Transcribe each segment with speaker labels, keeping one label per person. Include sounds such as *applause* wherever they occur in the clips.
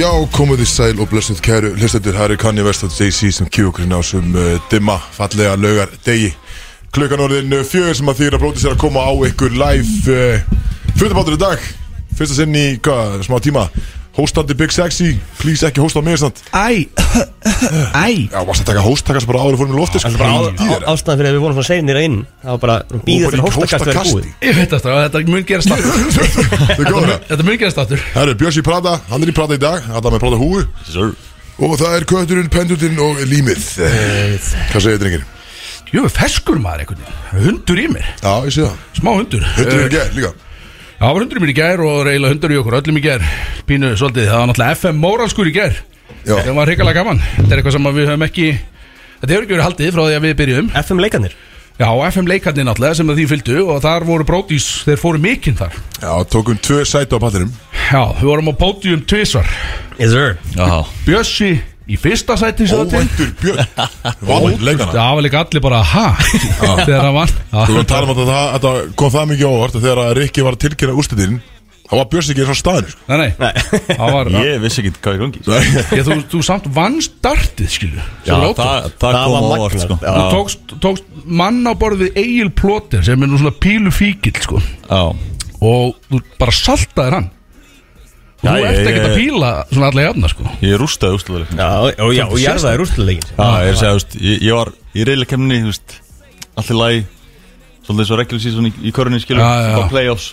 Speaker 1: Já, komið í sæl og blessuð kæru hlustendur, það eru Kanye West og Jay-Z sem kjú okkur inn á sem uh, dimma fallega laugar degi klukkan orðin uh, fjögur sem að þýra brótis er að koma á ykkur live uh, fjöndabátur í dag, fyrsta sinn í hvað, smá tíma, hóstandi Big Sexy please ekki hósta á mig samt
Speaker 2: Æ, æ
Speaker 1: Já, varst að taka hóst, taka sem bara áður fórum í lofti
Speaker 3: Það er bara á- á- ástæðan fyrir að við vorum svona seinir að inn Það var bara að býða fyrir hóstakast verið búið
Speaker 2: Ég veit þetta, þetta mun gerast aftur
Speaker 1: Þau góður það
Speaker 2: Þetta mun gerast aftur
Speaker 1: Það eru Björns í Prada, hann er í Prada í dag, hann er með Prada húu Og það er kötturinn, pendurinn og límið Hvað segir drengir?
Speaker 2: Jú, feskur maður einhvern veginn Hundur í mér,
Speaker 1: Já, ég sé það
Speaker 2: smá hundur
Speaker 1: Hundurinn
Speaker 2: Eh,
Speaker 1: gæð líka
Speaker 2: Já, það var hundur í mér í gær og reyla hundur í okkur öllum í gær Pínu svolítið, það var náttúrulega FM Móralskur í gær
Speaker 1: Já.
Speaker 2: Það var hrikalega gaman Þetta er eitthvað sem að við höfum ekki Þetta hefur ekki verið haldið frá því að við byrjum
Speaker 3: FM leikanir
Speaker 2: Já, FM leikarnir náttúrulega sem að því fylgdu Og þar voru brótís, þeir fóru mikinn þar
Speaker 1: Já, tókum tvö sæti á pallinum
Speaker 2: Já, við vorum á pódium tvisvar
Speaker 3: Yes sir
Speaker 2: Bjössi í fyrsta sæti sem það til.
Speaker 1: Óvæntur
Speaker 2: *laughs*
Speaker 1: Björn Váinn, leikana
Speaker 2: Það var líka allir bara, ha? *laughs* Þegar hann vann
Speaker 1: Þú vorum að tala um að það, þetta kom það mikið óvart að Þegar að Rikki var að tilkynna úrstættin Það var Björns ekki eins og staðinu sko.
Speaker 2: Nei, nei, það var
Speaker 4: *laughs* Ég vissi ekki hvað er gangi sko.
Speaker 2: ég, þú, þú samt vann startið, skilu Já,
Speaker 4: það, það, kom á
Speaker 3: var
Speaker 4: óvart
Speaker 3: magnað,
Speaker 4: sko.
Speaker 3: já.
Speaker 2: Þú tókst, tókst mann á borðið Egil Plóter sem er nú svona pílu fíkil, sko
Speaker 4: Já.
Speaker 2: Og þú bara saltaðir hann Og
Speaker 4: Já,
Speaker 2: Þú
Speaker 4: ég-
Speaker 2: ert ekkert að
Speaker 4: ég-
Speaker 2: píla svona allir jafna, sko
Speaker 4: Ég rústaði úrstuðuleikin
Speaker 3: Já, og já, og ég er það í rústulegin
Speaker 4: Já, ég, segja, þú veist, ég, ég var í reyðleikemni Allt í lagi Svolítið svo regular season í, í körunni skilur
Speaker 2: Já, já, já.
Speaker 4: Bara playoffs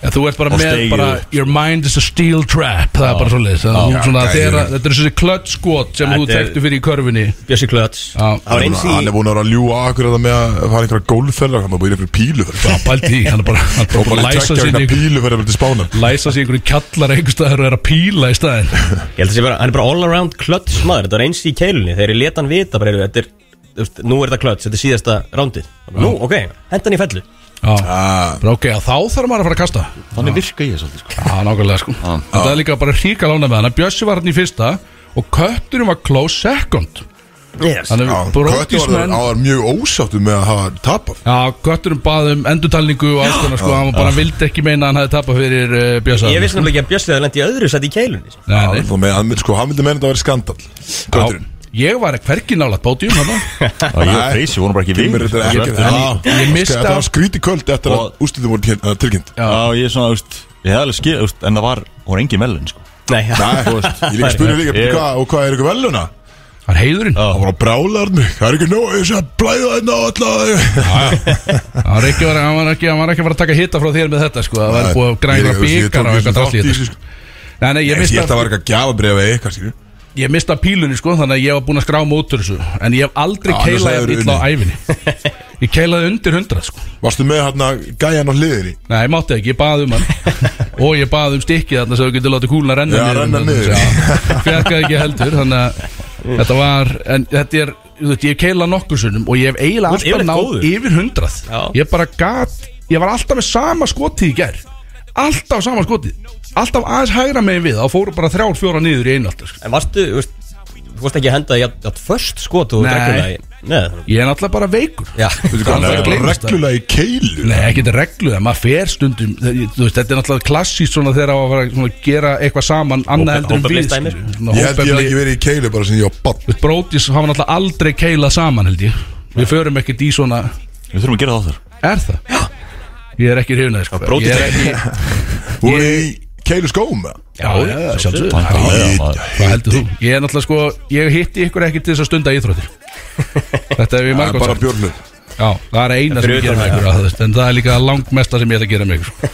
Speaker 2: ja, Þú ert bara
Speaker 4: Og
Speaker 2: með,
Speaker 4: stegið.
Speaker 2: bara, your mind is a steel trap Það er bara svoleiðis Það er svona,
Speaker 1: Já,
Speaker 2: þegar,
Speaker 1: gæði.
Speaker 2: þetta er þessi klött skot sem þú
Speaker 3: Þetta er-
Speaker 2: tektu fyrir í körfunni
Speaker 3: Bjössi Klöts
Speaker 2: Já.
Speaker 3: Það var eins í
Speaker 1: Hann er búin að vera að ljúa akkur þetta með að fara einhverja gólferðar Hann var búin einhverju píluferð
Speaker 2: Það pældi í, hann er bara, hann er
Speaker 1: Og
Speaker 2: bara, bara
Speaker 1: bara
Speaker 2: að læsa
Speaker 1: tveggja hérna vegna
Speaker 2: sér í
Speaker 1: píluferðar til spána
Speaker 2: læsa sér einhverjum kjallar einhverstaðar og er að píla í staðin
Speaker 3: Ég held að sé bara, hann er bara all around klöts maður Þetta var eins í keilunni, þeir eru letan vita bara, heyrðu, Þetta er, þú veist, nú er þetta klöts, þetta er síðasta rándið Nú, ok, hendan í fellu
Speaker 2: Já,
Speaker 3: Ah.
Speaker 2: bara ok, að þá þarf maður að fara að kasta
Speaker 4: Þannig virka ég svolítið sko.
Speaker 2: Já, nákvæmlega sko
Speaker 3: Ah.
Speaker 2: En það er líka bara hríka lána með hana Bjössi var hann í fyrsta og kötturinn var close second
Speaker 3: yes.
Speaker 2: Þannig
Speaker 1: Já,
Speaker 2: að
Speaker 1: Kötti var
Speaker 2: brotismenn
Speaker 1: það áður mjög ósáttu með að hafa tapað
Speaker 2: Já, kötturinn bað um endurtalningu og alls konar sko Hann bara vildi ekki meina að hann hefði tapað fyrir uh, Bjössa
Speaker 3: Ah. Ég vissi náttúrulega ekki að Bjössi það lendi í öðru sætt í keilunni sko.
Speaker 2: Nei, nei.
Speaker 1: Þó með, hann myndi- sko, hann myndi menna þetta að vera skandal Kötturinn
Speaker 2: Já, Ég var hvergi nálat bótiðum hann
Speaker 3: *laughs*
Speaker 4: Já, ég og Freysi vorum bara ekki
Speaker 1: Mér
Speaker 4: vinir
Speaker 1: er þetta
Speaker 4: sko,
Speaker 1: ekki
Speaker 4: eftir
Speaker 1: Já,
Speaker 4: henni.
Speaker 2: Ég mista-
Speaker 1: Þetta var skríti kvöld eftir
Speaker 4: Og-
Speaker 1: að úrstættin voru til- eh, tilkynnt
Speaker 4: Já, ég er svona, þú veist, ég hef alveg skil þú veist, En það var, voru engin velun sko.
Speaker 3: Nei,
Speaker 1: Nei, þú veist, ég líka spurði líka
Speaker 4: Ég-
Speaker 1: hvað, og hvað er ykkur veluna?
Speaker 2: Það er heiðurinn
Speaker 1: Það var að brála hann mig, það er ekki nóg, ég sé að blæða þetta á *laughs* alltaf
Speaker 2: Hann var ekki að vera- hann var ekki hann var ekki að fara að taka hitta frá þér með þetta sko Það var búið að græna bíkar og eitthvað drasli í þetta sko. Nei, nei, ég
Speaker 1: Ég sé
Speaker 2: mista
Speaker 1: að það var eitthvað gjafabrið eða eitthvað, skilju
Speaker 2: Ég mista pílunni sko, þannig að ég var búinn að skrá mótur þessu En ég hef aldrei
Speaker 1: Já, annars
Speaker 2: keilað
Speaker 1: hefðirðu
Speaker 2: jafn illa á æfinni Ég keilaði undir 100 sko
Speaker 1: Varstu með hérna gæjan á hliðinni?
Speaker 2: Nei, ég mátti ekki, ég baði um hann Og ég baði um stikkið þarna svo þú getur látið kúluna renna um
Speaker 1: Já, renna niður.
Speaker 2: sko.
Speaker 1: *laughs*
Speaker 2: Fjarkaði ekki heldur, þannig að Þetta var, en þetta er Þú veit, ég keilað nokkur sunnum og ég hef eiginlega
Speaker 3: Þú ert
Speaker 2: alltaf
Speaker 3: yfirleitt góður.
Speaker 2: náð yfir 100
Speaker 3: Já.
Speaker 2: Ég bara gat, ég var alltaf með sama skotið í ger Alltaf sama skotið Alltaf aðeins hægra megin við, þá fóru bara þrjár, fjóra niður í einu alltaf sko.
Speaker 3: *laughs* En varstu, þú veist, þú veist ekki að henda því að först sko, þú
Speaker 2: Nei.
Speaker 3: drekkur það í Nei,
Speaker 2: Ég er náttúrulega bara veikur
Speaker 3: já
Speaker 1: Veitu hvað,
Speaker 2: Það
Speaker 1: það er bara
Speaker 2: gleymist það.
Speaker 1: reglulega í keilu
Speaker 2: Nei, ekki þetta reglu, en maður fer stundum þe- ég- þú veist, Þetta er náttúrulega klassíst svona þegar á að fara svona, að gera eitthvað saman annað heldur en
Speaker 3: hópefli
Speaker 2: við
Speaker 3: dæmi.
Speaker 2: skilur. Svona
Speaker 1: Ég held ég hef ekki
Speaker 2: hópefli-
Speaker 1: verið í keilu bara sem ég á bann
Speaker 2: Þú veist, Brótis hafa náttúrulega aldrei keilað saman held ég Við förum ekkert í svona
Speaker 4: Við þurfum að gera það á þar
Speaker 2: Er það? Já Ég er ekki hrifnaði sko
Speaker 4: Brótis
Speaker 2: Ég er ekki
Speaker 1: Þú er í keilu skóm
Speaker 2: Já, já, sjálfsögðu
Speaker 4: Já, já, maður.
Speaker 2: Hvað heldur þú? Ég er náttúrulega sko Ég hitti ykkur ekki til þess að stunda *laughs* íþróttir Þetta er við margótt
Speaker 1: Bara björnu
Speaker 2: Já, það er eina sem ég gera með ykkur á, þú veist, En það er líka langmesta sem ég ætla að gera með ykkur sko.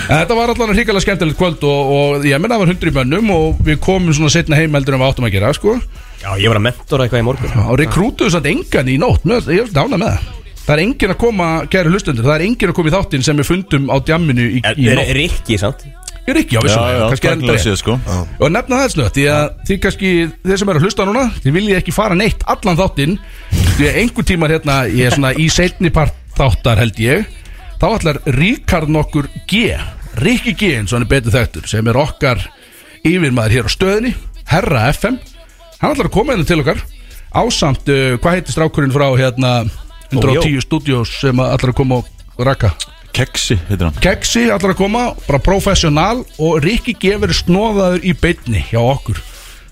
Speaker 2: En þetta var allan hrikalega skemmtilegt kvöld Og, og ég menna það var hundri mönnum Og við komum svona setna heim heldur en við áttum að gera sko.
Speaker 3: Já, ég var að mentora eitthvað í morgun
Speaker 2: Og rekrútuðu satt engan í nótt með, Ég er dána með það Það er enginn að koma, kæri hlustendur Það er enginn að koma í þáttinn sem við fundum á djamminu í, í
Speaker 3: Er
Speaker 2: nótt
Speaker 3: Rikki, sant?
Speaker 2: Ég er ekki á
Speaker 4: Já,
Speaker 2: vissum
Speaker 4: já,
Speaker 2: Kannski er
Speaker 4: takkilega
Speaker 2: endra
Speaker 4: séð sko Já,
Speaker 2: Og nefna það snögt, því að þið kannski, þeir sem eru að hlusta núna, þið viljið ekki fara neitt allan þáttinn, því að einhver tímar hérna, ég er svona í seinni part þáttar held ég, þá ætlar Ríkard nokkur G, Ríkki G eins og hann er betur þekktur, sem er okkar yfirmaður hér á stöðinni, Herra FM, hann ætlar að koma hérna til okkar, ásamt, eh, uh, hvað heitir strákurinn frá hérna 110
Speaker 3: Ójó.
Speaker 2: Studios sem að ætlar að koma og raka?
Speaker 4: Keksi, heitir hann
Speaker 2: Keksi allar að koma, bara professional og Rikki G verður snóðaður í beinni hjá okkur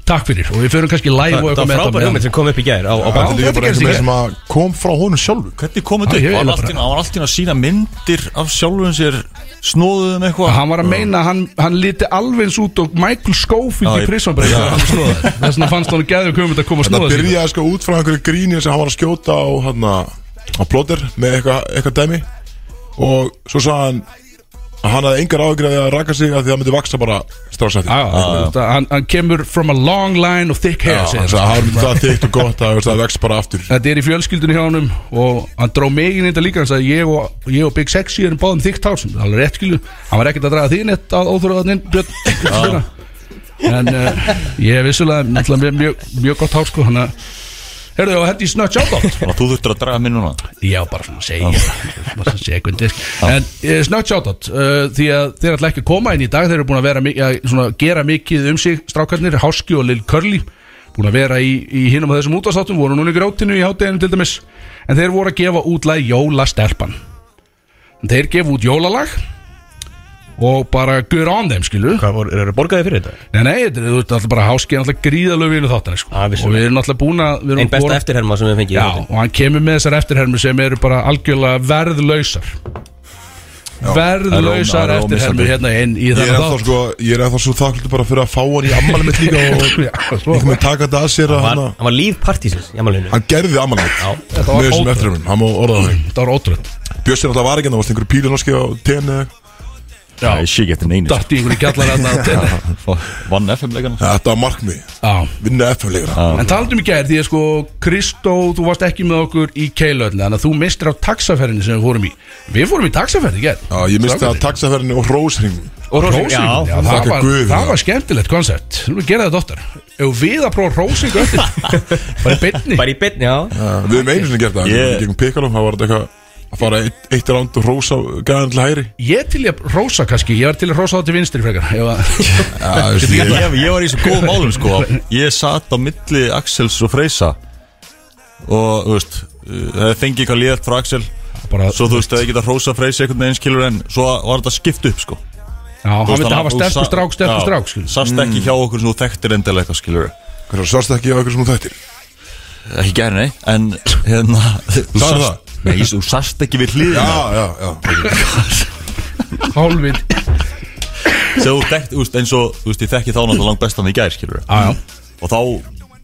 Speaker 2: Takk fyrir og við fyrir kannski live og
Speaker 3: Það það
Speaker 2: eitthvað
Speaker 3: var
Speaker 2: með
Speaker 3: frábær
Speaker 2: þetta
Speaker 3: hugmynd
Speaker 2: með
Speaker 3: sem kom upp í gær á, á
Speaker 1: Þetta er líka
Speaker 2: þetta
Speaker 1: bara
Speaker 2: gerist
Speaker 1: einhver
Speaker 2: ekki.
Speaker 1: sem að kom frá honum sjálfur
Speaker 4: Hvernig kom þetta
Speaker 2: Já, ég
Speaker 4: upp?
Speaker 2: vil
Speaker 4: Hann
Speaker 2: bara-
Speaker 4: var allt í einu- hann var allt í einu að sína myndir af sjálfum sér Snóðuðum eitthvað
Speaker 2: Hann var að meina, að hann, hann líti alveg eins út og Michael Schofield
Speaker 4: Já,
Speaker 2: í
Speaker 4: ég-
Speaker 2: Prison Break þegar hann var snóðaður. *laughs* Þess vegna fannst hann gæður hugmynd að koma að
Speaker 1: Það
Speaker 2: snóða sig
Speaker 1: byrjaði sko út frá einhverju gríni sem hann var að skjóta á hann á plóter með eitthvað eitthva dæmi og svo sagði hann að hann hafði engar áhyggjur af því að raka sig að því að það myndi vaksa bara strafsætti
Speaker 2: Já, já, já. hann, hann kemur from a long line of thick hair segir hann.
Speaker 1: Það myndi það þygt og gott að þú veist, það vex bara aftur
Speaker 2: Þetta er í fjölskyldunni hjá honum og hann dró mig inn í þetta líka hann sagði ég og, ég og Big Sexy erum báðum þykkt hár sem alveg rétt skilu, hann var ekkert að draga þín eitt að óþurraðan inn Björn en uh, ég er vissulega náttúrulega með mjög, mjög gott hár sko hann að Herðu, og hendi í snögt sjátátt
Speaker 4: Þannig að þú þurftir að draga minn núna
Speaker 2: Já, bara svona segja bara svona sekundir En eh, snögt sjátátt uh, Því að þeir ætla ekki að koma inn í dag Þeir eru búin að, vera, mi- að svona, gera mikið um sig Strákarnir, Háski og Lil Curly Búin að vera í, í hinum að þessum útastáttum Voru núna í grjótinu í hátæðinum til dæmis En þeir voru að gefa út lagi Jólastelpan En þeir gefa út jólalag Og bara gur án þeim, skilu
Speaker 3: Hvað voru, eru borgaði fyrir þetta?
Speaker 2: Nei, nei, þetta er- þú ert alltaf bara Háski er alltaf gríðalög vinu þáttan sko.
Speaker 3: Ah,
Speaker 2: Og
Speaker 3: vissulega.
Speaker 2: við erum alltaf búin að við erum
Speaker 3: Einn besta
Speaker 2: búin-
Speaker 3: eftirherma sem við fengið í
Speaker 2: Já,
Speaker 3: þáttinn.
Speaker 2: og hann kemur með þessar eftirhermur sem eru bara algjörlega verðlausar
Speaker 4: það
Speaker 2: Verðlausar
Speaker 4: er ó-
Speaker 2: eftirhermur
Speaker 4: ómissandi.
Speaker 2: hérna inn í
Speaker 1: Ég er
Speaker 2: þennan
Speaker 1: ennþá
Speaker 2: þátt
Speaker 1: sko, ég er ennþá svo þakklútið bara fyrir að fá hann í
Speaker 2: *laughs*
Speaker 1: ammali mitt líka og
Speaker 2: Já, svo-
Speaker 1: einhvern veginn taka þetta að sér að
Speaker 3: Var-
Speaker 1: hann
Speaker 3: Hann var líf partísins í amalinu
Speaker 1: hann gerði ammali mitt
Speaker 3: Já.
Speaker 1: með
Speaker 2: var
Speaker 1: þessum
Speaker 2: ótrúlegt.
Speaker 1: eftirhjörnum, hann má orða það
Speaker 2: Það var ótrúlega
Speaker 1: Bjössi náttúrulega var ekki, hann varst einhverju pílun og skjá tenni
Speaker 4: Það er
Speaker 2: Já,
Speaker 4: shit eftir neini
Speaker 2: dætt í einhverju kjallar
Speaker 1: *laughs*
Speaker 2: hérna
Speaker 4: *laughs* Vann FM-leikana
Speaker 1: Þetta var markmið,
Speaker 2: Já,
Speaker 1: vinna FM-leikra
Speaker 2: en talandum í gær því að sko Kristó, þú varst ekki með okkur í keilöðinni Þannig að þú mistir á taxaferðinni sem við fórum í Við fórum í taxaferði í gær
Speaker 1: Já, ég misti að taxaferðinu og rósringum
Speaker 3: Og Rósing,
Speaker 2: Rósing,
Speaker 3: já,
Speaker 2: já, það,
Speaker 1: þakka
Speaker 2: var,
Speaker 1: guði
Speaker 2: það
Speaker 1: það.
Speaker 2: var skemmtilegt koncept Nú gera það dóttar Ef við að prófa Rósing öll
Speaker 1: *laughs*
Speaker 2: Bara í beinni
Speaker 3: Bara í beinni, já
Speaker 1: Við hefum einu sinni gert það
Speaker 4: Ég-
Speaker 1: Gegn Piccolo, það var þetta eitthvað að fara eitt, eitt ránd og rósa gæðan til hæri
Speaker 2: Ég til ég að rósa kannski, ég var til að rósa það til vinstri frekar Ég var- *laughs*
Speaker 1: Já, þú veist, ég-
Speaker 4: ég, ég var í svo góð málum sko Ég satt á milli Axels og Freysa Og þú veist uh, Það fengi eitthvað liðat frá Axel
Speaker 2: bara,
Speaker 4: Svo þú veist að ég geta hrósa Freysa einhvern veginn skilur En svo var þetta skipt upp sko
Speaker 2: Já, hann
Speaker 4: Þú veist,
Speaker 2: vildi hafa
Speaker 4: þú
Speaker 2: sterkur
Speaker 4: sa-
Speaker 2: strák, sterkur
Speaker 4: já,
Speaker 2: strák Mm. skilur.
Speaker 4: Sast ekki hjá okkur sem þú þekktir endilega eitthvað skilur
Speaker 1: Hvernig svarst ekki á ykkur sem þú þættir
Speaker 4: Ekki gæri nei En hérna Þú
Speaker 1: Sagði
Speaker 4: sast-
Speaker 1: það?
Speaker 4: Nei, þú sast ekki við hliðina
Speaker 1: Já, já, já
Speaker 2: Hálfið
Speaker 4: Þegar þú þekkt, úst, eins og þú veist, ég þekki þá náttúrulega langt bestan í gær, skilur
Speaker 2: Já, já.
Speaker 4: Og þá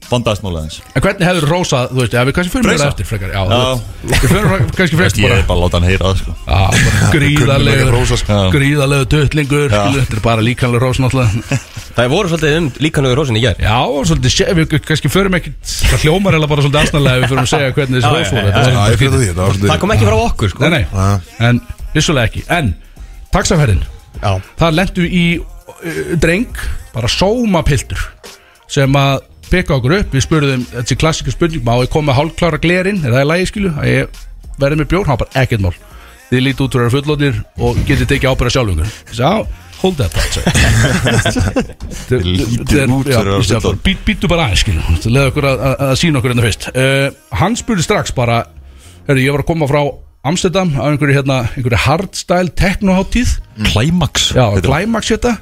Speaker 4: vandaðist málið eins
Speaker 2: En hvernig hefur rósað, þú veist, ja, við kannski fyrir mér
Speaker 4: Freysa.
Speaker 2: eftir frekar Já,
Speaker 4: Já.
Speaker 2: þú veist Við fyrir kannski frekar
Speaker 4: Ég
Speaker 2: bara,
Speaker 4: er bara að láta hann heyra það, sko
Speaker 2: já,
Speaker 4: *laughs*
Speaker 2: bara
Speaker 1: Kunnum ekki að
Speaker 2: Gríðalegur
Speaker 1: hrósa, sko.
Speaker 2: Gríðalegur dötlingur, skilur, þetta er bara líkanlega rós náttúrulega
Speaker 3: Það voru svolítið um líkanlegu rósin í gær
Speaker 2: Já, og svolítið, sé- við kannski förum ekkit Það hljómar eða bara svolítið aðsnaðlega Við förum að segja hvernig
Speaker 3: Já,
Speaker 2: þessi rós
Speaker 3: já,
Speaker 2: voru
Speaker 3: já,
Speaker 1: Já,
Speaker 2: Þetta
Speaker 1: ég fyrir því, þetta var
Speaker 3: Það
Speaker 1: svolítið
Speaker 3: kom ekki frá okkur, sko
Speaker 2: var- Nei, nei, en vissulega ekki En, taxaferðin
Speaker 3: Já
Speaker 2: Það lendu í uh, dreng bara sómapiltur sem að peka okkur upp við spurðum þessi klassika spurning má ég koma með hálfklára glerinn er það í lagi skilu að ég verði með bjór hann bara ekkert mál þið lítið út fyrir fullotnir og getið tekið ábyrða sjálfungur já hold that thought sagði ég.
Speaker 4: Lítið
Speaker 2: Þeir-
Speaker 4: út
Speaker 2: já,
Speaker 4: fyrir að vera
Speaker 2: ég sagði bara,
Speaker 4: fullorðnir.
Speaker 2: bít- bítu bara aðeins skilu leða okkur að, að, að sína okkur hérna fyrst uh, hann spurði strax bara herru ég var að koma frá Amsterdam á einhverju hérna einhverju hardstyle teknoháttíð
Speaker 4: Mm. Climax
Speaker 2: Já, klæmaks þetta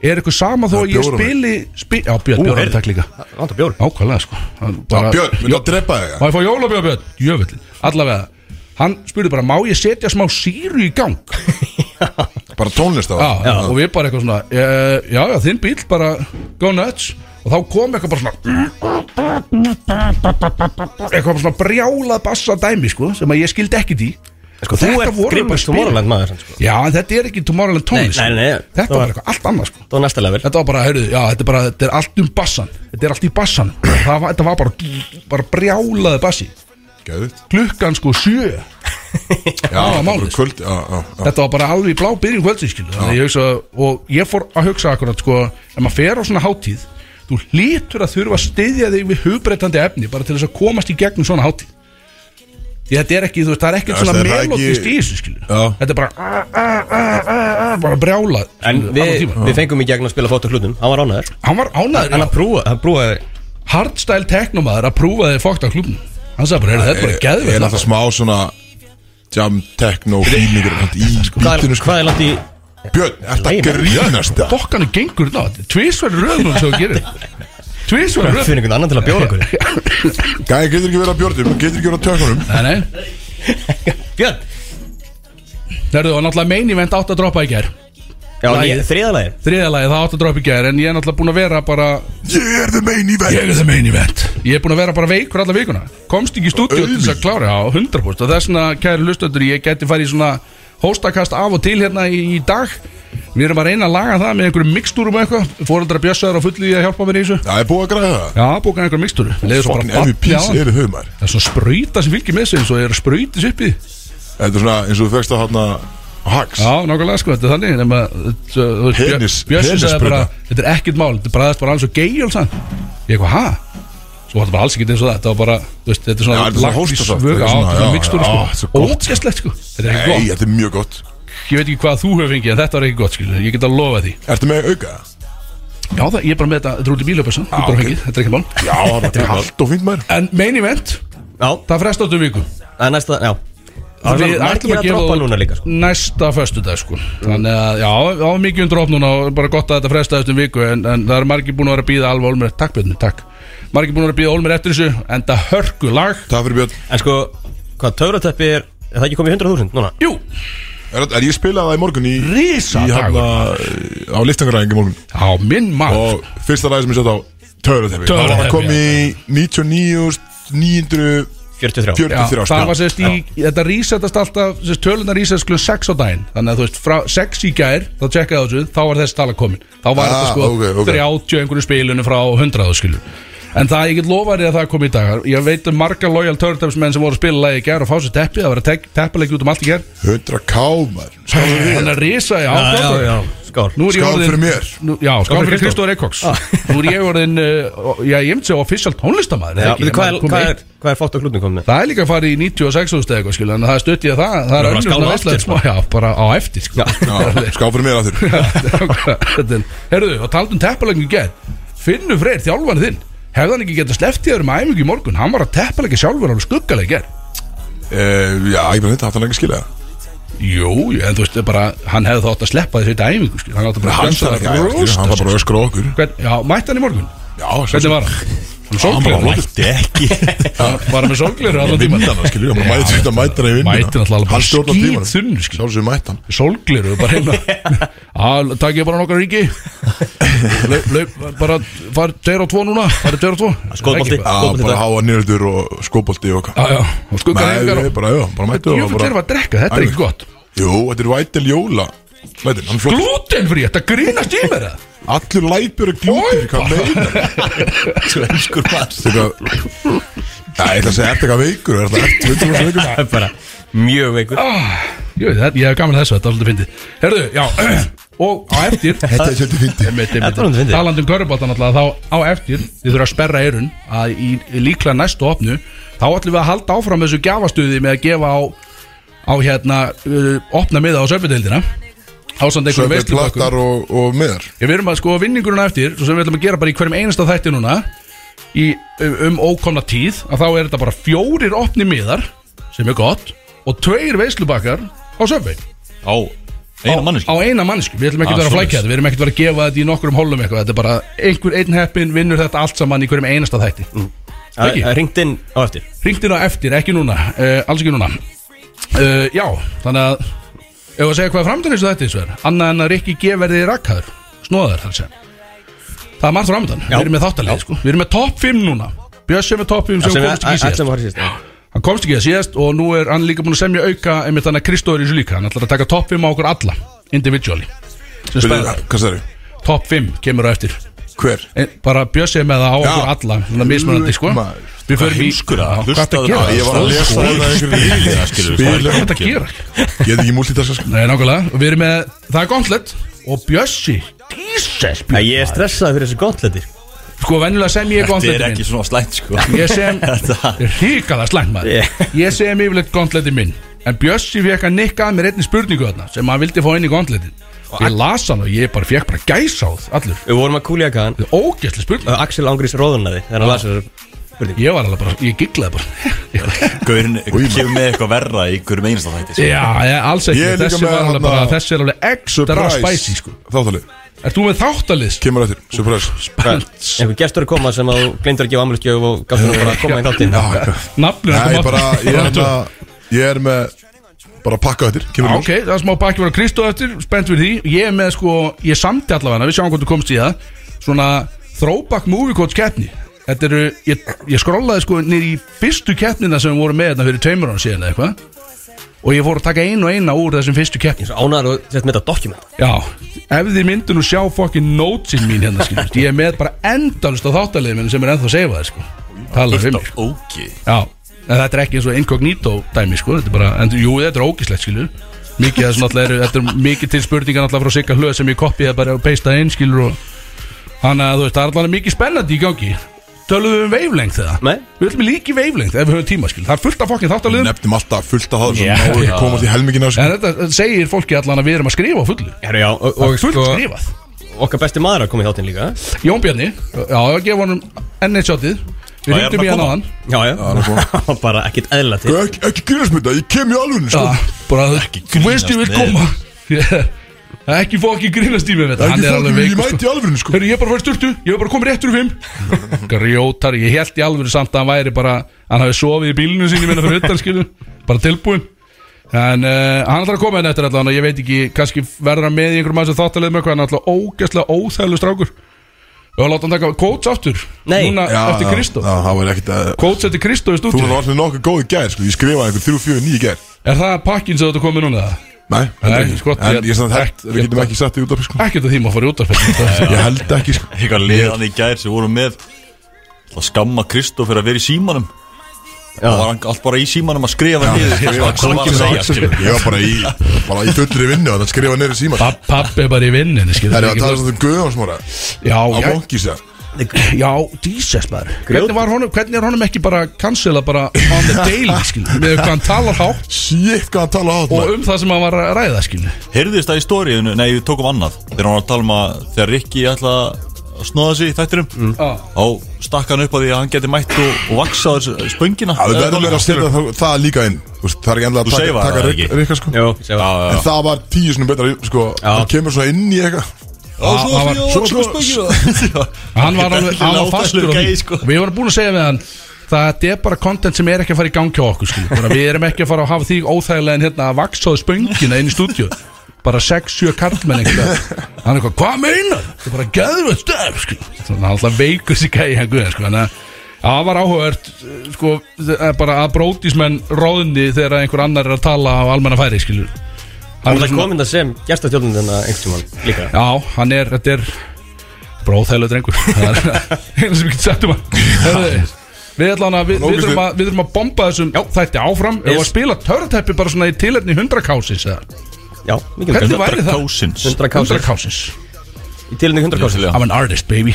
Speaker 2: Er eitthvað sama þó að ég
Speaker 1: Bjórarnir.
Speaker 2: spili spi Já, Björn, Björn, takk líka
Speaker 3: Vanda bjór
Speaker 2: Ákvæðlega, sko Hann
Speaker 1: Já,
Speaker 2: bara-
Speaker 1: Björn, vil það drepa þig?
Speaker 2: Má ég fá jólabjörn, Björn? Jöfullin Allavega Hann spurði bara, má ég setja smá síru í gang?
Speaker 1: Bara tónlist á
Speaker 2: Já,
Speaker 1: það
Speaker 2: og við bara eitthvað svona eh, Já, já, þinn bíl, bara go nuts Og þá kom eitthvað bara svona Eitthvað bara svona brjálað bassa dæmi, sko Sem að ég skildi ekkit í
Speaker 3: Sko, þú
Speaker 2: Þetta
Speaker 3: ert
Speaker 2: voru
Speaker 3: grimmast
Speaker 2: bara
Speaker 3: Tomorrowland maður sko.
Speaker 2: Já, en þetta er ekki Tomorrowland tónlist sko.
Speaker 3: Nei, nei, nei, nei.
Speaker 2: Þetta
Speaker 3: Það
Speaker 2: var
Speaker 3: var-
Speaker 2: eitthvað allt annað, sko
Speaker 3: Það var næsta level
Speaker 2: Þetta var bara, heyrðu, já, þetta er bara, þetta er allt um bassan Þetta er allt í bassan Það var, þetta var bara, bara brjálaði bassi
Speaker 1: Gæðut
Speaker 2: Klukkan sko sjö
Speaker 3: *laughs*
Speaker 1: Já,
Speaker 2: var
Speaker 1: það var
Speaker 2: málið, sko.
Speaker 1: kvöld Já, já, já
Speaker 2: Þetta var bara alveg í blá byrjun kvöldsinskilu Þannig að ég hugsa, og ég fór að hugsa akkurat sko Ef maður fer á svona hátíð Þú hlýtur að þurfa að styðja þig við hugbreytandi efni Bara til þess að komast í gegnum svona hátíð Því þetta er ekki, þú veist, það er ekkert
Speaker 1: Já,
Speaker 2: svona
Speaker 1: það er ekki-
Speaker 2: melodist í þessu skilu
Speaker 1: Já.
Speaker 2: Þetta er bara, a, a, a, a, a, bara brjálað
Speaker 3: En
Speaker 2: skilu, allan
Speaker 3: við,
Speaker 2: tímann.
Speaker 3: við fengum í gegn að spila fótt á klubnum Hann var ránaður
Speaker 2: Hann var ánæður
Speaker 3: Hann að prúa Hann prúaði
Speaker 2: hardstyle teknomaður að prúfa þið fókt á klubnum hann sagði bara, heyrðu, þetta er bara
Speaker 1: Ég er
Speaker 2: geðveld
Speaker 1: alltaf smá svona Jam, techno, fílingur Í
Speaker 3: Hvað er,
Speaker 1: bítinu sko
Speaker 3: hvað er langt í
Speaker 1: Björn, er þetta grínast það?
Speaker 2: Dokkan er gengur ná Tvísverð röðnum sem þú gerir
Speaker 3: *laughs*
Speaker 2: Tvísverð
Speaker 3: Hvað
Speaker 2: röðnum
Speaker 3: finnir einhvern annan til að bjóra *laughs* okkur
Speaker 1: Gæði getur ekki verið að björnum, getur ekki verið að tökunum
Speaker 2: Nei, nei
Speaker 3: Björn
Speaker 2: Nærðu, og náttúrulega main event átt að droppa í gær
Speaker 3: Já,
Speaker 2: Lagið.
Speaker 3: ég- þriðja lagið
Speaker 2: Þriðja lagi það átt að droppa í gær En ég er náttúrulega búin að vera bara
Speaker 1: Ég er the main event
Speaker 2: er það main event Ég er búin að vera bara veikur alla vikuna Komst ekki í stúdíu til þess að klára á 100% Og þess vegna, kæri lustöndur, ég geti farið í svona Hóstakast af og til hérna í, í dag Við erum að reyna að laga það með einhverjum mikstúrum og eitthvað Fóreldra bjössaður á fullu í að hjálpa mér í þessu
Speaker 1: Það er búið að græða það
Speaker 2: Já, bókaði einhverjum mikstúru Leður svo
Speaker 1: Fucking
Speaker 2: bara batni á
Speaker 1: MVPs
Speaker 2: hann
Speaker 1: eru þau maður
Speaker 2: Það er svona sprauta sem fylgir með sig eins og er að sprautis upp í því.
Speaker 1: Þetta er svona eins og þú fegst að hana Hags
Speaker 2: Já, nákvæmlega sko, þetta er þannig nema, þetta, þú veist, Björ-
Speaker 1: Penis-
Speaker 2: Bjössi sagði
Speaker 1: penissprauta.
Speaker 2: bara, Þetta er ekkert mál, þetta bræðast bara alls og geil sann Ég eitthvað, ha? Svo var þetta bara alls ekki eins og það Þetta var bara, þú veist, þetta er
Speaker 1: Já,
Speaker 2: svona
Speaker 1: þetta er svona hóstasaft, eitthvað
Speaker 2: svöga á,
Speaker 1: svona,
Speaker 2: þetta
Speaker 1: já,
Speaker 2: er mikstúr
Speaker 1: já, þetta er svo
Speaker 2: sko
Speaker 1: gott,
Speaker 2: Ótskestlegt sko, þetta er ekki
Speaker 1: Nei,
Speaker 2: gott
Speaker 1: þetta er mjög gott
Speaker 2: Ég veit ekki hvað þú hefur fengið, en þetta var ekki gott skilu Ég get að lofa því
Speaker 1: Ertu með auka?
Speaker 2: Já, það, ég er bara með þetta, þetta er út í bílöpessan Þú bara
Speaker 1: ok.
Speaker 2: fengið, þetta er ekki mál *laughs*
Speaker 1: Já, það er allt og fínt maður
Speaker 2: En main event,
Speaker 3: Já,
Speaker 2: það frestast um viku
Speaker 3: það er næsta, já Það
Speaker 2: Við
Speaker 3: er
Speaker 2: ætlum
Speaker 3: margir
Speaker 2: að
Speaker 3: að
Speaker 2: gefa
Speaker 3: droppa
Speaker 2: út
Speaker 3: núna líka sko.
Speaker 2: næsta föstudag sko Þannig að já, það var mikið um drop núna og bara gott að þetta fresta eftir viku en, en það er margir búin að vera að býða alveg Olmer Takk Björn, takk Margir búin að vera að býða Olmer eftir þessu en það hörku lag
Speaker 1: Það fyrir Björn
Speaker 3: En sko, hvað töfratöppi er Er það ekki komið í 100.000 núna?
Speaker 2: Jú,
Speaker 1: Er, er ég spilaði það í morgun í
Speaker 2: Risa
Speaker 1: Í hana á liftingaræðing í morgun
Speaker 2: á minn maður
Speaker 1: Og fyrsta lagi sem ég sett á Töðratefi Það var
Speaker 2: Töfrateppi,
Speaker 1: að kom í 99.943
Speaker 3: 43
Speaker 2: Já,
Speaker 1: spil
Speaker 2: það var sérst í, þetta resetast alltaf, sérst tölunar resetast klun 6 á daginn Þannig að þú veist, frá 6 í gær, þá tjekkaði þessu, þá var þessi tala komin Þá var
Speaker 1: Ah,
Speaker 2: þetta sko
Speaker 1: ok, ok.
Speaker 2: 30 einhverju spilunum frá 100 skilur En það, ég get lofað þér að það kom í dag Ég veit um marga loyal turntapes menn sem voru að spila lagi í gær og fá sér teppi Það var að teppalegi út um allt í gær
Speaker 1: 100k maður Skáðu
Speaker 2: *laughs*
Speaker 1: við
Speaker 2: Þannig að risa, já,
Speaker 3: Já, já,
Speaker 2: flott.
Speaker 3: já, skál
Speaker 2: Nú er ég
Speaker 1: Skál
Speaker 2: orðinn-
Speaker 1: fyrir mér.
Speaker 2: nú, Já, skál fyrir
Speaker 3: fyrir Kristó.
Speaker 2: Kristóður Eikóks Nú er ég orðin, uh, já, ég myndi segja official tónlistamæður
Speaker 3: Já, veitu, Hvað er- hvað er- hvað er fátt á klubnum komið?
Speaker 2: Það er líka að fara í 96 eða eitthvað skilja En það er stutt ég að það Það er
Speaker 3: Bara
Speaker 2: önnur
Speaker 3: skála
Speaker 2: svona
Speaker 3: eftir, sko.
Speaker 2: veistlega smá Já, bara á eftir sko
Speaker 1: Skáðu fyrir mér að þurr
Speaker 2: Þetta er- Herðu, og taldum teppalegni í gær Finnur Freyr, þjálfan þinn Hefði hann ekki getað sleppt í þér um æfingu í morgun Hann var að teppalegja sjálfur alveg skuggalega í gær
Speaker 1: Eh, Já, ég bara þetta hatt hann ekki skilja það
Speaker 2: Jú, jú, en þú veist það er bara Hann hefði þá átt að sleppa þessu í þetta æfingu skilja Hann átt að bara
Speaker 1: Hann
Speaker 2: að
Speaker 1: sagði ekki að ég skilja, hann var bara að öskra á okkur
Speaker 2: Hvern, Já, mætti hann í morgun
Speaker 1: Já,
Speaker 2: Hvernig var hann? Hann
Speaker 1: bara
Speaker 2: sólgleru
Speaker 1: mætti ekki
Speaker 2: Var hann með sólgleru allan tíma
Speaker 1: Vindan, skilju, hann mætti þetta mættan í vindan
Speaker 2: Mætir náttúrulega bara
Speaker 1: Hann stjórnar tíman
Speaker 2: skítþunnur, skilju.
Speaker 1: Sjálfsög mættan
Speaker 2: Sólgleru, bara
Speaker 1: *laughs*
Speaker 2: heima Já, takk ég bara nokkar ríki Laup, laup, bara farið 2 og 2 núna Farið 2 og 2
Speaker 3: Skotbolti.
Speaker 2: Ekki bara-
Speaker 1: Já,
Speaker 3: Fótbolti
Speaker 1: bara
Speaker 3: dag.
Speaker 1: háa nýröldur og skóbolti og
Speaker 2: Já,
Speaker 1: hvað
Speaker 2: já, og skuggar
Speaker 1: Nei,
Speaker 2: engar
Speaker 1: ég
Speaker 2: og
Speaker 1: bara, já, bara mættu
Speaker 2: Jú, fyrir að drekka, þetta er ekki gott
Speaker 1: Jú, þetta er vætil jóla Lætin, hann er flott
Speaker 2: Glútenfrí, þetta grínast í mér það
Speaker 1: Allur læpur er glútur, hvað meinar
Speaker 3: Svenskur maður
Speaker 1: Þetta er Það er það að segja, ertu eitthvað veikur Er það ertu veikur og veikur
Speaker 3: Það er bara mjög veikur
Speaker 2: Ah, Jú, þetta- ég hef gaman að þessu, þetta er alltaf fyndið Herðu, já, *clears throat* og á eftir
Speaker 1: Þetta er svolítið fyndi
Speaker 3: Þetta var alveg fyndið.
Speaker 2: Talandum körubáttan alltaf, um þá á eftir Þið þurfa að sperra eyrun að í í líklega næstu opnu Þá ætlum við að halda áfram þessu gjafastuði með að gefa á á hérna, uh, opna miða á söfbyrdeildina Ásand einhverjum
Speaker 1: Söpja
Speaker 2: veistlubökkum
Speaker 1: plattar og, og miðar
Speaker 2: Ég verðum að sko vinningurinn á eftir Svo sem við ætlum að gera bara í hverjum einasta þætti núna í, um, um ókomna tíð að þá er þetta bara fjórir opni miðar sem er gott og tveir veislubakkar á söfvei
Speaker 4: Á eina manneski
Speaker 2: á eina mannsku, við ætlum ekki
Speaker 4: Ah,
Speaker 2: að vera að
Speaker 4: svoleiðis.
Speaker 2: flækja þetta við erum ekki að vera að gefa þetta í nokkrum hólum eitthvað þetta er bara einhver einn heppin vinnur þetta allt saman í hverjum einasta þætti
Speaker 3: Það
Speaker 2: Ekki.
Speaker 3: það hringdi inn á eftir
Speaker 2: Hringt inn á eftir, ekki núna, uh, alls ekki núna uh, Já, þannig að ef að segja hvað framdann eins og þetta eins og er annað en að Rikki G verði rakkaður snóðar þar sem Það er margt framdann, við erum með þáttalegi sko Við erum með topp 5 núna Bjössi er með topp 5 sem
Speaker 3: Sem
Speaker 2: komst ekki í síðast
Speaker 3: sem var í síðast
Speaker 2: Hann komst ekki í síðast og nú er hann líka búin að semja auka einmitt þannig að Kristóður í þessu líka Hann ætlar að taka topp 5 á okkur alla, individually Sem
Speaker 1: Byrju,
Speaker 2: spennandi.
Speaker 1: Hvað sagði
Speaker 2: Topp 5 kemur á eftir
Speaker 1: Hver?
Speaker 2: En bara Bjössi er með það á
Speaker 1: Já.
Speaker 2: okkur alla Svona mismunandi sko
Speaker 1: Maður,
Speaker 2: Við förum í
Speaker 4: heimskur að
Speaker 2: Já, hvað ertu
Speaker 4: hlustaðu
Speaker 2: að hérna gera?
Speaker 4: á-
Speaker 1: Ég var að lesa það einhverjum
Speaker 4: Spila.
Speaker 1: Spila
Speaker 2: Hvað ertu að gera?
Speaker 1: Ég er ekki múltitaska sko
Speaker 2: Nei, nákvæmlega, og við erum með, það er gauntlet og Bjössi, Jesus
Speaker 3: Nei, Ég er stressaði fyrir þessu gottletir
Speaker 2: Sko, venjulega sem ég
Speaker 4: Þetta er
Speaker 2: gauntletin
Speaker 4: ekki
Speaker 2: minn
Speaker 4: svona slæmt sko
Speaker 2: *laughs* Ég sem,
Speaker 4: Þetta-
Speaker 2: ríkala slæmt
Speaker 3: Yeah.
Speaker 2: maður Ég sem yfirleitt gauntletin minn En Bjössi fekk að nikka að mér einni spurningu þarna sem hann vildi fá inn í gauntletin Ég las hann og ég bara fekk bara gæsáð allur
Speaker 3: Við vorum að kúlja kaðan
Speaker 2: Ógæsli spurning
Speaker 3: Axel Ángrís róðunaði Þegar hann lasa þessu spurning
Speaker 2: Ég var alveg bara, ég gigglaði bara *laughs*
Speaker 4: Gaurin kemur með eitthvað verra í hverjum einasta þætti sko.
Speaker 2: Já, ég, alls ekki,
Speaker 1: Ég er líka
Speaker 2: þessi
Speaker 1: með
Speaker 2: var alveg
Speaker 1: þarna-
Speaker 2: bara Þessi er alveg extra spicy sko.
Speaker 1: Þáttalið,
Speaker 2: Ert þú með þáttalist?
Speaker 1: kemur eftir, surprise
Speaker 3: Einhver gestur er koma sem að þú glindur að gefa amlustgjöf og gafst hún bara að koma í þáttinn
Speaker 1: Já, eitthvað.
Speaker 2: Nafnir
Speaker 1: Nei, bara, ég er með Ég er með, bara pakka eftir Kemur
Speaker 2: Ah, Ok, það er smá baki var Kristó eftir, spennt við því Ég er með sko, ég samti allavega Við sjáum hvort þú komst í það Svona throwback movie coach keppni Þetta eru, ég, ég skrollaði sko Nýr í fyrstu keppnina sem við vorum með Þetta fyrir tveimur ára síðan eða eitthvað Og ég fór að taka einu og eina úr þessum fyrstu keppni
Speaker 3: Ég er svo ánæður og sett með þetta dokument
Speaker 2: Já, ef þið myndu nú sjá fokkin nótsin mín hérna skilust Ég er með bara endalust á þáttalegum sem er ennþá að segja það sko Talar um mig
Speaker 4: Ógi
Speaker 2: Já, en þetta er ekki eins og incognito dæmi sko Þetta er bara, en jú, þetta er ógislegt skilur Mikið þess náttúrulega eru, þetta er mikið til spurningar náttúrulega frá Sigga Hlöð sem ég kopiði bara og peistaði inn skilur og Þannig að þú veist, það er allavega mikið spennandi í gangi Töluðum við um veiflengð þegar
Speaker 3: Nei.
Speaker 2: Við viljum líka í veiflengð ef við höfum tíma skilur Það er fullt af fokkin þáttalegum
Speaker 1: Nefnum alltaf fullt af það Svo
Speaker 3: Já,
Speaker 1: náðu ekki
Speaker 3: já.
Speaker 1: að komast í helmingin af
Speaker 2: En þetta segir fólki allan að við erum að skrifa á fullu
Speaker 3: Herru já, og, og
Speaker 2: Fullt
Speaker 3: sko,
Speaker 2: skrifað
Speaker 3: okkar besti maður er að koma í þáttinn líka
Speaker 2: Jón Bjarni, já, ég gefa honum enn eitt sjáttið Við
Speaker 4: Já, er
Speaker 2: ringdum
Speaker 4: hann
Speaker 2: í
Speaker 4: að
Speaker 2: hann á
Speaker 4: koma?
Speaker 2: hann
Speaker 3: Já, já, *laughs* bara ekkert eðla til
Speaker 1: Ekki, ekki grínast með þetta, ég kem í alvöru sko.
Speaker 2: Já, bara þú
Speaker 4: grínast
Speaker 2: veist ég vil
Speaker 4: með
Speaker 2: koma *laughs* Ég- Ekki fá ekki grínast í mig með þetta
Speaker 1: Ekki
Speaker 2: Hann er alveg
Speaker 1: fólk, ég
Speaker 2: veikur
Speaker 1: mæti
Speaker 2: sko.
Speaker 1: í alvöru sko.
Speaker 2: Hörru, ég er bara farið sturtu, ég er bara komið réttur um fimm Grjótar, ég held í alveg samt að hann væri bara Hann hafi sofið í bílinu sinni minna fyrir utan skilu Bara tilbúin En uh, hann ætlar að koma henni eftir allan og Ég veit ekki, kannski verður hann með í einhverjum aðeins þáttalegum eitthvað Hann er alltaf ógæslega óþælu strákur Og láta hann taka kóts aftur
Speaker 3: Nei.
Speaker 2: Núna
Speaker 1: Já,
Speaker 2: eftir
Speaker 1: já,
Speaker 2: Kristó
Speaker 1: Já, það var ekkert að
Speaker 2: Kóts eftir Kristó í
Speaker 1: Þú
Speaker 2: stúdíu
Speaker 1: var allir nokkuð góð í gær sko. Ég skrifaði einhver 3, 4, 9 í gær
Speaker 2: Er það pakkin sem þetta komið núna?
Speaker 1: Nei,
Speaker 2: Nei,
Speaker 1: heldur ekki
Speaker 2: skott,
Speaker 1: En
Speaker 2: ég-
Speaker 1: ég er samt hægt,
Speaker 2: ekki-
Speaker 1: við getum ekki sett í út af sko.
Speaker 2: Ekkert að því maður fór í
Speaker 1: *laughs*
Speaker 2: útarfell
Speaker 1: Ég held ekki sko.
Speaker 4: Eitthvað liðan í gær sem voru með Það skamma Kristó fyrir að vera í símanum Það var hann allt bara í símanum að skrifa niður
Speaker 1: Ég var
Speaker 4: Hvað var
Speaker 1: kónginn
Speaker 4: að
Speaker 1: á
Speaker 4: segja,
Speaker 1: Axel,
Speaker 4: skilur.
Speaker 1: sko. Ég var bara í, bara í fullri vinnu Þannig að skrifa neyri síma Það
Speaker 2: Papp, Pappi er bara í vinninni skilur
Speaker 1: er
Speaker 2: við
Speaker 1: að
Speaker 2: ekki,
Speaker 1: tala
Speaker 2: þú
Speaker 1: um Guðjónsmóra
Speaker 2: veist. Já,
Speaker 1: Á
Speaker 2: já,
Speaker 1: monkis það
Speaker 2: já, Jesus maður hvernig, var honum, hvernig er honum ekki bara cancela bara on the daily skilur við? Með hvað hann talar hátt
Speaker 1: Shit, hvað hann tala átt
Speaker 2: og um það sem hann var að ræða skilur við.
Speaker 4: Heyrðist það í stóriðinu, nei við tókum annað Þegar hann var að tala um að þegar Rikki ætla að snóða sig í þættinum
Speaker 2: Já.
Speaker 4: Á stakk hann upp að því að hann geti mætt og, og vaksaður spöngina
Speaker 1: Það er verður að setja
Speaker 4: Skilur.
Speaker 1: það- það líka inn Þú veist, Það er ekki endilega
Speaker 4: Þú seifaði
Speaker 1: að taka
Speaker 4: það
Speaker 1: Rik-
Speaker 4: ekki?
Speaker 1: Rikka sko
Speaker 3: Jó, ég segi það.
Speaker 1: En það var tíu sinni betra sko, Það kemur svona inn í eitthvað
Speaker 4: Já,
Speaker 2: svo var-
Speaker 1: svo- svo-
Speaker 4: *laughs* spöngina
Speaker 2: hann var alveg hann var fastur á því
Speaker 4: sko.
Speaker 2: og við vorum búin að segja við hann það er bara content sem er ekki að fara í gang hjá okkur skilur við. Bara við erum ekki að fara að hafa því óþægilega en hérna að vaksaðu spöngina inn í stúdíu bara 6-7 karlmenn einhverja hann er eitthvað, hvað meinar? það er bara gæður að stöf hann er alltaf veikur sér gæði hann guðan sko þannig að það var áhugavert eh, sko eh, bara að brótismenn róðni þegar einhver annar er að tala á almenna færi skilur við. Hann
Speaker 3: Hún
Speaker 2: er
Speaker 3: er
Speaker 2: svona-
Speaker 3: komin það sem gestastjólinn þennan einhvern tímann líka
Speaker 2: Já, hann er, þetta er bróðhælu drengur Það er eina sem ég get sagt um hann Herðu, Við ætlum að,
Speaker 1: Hann
Speaker 2: við, við
Speaker 1: ógeðslegur.
Speaker 2: þurfum að, við þurfum að bomba þessum já, þætti áfram yes. og að
Speaker 3: Yes.
Speaker 2: spila törntæppi bara svona í tilhætni 100 kásins eða
Speaker 3: Já, mikið
Speaker 2: Hvernig
Speaker 3: mikið.
Speaker 2: væri það?
Speaker 4: Kásins
Speaker 2: 100
Speaker 3: 100 kásir
Speaker 2: kásins
Speaker 3: Í tilinu 100 kásir
Speaker 4: Vissulega.
Speaker 2: I'm an artist baby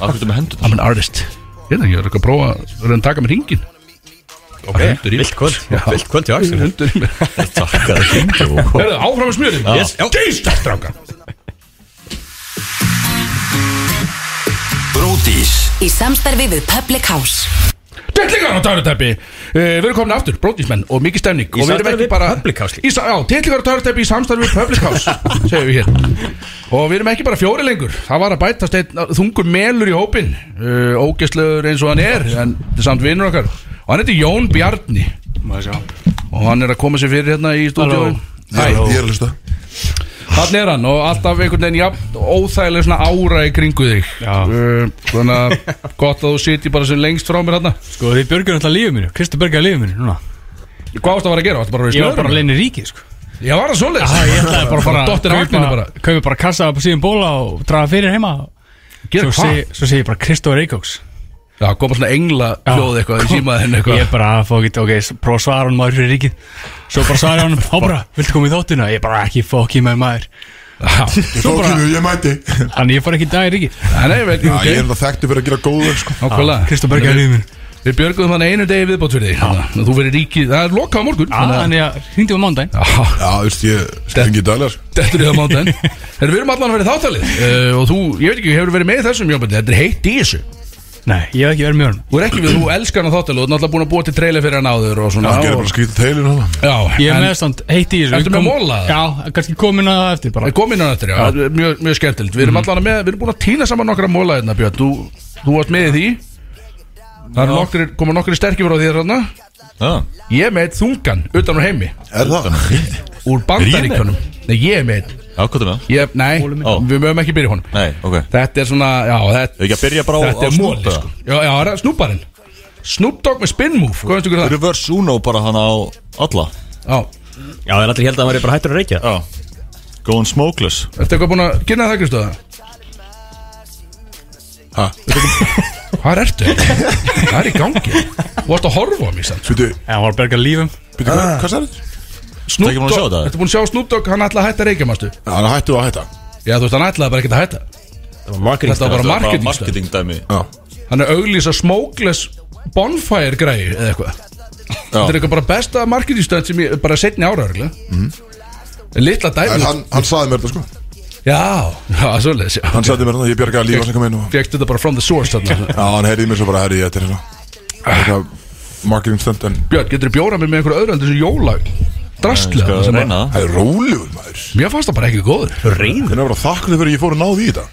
Speaker 4: Akkur með hendur
Speaker 2: I'm an artist Ég veit ekki, ég er ekki að prófa að reyna að taka mér hringin Ok,
Speaker 3: Vilt kvöld Vilt kvöld til Axel
Speaker 2: Hundur í mér
Speaker 4: Takk að það
Speaker 2: Herðu, áfram með smjörin
Speaker 3: Yes, já.
Speaker 2: Geistar strákar
Speaker 5: Bródís
Speaker 6: Í samstarfi við Public House
Speaker 2: Dellingar á Tárutæpi uh, Við erum komin aftur, brótismenn og mikið stemning
Speaker 3: Í
Speaker 2: og erum
Speaker 3: samstarfi
Speaker 2: ekki
Speaker 3: við Public House líka.
Speaker 2: í, sa- Já, dellingar á Tárutæpi í samstarfi við Public
Speaker 3: *laughs*
Speaker 2: House Segir við hér Og við erum ekki bara fjóri lengur Það var að bætast einn uh, þungur melur í hópin uh, Ógæslegur eins og hann er En þetta er samt vinnur okkar Og hann heitir Jón Bjarni Og hann er að koma sér fyrir hérna í stúdíóin
Speaker 1: Ég ég er að hlusta
Speaker 2: Þannig er hann og alltaf einhvern veginn jafn, óþægileg svona ára í kringu þig uh, Svona gott að þú sitji bara sem lengst frá mér hérna
Speaker 7: Sko þið björgjum alltaf lífið mínu, Kristi björgjum lífið mínu núna
Speaker 2: Hvað varst að vera að gera? Varstu bara að vera í
Speaker 7: Ég var
Speaker 2: snörum,
Speaker 7: bara
Speaker 2: eða?
Speaker 7: að leina ríkið sko
Speaker 2: Já, var það svoleiðis? Já, ég ætlaði
Speaker 7: Bara fara
Speaker 2: Dottir
Speaker 7: kaupa-
Speaker 2: afninu bara
Speaker 7: Kaupi bara kassa upp á síðan bóla og draga fyrir heima
Speaker 2: Gera
Speaker 7: Svo
Speaker 2: hvað?
Speaker 7: seg- Svo segi ég bara Kristóður Eikóks
Speaker 2: Já, koma svona engla hljóð eitthvað í símaðin eitthvað
Speaker 7: Ég er bara að fá ekki, ok, s- prófa að svara hann maður fyrir ríkið Svo bara svara *laughs* hann, þá bara, viltu koma í þóttuna? Ég bara ekki fokki með maður
Speaker 1: Ég
Speaker 7: Svo bara-
Speaker 1: fókinu, ég *laughs* mæti
Speaker 7: Þannig ég fór ekki í dag í ríkið
Speaker 2: Nei, nei, vel,
Speaker 1: Já,
Speaker 2: ok,
Speaker 1: Ég er það þekktu fyrir að gera góðu sko.
Speaker 2: ákvæmlega
Speaker 7: Kristóður björgjum lífið mínu
Speaker 2: Við björgum hann einu degi viðbót fyrir þig þannig að Þú verður ríkið, það er lokað á morgun
Speaker 1: Ah,
Speaker 7: Þannig að hringdi á mándaginn
Speaker 2: Já,
Speaker 1: Já, þú veist, ég spengi í sko. daglegar
Speaker 2: dettur í það mándaginn Eh, Þegar við erum allan að vera í þáttalið uh, Og þú, ég veit ekki, hefur verið með í þessum jólbæti Þetta er heitt í þessu
Speaker 5: Nei, ég hef ekki verið með honum
Speaker 2: Þú er ekki við, þú elskar hann á þáttalög Þú er náttúrulega búin að búa til trailer fyrir hann áður og svona
Speaker 1: hann gerir bara
Speaker 2: og,
Speaker 1: skrítið teilin hann
Speaker 2: Já,
Speaker 5: Ég er
Speaker 2: en-
Speaker 5: með stand heitt í þessu
Speaker 2: Ertu með
Speaker 5: Kom-
Speaker 2: mola?
Speaker 5: Já, kannski komin að það eftir bara
Speaker 2: Við komum inn á þetta, Mhm. já, mjög, mjög skemmtilegt Við erum allan með, við erum búin að týna saman nokkra móla hérna Björn, þú, þú varst með í því Það eru nokkri, koma nokkri sterkir frá þér hérna
Speaker 4: Já,
Speaker 2: Ég er með eitt þungan, utan á heimi
Speaker 1: Er það?
Speaker 2: Úr bandaríkjunum Nei, ég er með eitt
Speaker 4: hvað er það?
Speaker 2: ég, Nei,
Speaker 4: Ó.
Speaker 2: við mögum ekki byrja í honum
Speaker 4: Nei, ok
Speaker 2: Þetta er svona, já, þetta,
Speaker 4: Ef ekki að byrja bara á,
Speaker 2: þetta
Speaker 4: á
Speaker 2: er móli
Speaker 4: eða?
Speaker 2: sko. Já, já, það er snúparinn Snoop Dogg með spin move, hvað veistu ykkur það?
Speaker 4: Reverse Uno bara hana á alla
Speaker 2: Já,
Speaker 3: Já, það er allir held að hann væri bara hættur að reykja
Speaker 4: Já Going smokeless
Speaker 2: ertu eitthvað búin að kynna það, Kristóða?
Speaker 1: Ha,
Speaker 2: Hvað *laughs* ertu? Það er í gangi Þú varst að horfa á mig, sann
Speaker 1: býtu,
Speaker 5: Já, hann var að berga lífum
Speaker 1: býtu, hvað,
Speaker 4: Ah.
Speaker 1: hvað sagði þetta?
Speaker 2: Snoop
Speaker 4: Ekki búin að sjá
Speaker 2: Dogg,
Speaker 4: þetta?
Speaker 2: ertu búin að sjá Snoop Dogg, hann ætla að hætta að reykja, mástu
Speaker 1: Já, hann hættu að hætta
Speaker 2: Já, þú veist, hann ætlaði bara ekki að hætta
Speaker 3: Það var marketing
Speaker 2: Þetta var bara
Speaker 4: Bara
Speaker 2: marketing sko.
Speaker 4: marketing dæmi
Speaker 1: Já,
Speaker 2: Hann er auglýsa smokeless bonfire græði eða eitthvað Þetta er eitthvað bara besta marketingstæðan sem ég bara setni ára örgulega mm.
Speaker 4: Mhm.
Speaker 2: Lilla
Speaker 1: en
Speaker 2: dæmi
Speaker 1: hann, hann saði mér þetta sko
Speaker 2: Já, já, svoleiðis já.
Speaker 1: Hann saði mér þetta, ég bjargaði lífa sem kom inn og
Speaker 2: Fjöxt þetta bara from the source þarna
Speaker 1: Já, hann heyrði mér svo bara, herri, þetta er hérna Það er eitthvað marketing stunt en
Speaker 2: Björn, getur þú bjóra mig með einhverju öðru en þessu jóla Drastlega
Speaker 4: Skal
Speaker 2: Sko, sem að-
Speaker 4: reyna það
Speaker 1: Það er rólegur maður
Speaker 2: Mér fannst það bara ekki góður
Speaker 3: Reyður
Speaker 1: Hvernig er bara þakklæði fyrir að ég fór að náði í þetta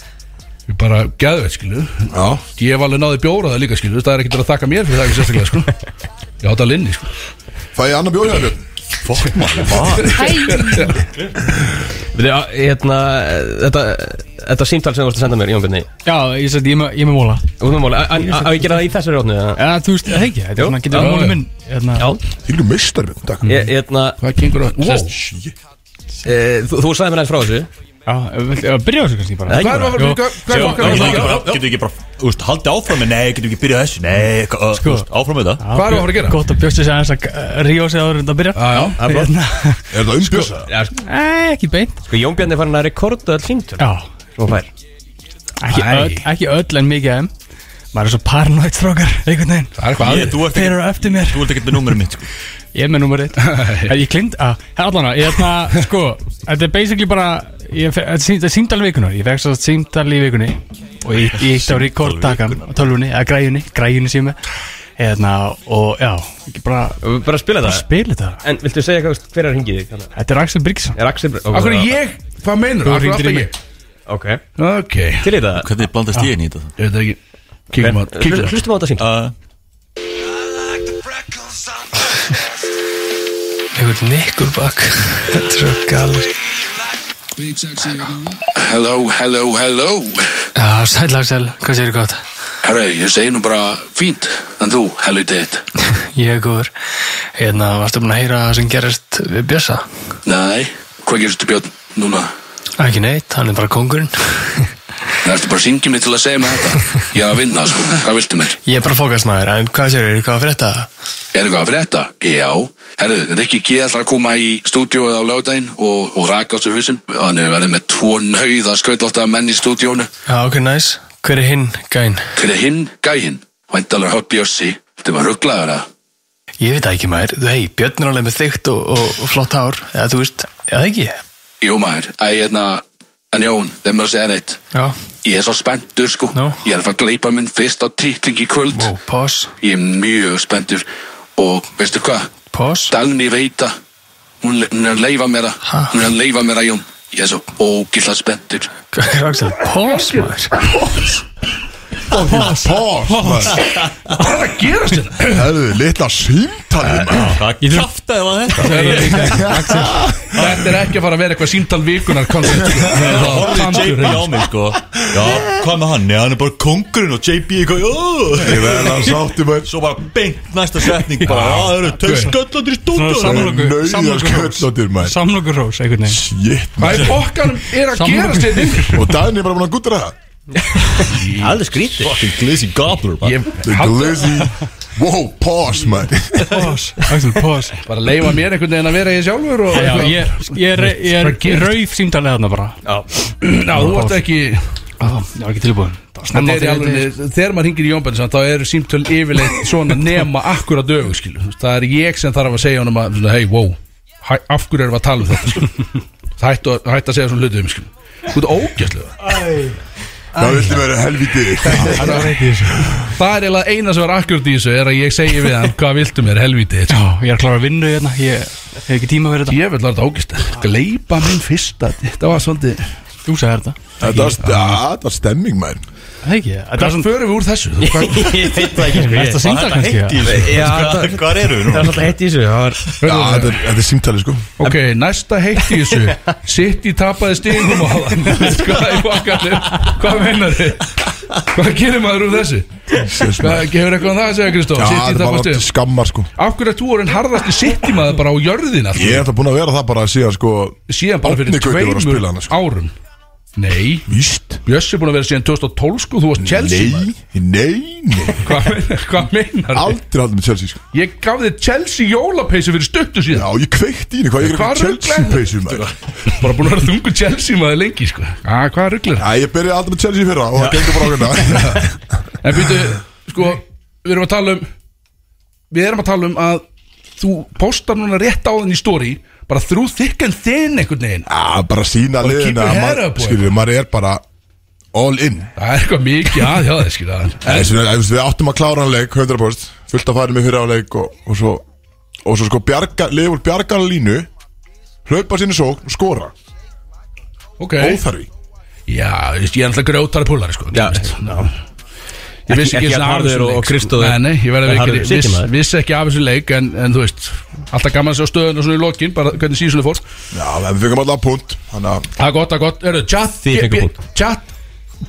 Speaker 2: Ég bara geðveit, skilu
Speaker 1: Já,
Speaker 2: Ég hef alveg náði bjóra það líka, skilu Það er ekki til að þakka mér fyrir það ekki sérstaklega, sko
Speaker 4: *laughs*
Speaker 2: Ég átt að linni, sko
Speaker 1: það er annar bjóðið Fokk maður,
Speaker 3: Hérna, þetta, þetta símtal sem þú varst að senda mér, Jón Björni
Speaker 5: Já, ég sagði, ég er með- ég er með móla
Speaker 3: Þú erum máli, að ég gera það í þessari rótnu
Speaker 5: Já, þú veist, það ekki Þetta er
Speaker 3: Jú.
Speaker 5: svona,
Speaker 2: Já,
Speaker 5: getur
Speaker 2: já.
Speaker 5: móla minn hérna.
Speaker 3: Já,
Speaker 1: Þið eru meistar við Takk
Speaker 3: ég, hérna,
Speaker 2: Hvað gengur að... Wow.
Speaker 3: e, þú, þú sagði mér aðeins frá þessu
Speaker 5: Já, viltu- já, byrja á þessu kannski bara
Speaker 3: Nei.
Speaker 2: Hvað er að
Speaker 5: Jú.
Speaker 2: fara Hvað er að
Speaker 4: Já, Getum við
Speaker 2: fara
Speaker 4: ekki
Speaker 2: að
Speaker 4: bara,
Speaker 2: gera?
Speaker 4: getum við ekki bara, úst, haldið áfram með, nei, getum við ekki byrjað þessu, nei, uh,
Speaker 5: Sko.
Speaker 4: úst, áfram með það
Speaker 5: Já,
Speaker 2: Hvað erum við að fara að gera? Ah,
Speaker 5: Gott að bjósta sig aðeins að eh, rífa sig áður en þetta byrja
Speaker 2: Já, já.
Speaker 5: Það er hérna, *laughs*
Speaker 1: Er það
Speaker 2: Sko,
Speaker 1: umbjösa?
Speaker 5: eh, Ekki beint
Speaker 3: Sko, Jón Björni er farin að rekorda all símtöl
Speaker 5: Já,
Speaker 3: sem hún fær
Speaker 5: ekki
Speaker 2: Æ.
Speaker 5: öll, ekki öll en mikið af þeim Maður er svo paranoid strókar, einhvern veginn
Speaker 2: Það er eitthvað
Speaker 4: Ég,
Speaker 2: aðrið
Speaker 4: þú ert
Speaker 5: Þeir
Speaker 4: ekki,
Speaker 5: eru eftir mér
Speaker 4: þú ert ekki með númerið mitt, sko
Speaker 5: Ég er með nummer 1 Ég klind að Allan að Ég er það Sko Þetta er basically bara ég fe- Þetta er símt- þetta er símtal vikunar Ég fekk svo símtal í vikunni Og ég ég ítti á rekordtakan Á tölvunni Eða græjunni Græjunni sem ég er með Hérna Og já Ég bara
Speaker 3: Bara að spila það
Speaker 5: Spil þetta
Speaker 3: En viltu segja hvað, hver er hringið þig?
Speaker 5: Þetta er Axel Bryggsson
Speaker 3: Er Axel
Speaker 2: Akkur er ég? Hvað meinur?
Speaker 5: Þú
Speaker 2: Akkur er
Speaker 5: hringdir
Speaker 2: alltaf
Speaker 5: í
Speaker 2: ég?
Speaker 3: Ok,
Speaker 2: Ok, ég
Speaker 3: til í það
Speaker 4: Hvernig blandast ég inn í þetta?
Speaker 2: veit það ekki Kíkjum á kíkjum á-
Speaker 3: Hlustum á þetta símtöl
Speaker 4: Uh,
Speaker 8: einhvern nikkulbakk Þetta er svo galri
Speaker 7: Hello, hello, hello
Speaker 8: Já, sæl Axel, hvað séu gott? *laughs*
Speaker 7: Herra, ég segi nú bara fínt En þú, helviti eitt
Speaker 8: Ég er góður Hérna, varstu búin að heyra það sem gerist við Bjössa?
Speaker 7: Nei, hvað gerstu Björn núna?
Speaker 8: Ekki neitt, hann er bara kongurinn
Speaker 7: Það ertu bara að syngja mig til að segja mig þetta Ég er að vinna, sko, hvað viltu mér?
Speaker 8: *laughs* Ég er bara fókastmaður, en hvað séu, hvað að frétta?
Speaker 7: Er eitthvað að frétta? Já Herru, Rikki G ætlar að koma í stúdíóið á lögdæin og, og raka á þessu húsin Þannig við verðum með tvo nauða skautlóta menn í stúdíónu
Speaker 8: Já, ok, næs Hver er hinn, gæn?
Speaker 7: Hver er hinn gæinn? Væntalega Hoppi Jossi Þetta var rugglaður að
Speaker 8: Ég veit það ekki maður, þú hei, Björn er alveg með þygt og, og, og flott hár Eða þú veist, eða ekki?
Speaker 7: Jú maður, æ, hérna En Jón, þeim er að segja neitt
Speaker 8: Já,
Speaker 7: Ég er svo spenntur sko
Speaker 8: Nú?
Speaker 7: Ég er að fara að gleipa minn fyrsta titling í kvöld
Speaker 8: wow, pós,
Speaker 7: Ég er mjög spenntur Og veistu hvað,
Speaker 8: pós
Speaker 7: Dagný veita Hún, le- hún er að leifa mér að
Speaker 8: Ha?
Speaker 7: Hún er að leifa mér að Jón Ég er svo ógislega spenntur
Speaker 8: Hvað er Axel, pós maður?
Speaker 1: Pós, maður
Speaker 2: Hvað er að gerast hérna? þetta?
Speaker 1: Herðu, litla símtalið maður
Speaker 4: Hvað kæftaði var
Speaker 2: *laughs*
Speaker 4: þetta?
Speaker 2: Þetta er ekki að fara að vera eitthvað símtal vikunar koncept, sko. Það er
Speaker 4: Það
Speaker 2: bara
Speaker 4: horfði
Speaker 2: tandur,
Speaker 4: JB á
Speaker 2: sko.
Speaker 4: mig, sko Já, hvað með hann? Nei, hann er bara kongurinn og JB eitthvað "Ó."
Speaker 1: Ég verði að sátti maður
Speaker 4: Svo bara beint næsta setning bara, Já, það eru tveir sköllandir í
Speaker 5: Svona
Speaker 4: stúdíu
Speaker 5: samlokur.
Speaker 1: Nauða sköllotir maður
Speaker 5: Samlokurrós einhvern veginn
Speaker 1: Shit
Speaker 2: Hvað
Speaker 1: maður
Speaker 2: í bokkanum er að
Speaker 5: Samlokur.
Speaker 2: gerast hérna? þetta? inni?
Speaker 1: Og Dani er bara búin að guttra það
Speaker 3: Alveg skrítið
Speaker 4: Fucking glizzy gobbler, man
Speaker 2: Ég
Speaker 1: The glizzy Wow, pós maður
Speaker 5: Pós Axel, pós
Speaker 2: bara að leifa mér einhvern veginn að vera ég sjálfur og
Speaker 5: Já, ég, ég, er- ég er ég rauf símtalið þarna bara
Speaker 2: Já, *clears throat* þú ert ekki
Speaker 5: Já, Ég var ekki tilbúin Það var
Speaker 2: Þetta
Speaker 5: snemma
Speaker 2: er
Speaker 5: á
Speaker 2: í
Speaker 5: þriðjudegi.
Speaker 2: alveg, þegar maður hingir í jónbensan þá eru símtöl yfirleitt svona nema akkur að dögu skilu Þú veist, það er ég sem þarf að segja honum að svona, hey, wow, hæ, af hverju erum við að um, tala um þetta skilu hættu að, hættu að segja svona hlutum skilu þú ert ógæslega
Speaker 1: Það vildi vera
Speaker 2: *laughs*
Speaker 1: helviti
Speaker 7: Það var eitt í þessu
Speaker 2: Það er eiginlega eina sem er akkurat í þessu Er að ég segi við hann Hvað viltu mér helvítið
Speaker 7: Já, ég er að klára að vinna hérna Ég hef ekki tíma að vera þetta
Speaker 2: Ég vil þetta ágist Gleipa minn fyrsta Þetta var svolítið
Speaker 7: Þú sagði þetta
Speaker 1: Þetta var- þetta var stemming mær
Speaker 7: Það ekki Þetta er
Speaker 2: Hvað
Speaker 7: svona
Speaker 2: förum við úr þessu? Þú- hvað-
Speaker 3: Ég veit það ekki sko ég-
Speaker 7: Mesta síndal kannski
Speaker 4: heitt í
Speaker 7: já.
Speaker 4: þessu
Speaker 9: Já,
Speaker 4: Hvað-
Speaker 9: það-
Speaker 4: Hvar eru við
Speaker 9: Það
Speaker 4: nú?
Speaker 9: er alltaf heitt í þessu Það var
Speaker 1: Já, þetta er- þetta er símtali sko
Speaker 2: Ok, næsta heitt í þessu Sitt í tapaði stigum á það Hvað er bakkanum? Hvað meinar þið? Hvað gerir maður úr þessu?
Speaker 1: Sér svona.
Speaker 2: Hvað gefur eitthvað um það að segja Kristóf?
Speaker 1: Já,
Speaker 2: Sitt í
Speaker 1: þetta
Speaker 2: tapaði
Speaker 1: var
Speaker 2: stigum
Speaker 1: skammar sko
Speaker 2: Af hverju er þú orðin harðasti sitt í maður bara á jörðina?
Speaker 1: Ég er alltaf búin að vera það bara síðan sko
Speaker 2: Síðan bara fyrir
Speaker 1: Árni Gauti var að
Speaker 2: tveimur
Speaker 1: spila hana, sko.
Speaker 2: árum Nei
Speaker 1: Víst
Speaker 2: Bjössi er búin að vera síðan 2012 sko Þú varst Chelsea maður.
Speaker 1: Nei, nei, nei
Speaker 2: Hvað meinar- Hvað meinar þið?
Speaker 1: Aldrei haldið með Chelsea sko
Speaker 2: Ég gaf þið Chelsea jólapeysu fyrir stuttu
Speaker 1: Já,
Speaker 2: síðan
Speaker 1: ég kveikti í henni, hvað ég er
Speaker 2: Hvað
Speaker 1: eitthvað Chelsea
Speaker 2: ruglaði
Speaker 1: peysu maður
Speaker 2: Bara búin að vera þungu Chelsea maður lengi sko ah, Hvað rugglir það?
Speaker 1: Já, ég byrjaði alltaf með Chelsea í fyrra og það gengur bara ákveðna
Speaker 2: *laughs* En býtu, sko, við erum að tala um Við erum að tala um að Þú postar núna rétt á þenni story Bara þrú þykk en þinn einhvern veginn
Speaker 1: *laughs* Já, bara sína
Speaker 2: Bara keep
Speaker 1: liðin
Speaker 2: your head up, boy.
Speaker 1: Skilur, maður er bara all in
Speaker 2: Það er eitthvað mikið að hjá þið skilja
Speaker 1: Það er svona, ef Við áttum að klára hann leik, 100% Fullt að fara með fyrra á leik og, og svo Og svo sko bjarga, lifur bjargar línu Hlaupa sinni sókn og skora
Speaker 2: Ok
Speaker 1: Óþarfi
Speaker 2: Já, þú veist, ég er alltaf grjótari púlari sko
Speaker 3: Já.
Speaker 2: þú veist, já. Ég vissi
Speaker 3: Ekki-
Speaker 2: ekki einu
Speaker 3: ekki
Speaker 2: sinni af
Speaker 3: Harður
Speaker 2: þessum
Speaker 3: og-
Speaker 2: leik,
Speaker 3: og
Speaker 2: sko.
Speaker 3: Kristóður.
Speaker 2: Nei, nei, ég verði
Speaker 3: En
Speaker 2: að
Speaker 3: Harður
Speaker 2: veikir
Speaker 3: situr
Speaker 2: viss,
Speaker 3: maður.
Speaker 2: Vissi ekki af þessu leik En, en þú veist, alltaf gaman að sjá stöðun og svona í lokin Bara hvernig síðan fór
Speaker 1: Já, en við fengum alltaf punt Þannig að
Speaker 2: Það er gott, það er gott Eru, chat,
Speaker 3: Þið fengu
Speaker 2: G-
Speaker 3: punkt.
Speaker 2: chat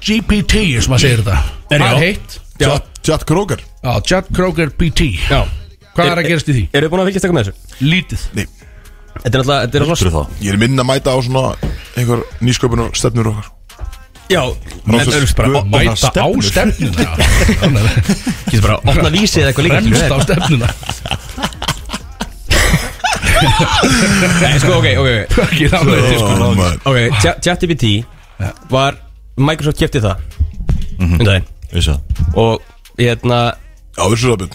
Speaker 2: GPT, sem að segir þetta Það er heitt
Speaker 1: Jack, Jack Kroger
Speaker 2: Já, Chat Kroger PT
Speaker 3: Já
Speaker 2: Hvað er að gerast í því?
Speaker 3: Eru þið búin að fylgjast eitthvað með þessu?
Speaker 2: Lítið
Speaker 1: Nei,
Speaker 3: Þetta er alltaf Þetta er
Speaker 4: Þú
Speaker 3: alltaf
Speaker 4: það
Speaker 1: ég er minn að mæta á svona einhver nýsköpun og stefnur okkar
Speaker 3: Já
Speaker 1: Rósus,
Speaker 3: Menn eru bara
Speaker 1: guð, bara
Speaker 3: að
Speaker 2: Mæta á stefnuna Já, þannig að-
Speaker 3: *laughs* Getur bara að opna vísi eða eitthvað líka skilur
Speaker 2: Fremst
Speaker 3: við.
Speaker 2: á stefnuna
Speaker 3: Nei, sko, ok, ok, ok
Speaker 2: Hvað gerir alveg
Speaker 1: Ó, maður.
Speaker 3: Ok, Chat- ChatGPT var Microsoft kefti það
Speaker 2: Mhm.
Speaker 3: um daginn
Speaker 4: Vissi það
Speaker 3: og hérna
Speaker 1: Já, við erum svo það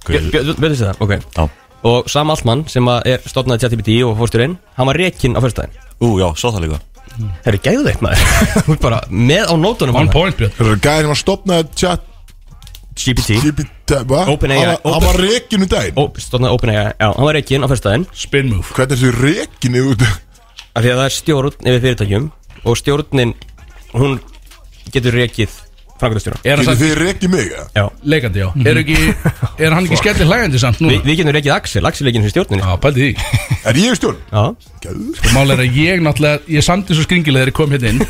Speaker 4: Hver-
Speaker 3: Björn þessi það, ok
Speaker 4: Já
Speaker 3: og Sam Altman sem að er stofnaði ChatGPT og fórsturinn hann var rekinn á fyrstæðin
Speaker 4: Ú, já, sá það líka
Speaker 3: Það eru gæðu þeitt maður Þú ert *laughs* bara með á nótunum
Speaker 2: On point, Björn
Speaker 1: Þetta er gæðin að stopna Jack
Speaker 3: GPT
Speaker 1: GPT hva?
Speaker 3: Open AI,
Speaker 1: Hann var- Hann
Speaker 3: open-
Speaker 1: var rekin um daginn
Speaker 3: Ó, Stofnaði OpenAI, já, hann var rekinn á fyrstæðin
Speaker 2: Spin move
Speaker 1: Hvernig er þessi rekin út?
Speaker 3: af því að það er stjórn yfir fyrirtækjum og stjórnin, hún getur rekið framkvæmstjóra
Speaker 2: Er hann
Speaker 1: Getur
Speaker 2: sagt
Speaker 1: þið rekin mig? eða?
Speaker 3: Já,
Speaker 2: leikandi, já Er, ekki, er hann ekki skellir hlægandi samt
Speaker 3: Vi,
Speaker 2: núna?
Speaker 3: Mhm. við getum rekið Axel, Axel er rekinn fyrir stjórninni
Speaker 2: Já, pældi því
Speaker 1: Er ég í stjórn?
Speaker 3: Já,
Speaker 1: Gæður
Speaker 2: Mál er að ég náttúrulega, ég samti svo skringilega þegar ég kom hérna inn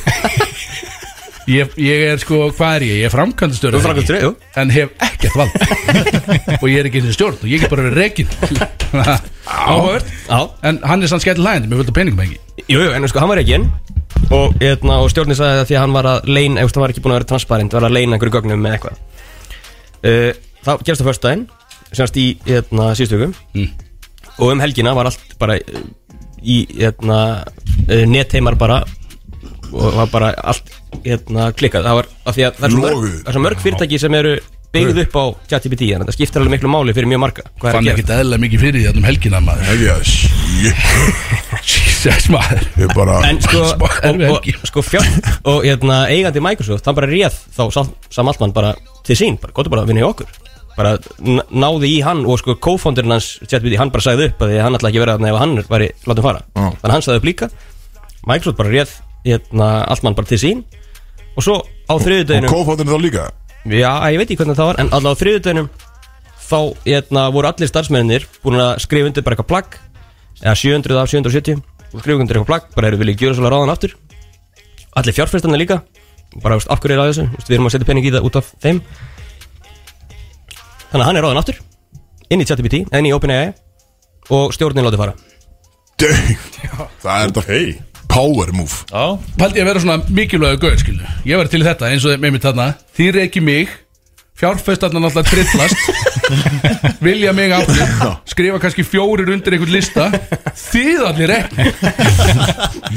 Speaker 2: Ég, ég er sko, hvað er ég? Ég er framkvæmdastjóri
Speaker 3: þú framkvæmstjóri, jú
Speaker 2: En hef ekkert vald Og ég er ekki einu sinni stjórn Og ég er bara verið rekin Áhugavert
Speaker 3: Já,
Speaker 2: En hann er sann skellir hlægandi Mér völdu peningum ekki
Speaker 3: Jú, jú, en sko, hann var ekki inn og, eitna, og stjórnin sagði það því að hann var að leina eða þú veist, hann var ekki búin að vera transparent, var að leina einhverju gögnum með eitthvað uh, Það gerst á föstudaginn, semast í eitna, síðustu vikum
Speaker 2: Mm.
Speaker 3: og um helgina var allt bara eh, í eitna, uh, netheimar bara og var bara allt eitna, klikkað, það var af því að það er svo mörg,
Speaker 1: Loguðu.
Speaker 3: það er svo mörg fyrirtæki sem eru byggð upp á ChatGPT, þannig að það skiptir alveg miklu máli fyrir mjög marga hvað er
Speaker 2: Fann
Speaker 3: að
Speaker 2: ekki
Speaker 3: gera
Speaker 2: eðla mikið fyrir því Þannig um helgina maður
Speaker 1: Ekki að shit
Speaker 2: Jesus maður
Speaker 1: Ég er
Speaker 2: *laughs*
Speaker 1: bara
Speaker 3: En
Speaker 1: *laughs*
Speaker 3: sko,
Speaker 2: Smá erfið
Speaker 3: og,
Speaker 2: helgi.
Speaker 3: og, sko fjár, og hérna, eigandi Microsoft, hann bara réð þá Sam- Sam Altman bara til sín, bara gotur bara að vinna í okkur bara n- náði í hann og sko co-founderinn hans, ChatGPT, hann bara sagði upp að því að hann ætlaði ekki að vera þarna ef hann væri látum fara
Speaker 1: Já.
Speaker 3: þannig að hann sagði upp líka Microsoft bara réð hérna, Altman bara til sín og svo á
Speaker 1: Og
Speaker 3: þriðudeginum
Speaker 1: kófóndinu þá líka
Speaker 3: já, ég veit ekki hvernig það var, en allavega á þriðudeginum þá hérna, voru allir starfsmennir búin að skrifa undir bara eitthvað plagg eða 700 af 770 og skrifa undir eitthvað plagg, bara eru viljið gjöra svolítið ráðan aftur allir fjárfyrstarnir líka bara, veist, af hverju er að þessu, veist, við erum að setja pening í það út af þeim þannig að hann er ráðan aftur inn í ChatGPT, inn í OpenAI og stjórnin látið fara
Speaker 1: Dang Það er þetta hey. Power move
Speaker 4: Já
Speaker 2: Paldi ég að vera svona mikilvægur gauð, skilu Ég var til í þetta eins og með mér þarna Þýr ekki mig Fjárfestarnar náttúrulega trillast Vilja mig aftur Skrifa kannski fjórir undir einhvern lista Þið allir ekki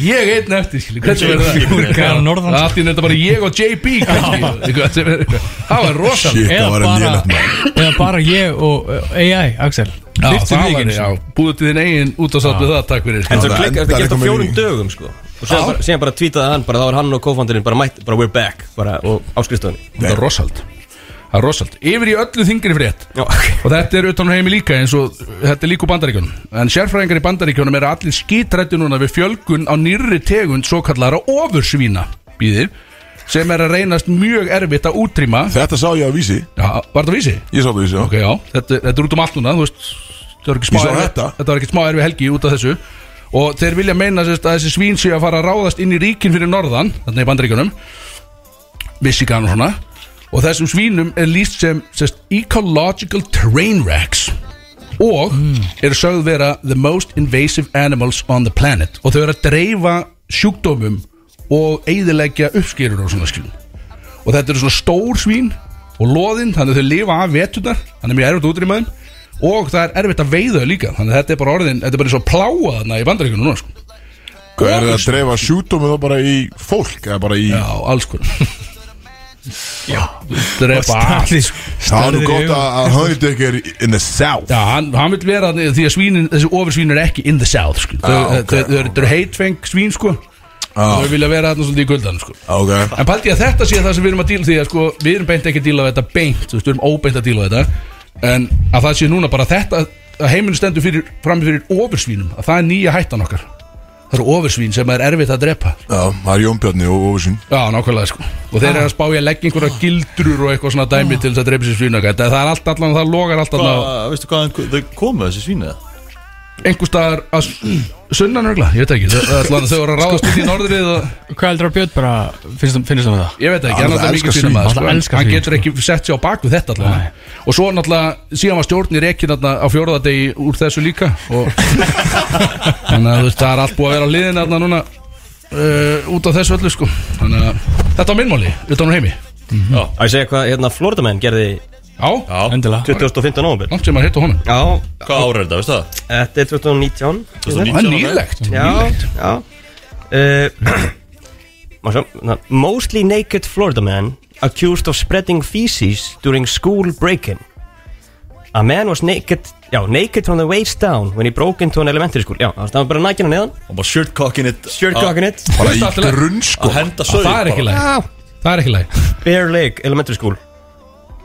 Speaker 2: Ég einn eftir, skilu Hvernig verður
Speaker 7: Hvað er
Speaker 2: það?
Speaker 7: á norðan?
Speaker 2: Allt í nefnda bara ég og JB kannski Eitthvað sem er- Það var rosalega
Speaker 1: Shit, það var enn ég nætt
Speaker 7: eða bara ég og uh, AI, Axel
Speaker 2: Já,
Speaker 7: Fyrstu
Speaker 2: það var,
Speaker 7: leikinn.
Speaker 2: já, búðu til þinn eigin út og sátt við það, takk fyrir
Speaker 3: en
Speaker 1: Já,
Speaker 3: svo
Speaker 1: það
Speaker 3: klikkar
Speaker 1: endar
Speaker 3: þetta gert á
Speaker 1: eitthvað með
Speaker 3: fjórum
Speaker 1: minni.
Speaker 3: dögum sko. og síðan bara, síðan bara tweetaði hann bara þá var hann og kofandurinn bara mætt bara we're back bara og áskrifstofunni
Speaker 2: Þetta er rosald Það er rosald Yfir í öllu þingri frétt
Speaker 3: Já, ok.
Speaker 2: Og þetta er utan á heimi líka eins og Þetta er líka úr bandaríkjunum En sérfræðingar í bandaríkjunum er allir skítrættu núna Við fjölgun á nýrri tegund Svo kallara ofursvína Býðir Sem er að reynast mjög erfitt að útrýma
Speaker 1: Þetta sá ég að vísi
Speaker 2: Já, var þetta vísi?
Speaker 1: Ég sá það vísi, já
Speaker 2: Ok, já Þetta, þetta er út um allt núna Þú veist Þetta var ekki smá
Speaker 1: Ég sá
Speaker 2: erfi-
Speaker 1: þetta.
Speaker 2: var ekki smá erfi helgi út af þessu Og þeir vilja meina sérst, að þessi svín séu að fara að ráðast inn í ríkin fyrir norðan Þannig í bandaríkjunum Michigan og svona Og þessum svínum er líst sem sérst, Ecological train wrecks Og eru sögð vera The most invasive animals on the planet Og þau eru að dreifa sjúkdómum Og eyðileggja uppskerur og svona skilum og þetta eru svona stór svín og loðinn, þannig að þau lifa af veturnar þannig að mjög erfitt að útrýma þeim og það er erfitt að veiða þau líka þannig að þetta er bara orðin, þetta er bara eins og pláa þarna í bandaríkunum núna sko.
Speaker 1: Hvað er það að dreifa sjúkdómið þá bara í fólk Eða bara í
Speaker 2: Já, alls konar
Speaker 1: *laughs*
Speaker 2: Já, þetta er bara allt
Speaker 1: Það er nú gott að að hönd ekki er in the south
Speaker 2: Já, hann, hann vil vera þarna því að svínin, þessi ofursvínin er ekki in the south sko. þau,
Speaker 1: Já, ok,
Speaker 2: þau, þau, þau, þau eru heitfeng svín sko.
Speaker 1: Já.
Speaker 2: þau vilja vera þarna svolítið í guldan sko.
Speaker 1: Ok
Speaker 2: En paldi ég að þetta sé það sem við erum að díla því að sko, við erum beint ekki að díla við þetta beint, þú veist, við erum óbeint að díla við þetta en að það sé núna bara þetta að heiminu stendur fyrir, frammi fyrir ofursvínum að það er nýja hættan okkar það eru ofursvín sem er erfitt að drepa
Speaker 1: Já, það er Jónbjörni og Óvísin
Speaker 2: Já, nákvæmlega sko og þeir eru að spája að leggja einhverja gildrur og eitthvað svona dæmi til þess að drepa sér svínaka það er allt allan, það logar allt allan á-
Speaker 4: Hvað, veistu hvað þau komu þessi svínið?
Speaker 2: einhvers staðar að sunnan örgla, ég veit ekki, þau, allan, þau voru að ráðast út í norðrið og
Speaker 7: Hvað heldur að Björn bara finnst um, hann finnst hann það?
Speaker 2: Ég veit ekki, hann
Speaker 1: Hann
Speaker 2: alltaf mikið
Speaker 1: elskar
Speaker 2: svínum
Speaker 1: svín,
Speaker 2: að sko,
Speaker 7: hann
Speaker 2: en
Speaker 7: elskar
Speaker 2: Hann
Speaker 7: svín,
Speaker 2: getur ekki sett sér á bak við þetta allavega Og svo náttúrulega, síðan var stjórn í reikin þarna á fjóraðardegi úr þessu líka *laughs* og Þannig að þú veist, það er allt búið að vera á liðin þarna núna uh, út af þessu öllu sko Þannig að þetta var minnmáli, utan á heimi
Speaker 3: að ég segja hvað hérna Flórdamenn gerði
Speaker 2: Já,
Speaker 4: Já,
Speaker 7: Endilega.
Speaker 3: 2015 ábyrg
Speaker 2: langt sem maður hittu honum
Speaker 3: Já,
Speaker 4: Hvað ára er þetta, veistu það?
Speaker 3: þetta er 2019
Speaker 2: Það
Speaker 4: 2019
Speaker 2: er
Speaker 4: var það?
Speaker 2: nýlegt
Speaker 3: Já, já uh, *clears throat* má sjá, na- Mostly naked Florida man accused of spreading feces during school break-in A man was naked Já, naked from the waist down when he broke into an elementary school Já, það var bara nækina neðan
Speaker 4: Og bara shirt cocking it
Speaker 3: Shirt
Speaker 4: að-
Speaker 3: cocking it
Speaker 1: Bara
Speaker 2: Veist
Speaker 1: í
Speaker 2: allt í lagi.
Speaker 1: grunnskó
Speaker 4: Að henda sögur
Speaker 2: Það er ekki læg,
Speaker 3: Já,
Speaker 2: það er ekki læg
Speaker 3: bare leg elementary school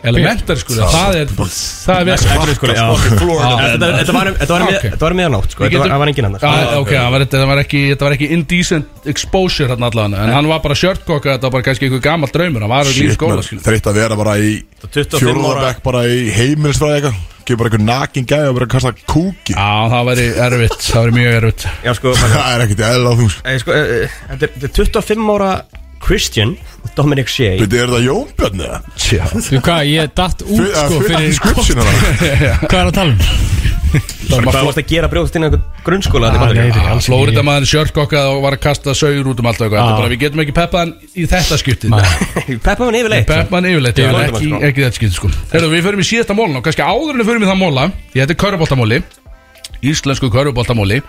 Speaker 2: Elementar sko, það er Það er verið
Speaker 4: Elementary school, já
Speaker 3: Þetta þetta- þetta var um- þetta var um mið-
Speaker 2: Ok.
Speaker 3: þetta var um miðanátt sko,
Speaker 2: Við
Speaker 3: Þetta var-
Speaker 2: getum-
Speaker 3: það var engin annar
Speaker 2: Já, ok, það var, þetta var ekki, þetta var ekki indecent exposure hann allan En hann var bara shirtkokka, þetta var bara kannski einhver gammal draumur Hann var ekki í
Speaker 1: Shit,
Speaker 2: skóla,
Speaker 1: maður,
Speaker 2: skilur
Speaker 1: Þreytt að vera bara í
Speaker 4: 25 ára.
Speaker 1: Fjórðabæk bara í heimilisfræði eitthvað Gefur bara einhver nakin gæði og bara kasta kúki
Speaker 2: Já, það væri erfitt, það væri mjög erfitt
Speaker 3: Já, sko, maður-
Speaker 1: Það er ekkert eðla þú sko.
Speaker 3: eh, sko, eh, eh, Þetta er- þetta er 25 ára Christian Dominic Shea
Speaker 1: Veitir, er það Jónbjörn eða?
Speaker 2: Já,
Speaker 7: Þú hvað, ég datt út sko fyrir
Speaker 1: skripsinu hana
Speaker 7: Hvað er að tala um?
Speaker 2: það var
Speaker 3: Hvað
Speaker 2: flott
Speaker 3: varst að gera brjóðast inn í einhvern grunnskóla þetta er
Speaker 7: Ah,
Speaker 3: bara-
Speaker 7: nei, nei, alls ekki.
Speaker 2: Flórida maður shirtkokka og var að kasta saugur út um allt og eitthvað Þetta er bara, við getum ekki peppað hann í þetta skiptið
Speaker 3: *laughs* Peppa hann yfirleitt
Speaker 2: Peppa hann yfirleitt,
Speaker 3: Yfirleitt,
Speaker 2: yfirleitt ekki,
Speaker 3: sko.
Speaker 2: ekki þetta skiptið sko Þegar við förum í síðasta mólan og kannski áður en við förum í það móla Því þetta er körfuboltamóli, íslensku körfuboltamóli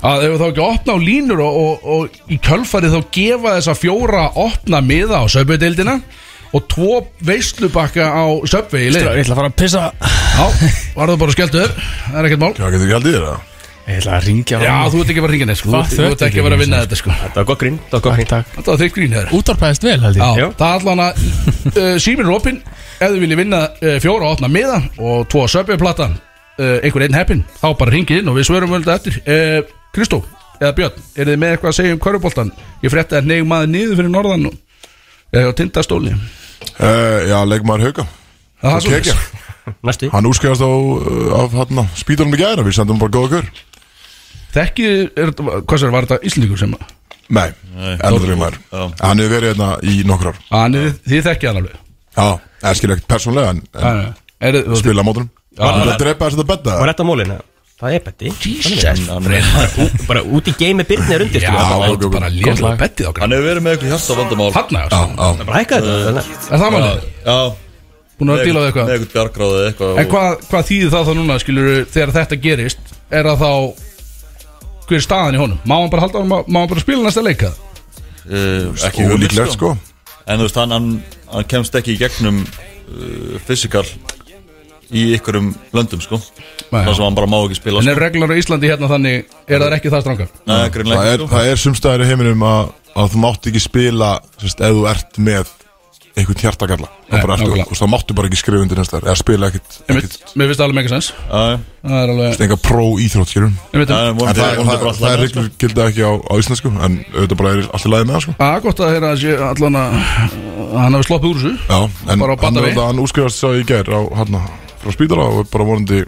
Speaker 2: að ef við þá ekki opna á línur og, og, og í kjölfarið þá gefa þessa fjóra opna miða á söpveideildina og tvo veislubakka á söpvei í leið
Speaker 7: Ég ætla að fara að pissa
Speaker 2: Já, var það bara skjöldur, það er ekkert mál
Speaker 1: Hvað getur ekki haldið þér það?
Speaker 7: Ég ætla að ringja
Speaker 2: Já, þú ert ekki að fara að ringa neitt sko,
Speaker 7: Hvað,
Speaker 2: þú, þú ert ekki að vera að vinna þetta sko
Speaker 3: Þetta var gott grín Þetta var gott grín
Speaker 7: Takk, takk
Speaker 2: Þetta var þeitt grín hér
Speaker 7: Útarpaðist vel held ég
Speaker 2: Já,
Speaker 3: Já.
Speaker 2: það er allan að uh, síminn er opinn ef þið viljið vinna uh, fjóra og opna miða og tvo söpjuplatan uh, einhver einn heppin, þá bara ringið inn og við svörum völda eftir uh, Kristó eða Björn, eru þið með eitthvað að segja um köruboltan? Ég frétti að neyjum maður niður fyrir norðan og eða á tindastóli
Speaker 1: Uh, já, leikmaður Hauka
Speaker 2: Það
Speaker 1: Og
Speaker 2: er svoleiðis.
Speaker 1: Kekja.
Speaker 3: Næstu
Speaker 1: Hann útskjast á uh, af, hann, spítalum í gæra Við sendum bara góða kör
Speaker 2: Þekkið, er þetta- hvað sér, var þetta Íslendingur sem að
Speaker 1: Nei, endur leikmaður
Speaker 4: Já.
Speaker 1: Hann hefur verið hérna í nokkur ár
Speaker 2: Hann er- Ah, Þið þekkið hann alveg
Speaker 1: Já, eskilegt persónlega En, en
Speaker 2: Hann er- eru- þú-
Speaker 1: spila á mótunum Hann er að drepa þess að betta
Speaker 3: Og rétt á mólinu Það er betti
Speaker 2: Jesus
Speaker 3: Bara út í game með byrni er undir sko.
Speaker 2: Já,
Speaker 3: skilur.
Speaker 1: ok,
Speaker 2: það er
Speaker 1: ok.
Speaker 2: bara lélega bettið á
Speaker 4: Hann hefur verið með eitthvað hjarta vandamál
Speaker 2: Hanna,
Speaker 1: Já,
Speaker 2: já,
Speaker 1: já
Speaker 3: Bara hækka þetta þannig að-
Speaker 2: er það málið?
Speaker 4: Já
Speaker 2: Búin að díla við
Speaker 4: Með
Speaker 2: eitthvað
Speaker 4: eitthvað bjargráði eitthvað
Speaker 2: En hvað, hvað þýðir það þá núna, skilur þegar þetta gerist, er það þá hver er staðan í honum? Má hann bara halda honum, má- má hann bara spila næsta leika?
Speaker 4: uh, Ekki hugmynd,
Speaker 1: Ólíklegt sko
Speaker 4: En þú veist, hann, hann, hann kemst ekki í gegnum uh, Physical eh, í ykkurum löndum sko
Speaker 2: Nei,
Speaker 4: Það
Speaker 2: já.
Speaker 4: sem hann bara má ekki spila
Speaker 2: En
Speaker 4: sko.
Speaker 2: er reglunar á Íslandi hérna þannig Er það ekki það strangar?
Speaker 4: Nei,
Speaker 1: Það
Speaker 4: greinlega
Speaker 1: er,
Speaker 4: ekki sko
Speaker 1: það er sumstæðir í heiminum að, að þú mátt ekki spila sérst, ef þú ert með einhvern hjartakalla þá
Speaker 2: Nei,
Speaker 1: bara ertu-
Speaker 2: nákvæmlega.
Speaker 1: þú veist, þá máttu bara ekki skrifa undir næstar eða spila ekkert,
Speaker 2: Mér
Speaker 1: ekkert
Speaker 2: finnst það alveg mega sens
Speaker 4: Já, já.
Speaker 2: Það er alveg
Speaker 1: enga pró íþrótt skilur
Speaker 2: Ég veit um
Speaker 4: Það er
Speaker 1: en
Speaker 4: vonandi
Speaker 1: það,
Speaker 4: vonandi
Speaker 1: það, það,
Speaker 4: bara alltaf
Speaker 1: það er
Speaker 4: leið, sko.
Speaker 1: reglur gilda ekki á, á íslensku en auðvitað bara er allt í lagi með það sko.
Speaker 2: Að Ah, gott að heyra að sé allan að að hann hafi sloppið úr þessu
Speaker 1: Já, en
Speaker 2: Bara á
Speaker 1: hann,
Speaker 2: batavegi.
Speaker 1: hann, hann útskrifast sá ég í gær á, hann, frá spítala og er bara vonandi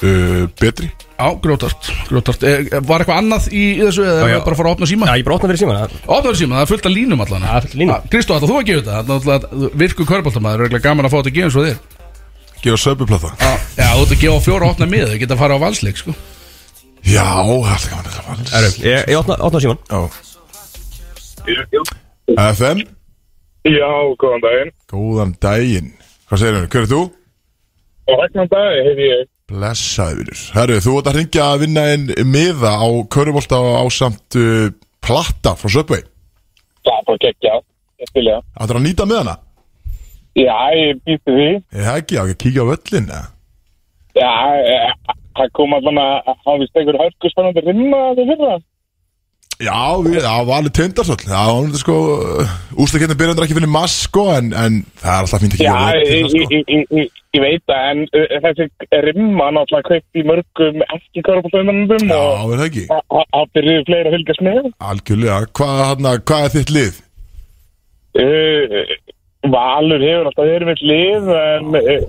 Speaker 1: uh, betri
Speaker 2: Já, grjótart, grjótart. E, var eitthvað annað í, í þessu eða
Speaker 5: Já, já.
Speaker 2: var bara að fara að opna síma?
Speaker 3: Já, ég bara opna fyrir síma
Speaker 2: Opnaður síma, það er fullt af línum allan
Speaker 3: Já, fullt af línum.
Speaker 2: Ah, Kristó, ætla þú að gefa þetta? Það er náttúrulega virku körbóltamaður, það er eiginlega gaman að fá þetta að gefa eins og þér
Speaker 1: gefa söpuplata
Speaker 2: Ah, Já, þú ert að gefa fjóra opna mið, þau geta að fara á valsleik sko.
Speaker 1: já, það er alltaf gaman þetta var alls.
Speaker 3: Ég, ég opna, opna síman
Speaker 1: Já. FM
Speaker 7: Já, góðan daginn.
Speaker 1: Góðan daginn Hvað segir hann? Hver er þú?
Speaker 7: Og hægnan dag heiti ég.
Speaker 1: Blessaði vinnur Herru, þú ert að ringja að vinna einn miða á Körubolta á samt uh, platta frá Söpvei
Speaker 7: Það er bara geggjað. Ég til ég.
Speaker 1: Ættir að nýta með hana?
Speaker 7: Já, ég býtti því.
Speaker 1: Ég hef ekki, ég á ekki að kíkja á völlin eða?
Speaker 7: Já, eh, það kom allan að hafa vist einhver hörkuspennandi rimma þetta fyrra.
Speaker 1: Já, við, það var alveg tindarsöll Það var alveg sko Ústakettin byrjandur ekki fyrir mass sko en, en það er alltaf fínt að
Speaker 7: Já,
Speaker 1: kíkja á
Speaker 7: ég,
Speaker 1: völlin
Speaker 7: ég,
Speaker 1: sko.
Speaker 7: ég, ég, ég, ég veit það, en eh, þessi rimma náttúrulega kveikt í mörgum ekki kvörfaldumöndum
Speaker 1: Já,
Speaker 7: og
Speaker 1: er það ekki?
Speaker 7: það- það það byrjuðu fleiri að fylgjast með.
Speaker 1: Algjörlega Hvað, hana, hvað er þitt lið?
Speaker 7: Eh, Valur hefur alltaf verið mitt lið, en eh,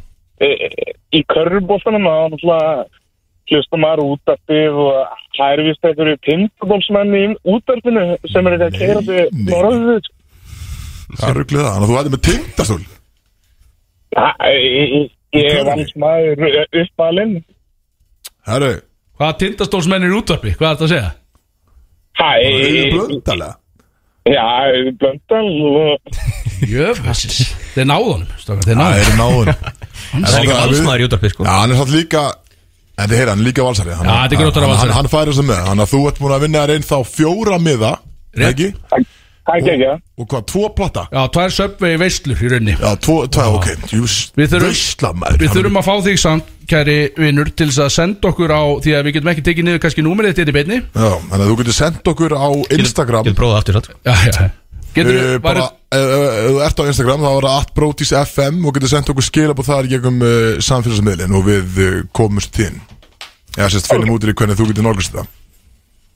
Speaker 7: eh, í körubóltanum þá náttúrulega hlusta maður útarpið og það eru vist einhverju pindabólsmenn í útarpinu sem er ekki að keira
Speaker 1: Nei, nei.
Speaker 7: til norðið.
Speaker 1: Það er ruglið það Þannig að þú ættir með tindarsöll
Speaker 7: Æ, ég- Ég
Speaker 1: Í
Speaker 7: er
Speaker 1: körfunni?
Speaker 7: valsmaður uppalinn.
Speaker 1: Herru,
Speaker 2: Hvaða tindastólsmenn er í útvarpi? Hvað er þetta að segja?
Speaker 7: Hæ,
Speaker 1: það er
Speaker 7: ég-
Speaker 1: blöndalega
Speaker 7: já, blöndal og
Speaker 2: Jöfnvist, þeir náðunum stokar, þeir
Speaker 1: Það
Speaker 2: náðunum
Speaker 1: er náður
Speaker 3: Það er líka valsmaður í útarpi sko
Speaker 1: Já, hann er satt líka En þið heyra, hann er líka valsari hann,
Speaker 2: Já, þetta er grótara
Speaker 1: hann-
Speaker 2: valsari.
Speaker 1: Hann, hann færir sem með, hann að þú ert múin að vinna þér einn þá fjóra miða
Speaker 2: Rétt.
Speaker 1: Ekki?
Speaker 7: það er ekki
Speaker 1: Og hvað, tvo platta?
Speaker 2: Já, tvær söpvei veislur í raunni
Speaker 1: Já, tvo, tvo, ok Jús,
Speaker 2: Við þurfum-
Speaker 1: veistla maður
Speaker 2: Við þurfum að fá þig samt, kæri vinnur til þess að senda okkur á, því að við getum ekki tekið niður kannski númerið þetta í beinni
Speaker 1: Já, þannig að þú getur sendt okkur á Instagram
Speaker 3: Ég prófaði aftur satt
Speaker 2: Já, já, getur
Speaker 1: Uh,
Speaker 2: við
Speaker 1: bara,
Speaker 2: bara
Speaker 1: ef ef- ef þú ert á Instagram þá er það atbrotisfm og getur sendt okkur skilabóð þar gegum uh, samfélagsmiðlin og við uh, komumst þín Já, sérst, finnum út í því hvernig þú getur nálgast þetta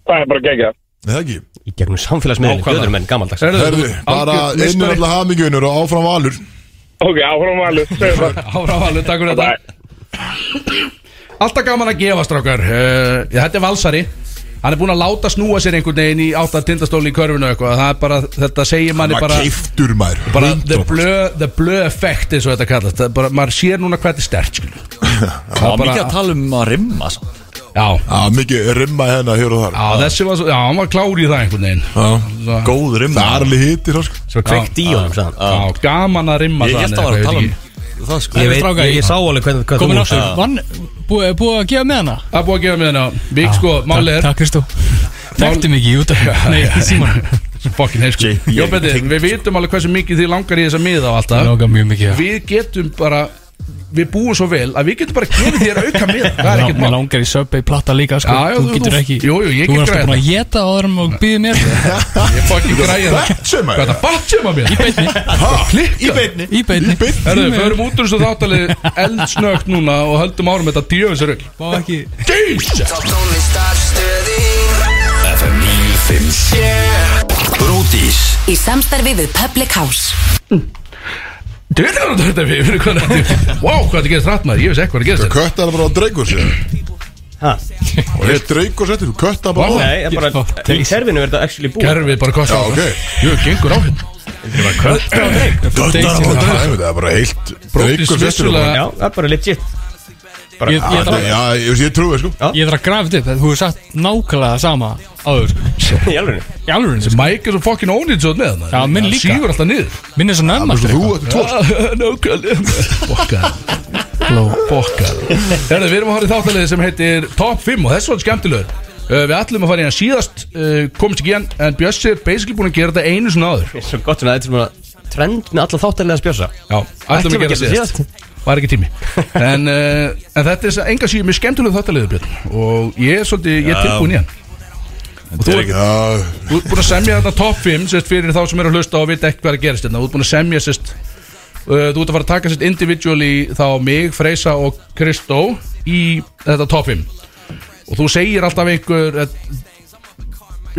Speaker 7: það er bara gegja.
Speaker 1: Nei, það ekki
Speaker 3: Í gegnum samfélagsmiðinu,
Speaker 2: Nákvæmlega.
Speaker 3: döður menn, gamaldags
Speaker 2: Herðu,
Speaker 1: Herðu, bara
Speaker 2: algjör
Speaker 1: innur
Speaker 2: meistari.
Speaker 1: alltaf hamingjunur og áfram valur
Speaker 7: Ok, áfram valur, segjum það.
Speaker 2: Ára valur, takk fyrir þetta Alltaf gaman að gefa strákar uh, já, Þetta er valsari Hann er búinn að láta snúa sér einhvern veginn í átt að tindastóli í körfinu og eitthvað Það er bara, þetta segir manni
Speaker 1: Maður
Speaker 2: bara,
Speaker 1: keiftur maður
Speaker 2: bara the,
Speaker 1: 100%.
Speaker 2: blue, the blue effect eins og þetta kallast Það er bara, Maður sér núna hvað þetta er stert skilur.
Speaker 4: Það var
Speaker 2: bara-
Speaker 4: mikið að tala um að rimma samt.
Speaker 2: Já,
Speaker 1: Já, mikið rimma hérna hér og þar
Speaker 2: á, þessi var svo Já, hann var klár í það einhvern veginn
Speaker 1: Já,
Speaker 4: Góð rimma
Speaker 1: Það er alveg hittir það sko
Speaker 3: Svo kveikt í honum, sagðan
Speaker 2: Já, gaman að rimma
Speaker 4: Ég held að
Speaker 2: það
Speaker 4: það var að tala um
Speaker 2: eitthvað,
Speaker 4: það sko
Speaker 3: Ég,
Speaker 5: Herru,
Speaker 3: veit,
Speaker 5: strákar,
Speaker 3: ég, ég
Speaker 5: ég-
Speaker 3: sá alveg hvað, hvað
Speaker 5: Komin
Speaker 3: þú-
Speaker 5: aftur,
Speaker 3: Já.
Speaker 5: vann, búið, búið að gefa með hana?
Speaker 2: Það er búið að gefa með henni á Vík sko, málið er
Speaker 5: Takk Kristó Þekkti mikið í útaf Nei, í síman
Speaker 2: Fokkin heilsku
Speaker 4: JP,
Speaker 2: sko. Jó, Benti,
Speaker 4: tengt.
Speaker 2: við vitum alveg hversu mikið þið langar í þessa miða og alltaf
Speaker 5: Nóga mjög mikið já.
Speaker 2: við getum bara við búum svo vel að við getum bara gefið þér auka með það er ekkert
Speaker 5: Mér
Speaker 2: mál
Speaker 5: langar í Subway platta líka sko.
Speaker 2: Já, já,
Speaker 5: Þú
Speaker 2: þú-
Speaker 5: getur
Speaker 2: þú-
Speaker 5: ekki
Speaker 2: jú, jú, ég
Speaker 5: Þú
Speaker 2: get
Speaker 5: er alltaf
Speaker 2: græjað
Speaker 5: búin að geta áður um og býði
Speaker 2: *laughs*
Speaker 5: mér
Speaker 2: ég fokkin græði það
Speaker 1: Betsum
Speaker 2: hvað er
Speaker 1: maður
Speaker 2: það batjum að mér
Speaker 4: Í beinni
Speaker 5: Í beinni
Speaker 2: Herðu, við förum út úr þessu þáttalið eldsnögt núna og höldum árum þetta djöfisir öll
Speaker 5: Bá ekki
Speaker 2: Jesus!
Speaker 10: Í samstarfi við Public House
Speaker 2: Djöfisir þetta við fyrir hvað þetta Wow, hvað þetta gerist rætt maður, ég veist ekki hvað þetta gerist þetta
Speaker 1: Kötta hann bara á dreikur sér
Speaker 3: Ha?
Speaker 1: Og hér dreikur sér til Kötta bara á
Speaker 3: Nei, ég bara, í kerfinu er þetta actually búið
Speaker 2: Gerfið bara
Speaker 1: Já,
Speaker 2: kostið
Speaker 1: ok
Speaker 2: Jú, gengur á hérna
Speaker 1: Kötta hann bara á dreikur Það er bara heilt
Speaker 2: Brótis
Speaker 1: dreikur sér
Speaker 2: vissulega
Speaker 3: Já, það er bara legit
Speaker 5: Ég ég þarf að-
Speaker 1: Já, ég, ég, ég trúi sko
Speaker 5: ég þarf að grafa þetta upp Þú hefur sagt nákvæmlega það sama áður sko.
Speaker 3: Ah, Í alveg
Speaker 5: Í alveg sko.
Speaker 2: Mike er svo fokkin ónýtt svo með hann
Speaker 5: Já, minn
Speaker 2: Hann
Speaker 5: líka.
Speaker 2: Sígur alltaf niður
Speaker 5: Minn er svo nömm
Speaker 1: Þú
Speaker 5: aftur
Speaker 1: þú
Speaker 5: eitthvað.
Speaker 1: ert tvo sko.
Speaker 2: Ah, Nákvæmlega Fokkar Fokkar Herðu, við erum að horfa í þáttalegi sem heitir Top 5 og þessu var skemmtilegur uh, Við ætlum að fara í hann síðast uh, komist ekki í hann en Bjössi er basically búin að gera þetta einu svona áður
Speaker 3: Svo gott svona, þetta er svona trend með alla þáttalega spjósa
Speaker 2: Já, ætlum við að gera síðast Var ekki tími En, uh, en þetta er enga síður mjög skemmtilega þáttaliður Björn Og ég er svolítið, ég er
Speaker 4: Já.
Speaker 2: tilbúin í hann Og þú ert þú ert búin að semja þarna top 5 sérst, Fyrir þá sem eru að hlusta og vita ekki hvað er að gerast hérna. Þú ert búin að semja sérst, uh, Þú ert að fara að taka sérst individually Þá mig, Freysa og Kristó Í þetta top 5 Og þú segir alltaf einhver eh,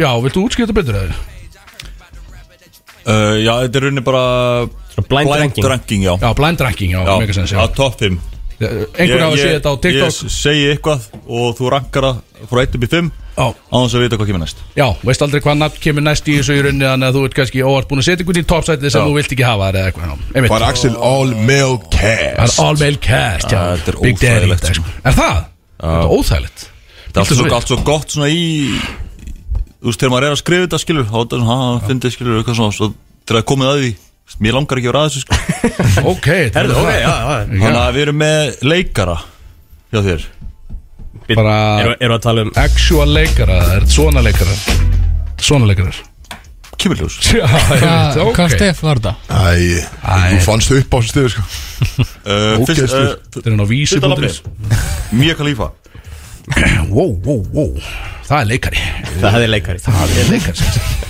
Speaker 2: Já, viltu útskipta betur eða?
Speaker 4: Uh, já, þetta er rauninni bara
Speaker 3: blind ranking.
Speaker 4: ranking já.
Speaker 2: Já, blind ranking, já,
Speaker 4: Já,
Speaker 2: mega sens, já.
Speaker 4: á top 5
Speaker 2: Eh, Einhver hafa séð þetta á TikTok
Speaker 4: Ég segi eitthvað og þú rankar það frá 1 upp í 5
Speaker 2: Já.
Speaker 4: á þess að vita hvað kemur næst
Speaker 2: Já, veist aldrei hvað nafn kemur næst í þessu í rauninni þannig að þú ert kannski óvart búin að setja einhvern í topsætið sem
Speaker 4: Já.
Speaker 2: þú vilt ekki hafa þar eða eitthvað já. Einmitt.
Speaker 1: Var Axel all male
Speaker 2: Það er
Speaker 1: cast
Speaker 2: all male cast já.
Speaker 4: Ah, þetta er
Speaker 2: Big Daddy
Speaker 4: óþægilegt,
Speaker 2: þetta,
Speaker 4: sko.
Speaker 2: sko. Er það? Þetta er óþægilegt
Speaker 4: Það er allt
Speaker 2: Viltu
Speaker 4: svo,
Speaker 2: svo-
Speaker 4: allt svo gott svona í Þú veist, þegar maður er að skrifa þetta skilur þá er þetta svona, hann fyndið skilur eitthvað svona svo þegar það er komið að því þú veist, Mér langar ekki að vera að þessu sko *laughs*
Speaker 2: Ok, þetta er
Speaker 3: Herðu, ok, já, já
Speaker 4: Þannig að við erum með leikara hjá þér
Speaker 2: Bara
Speaker 3: Erum erum við að tala um
Speaker 2: actual leikara, það er svona leikara Svona leikarar *laughs*
Speaker 4: Kemur ljós
Speaker 2: Já, einmitt,
Speaker 7: Hvað
Speaker 2: ok
Speaker 7: okay. stef var þetta?
Speaker 1: Æ, þú fannst upp á þessu stöðu sko
Speaker 4: Uh, fyrst,
Speaker 1: Ógeðslegur.
Speaker 4: uh,
Speaker 2: Þetta er hann á
Speaker 4: Fyrsta
Speaker 2: vísi.is
Speaker 4: lappið Mía Khalifa
Speaker 2: *clears throat* Wow, wow, wow Það er leikari
Speaker 3: Það hefði leikari Það
Speaker 2: Það er leikari sem
Speaker 4: *laughs*
Speaker 2: sagt.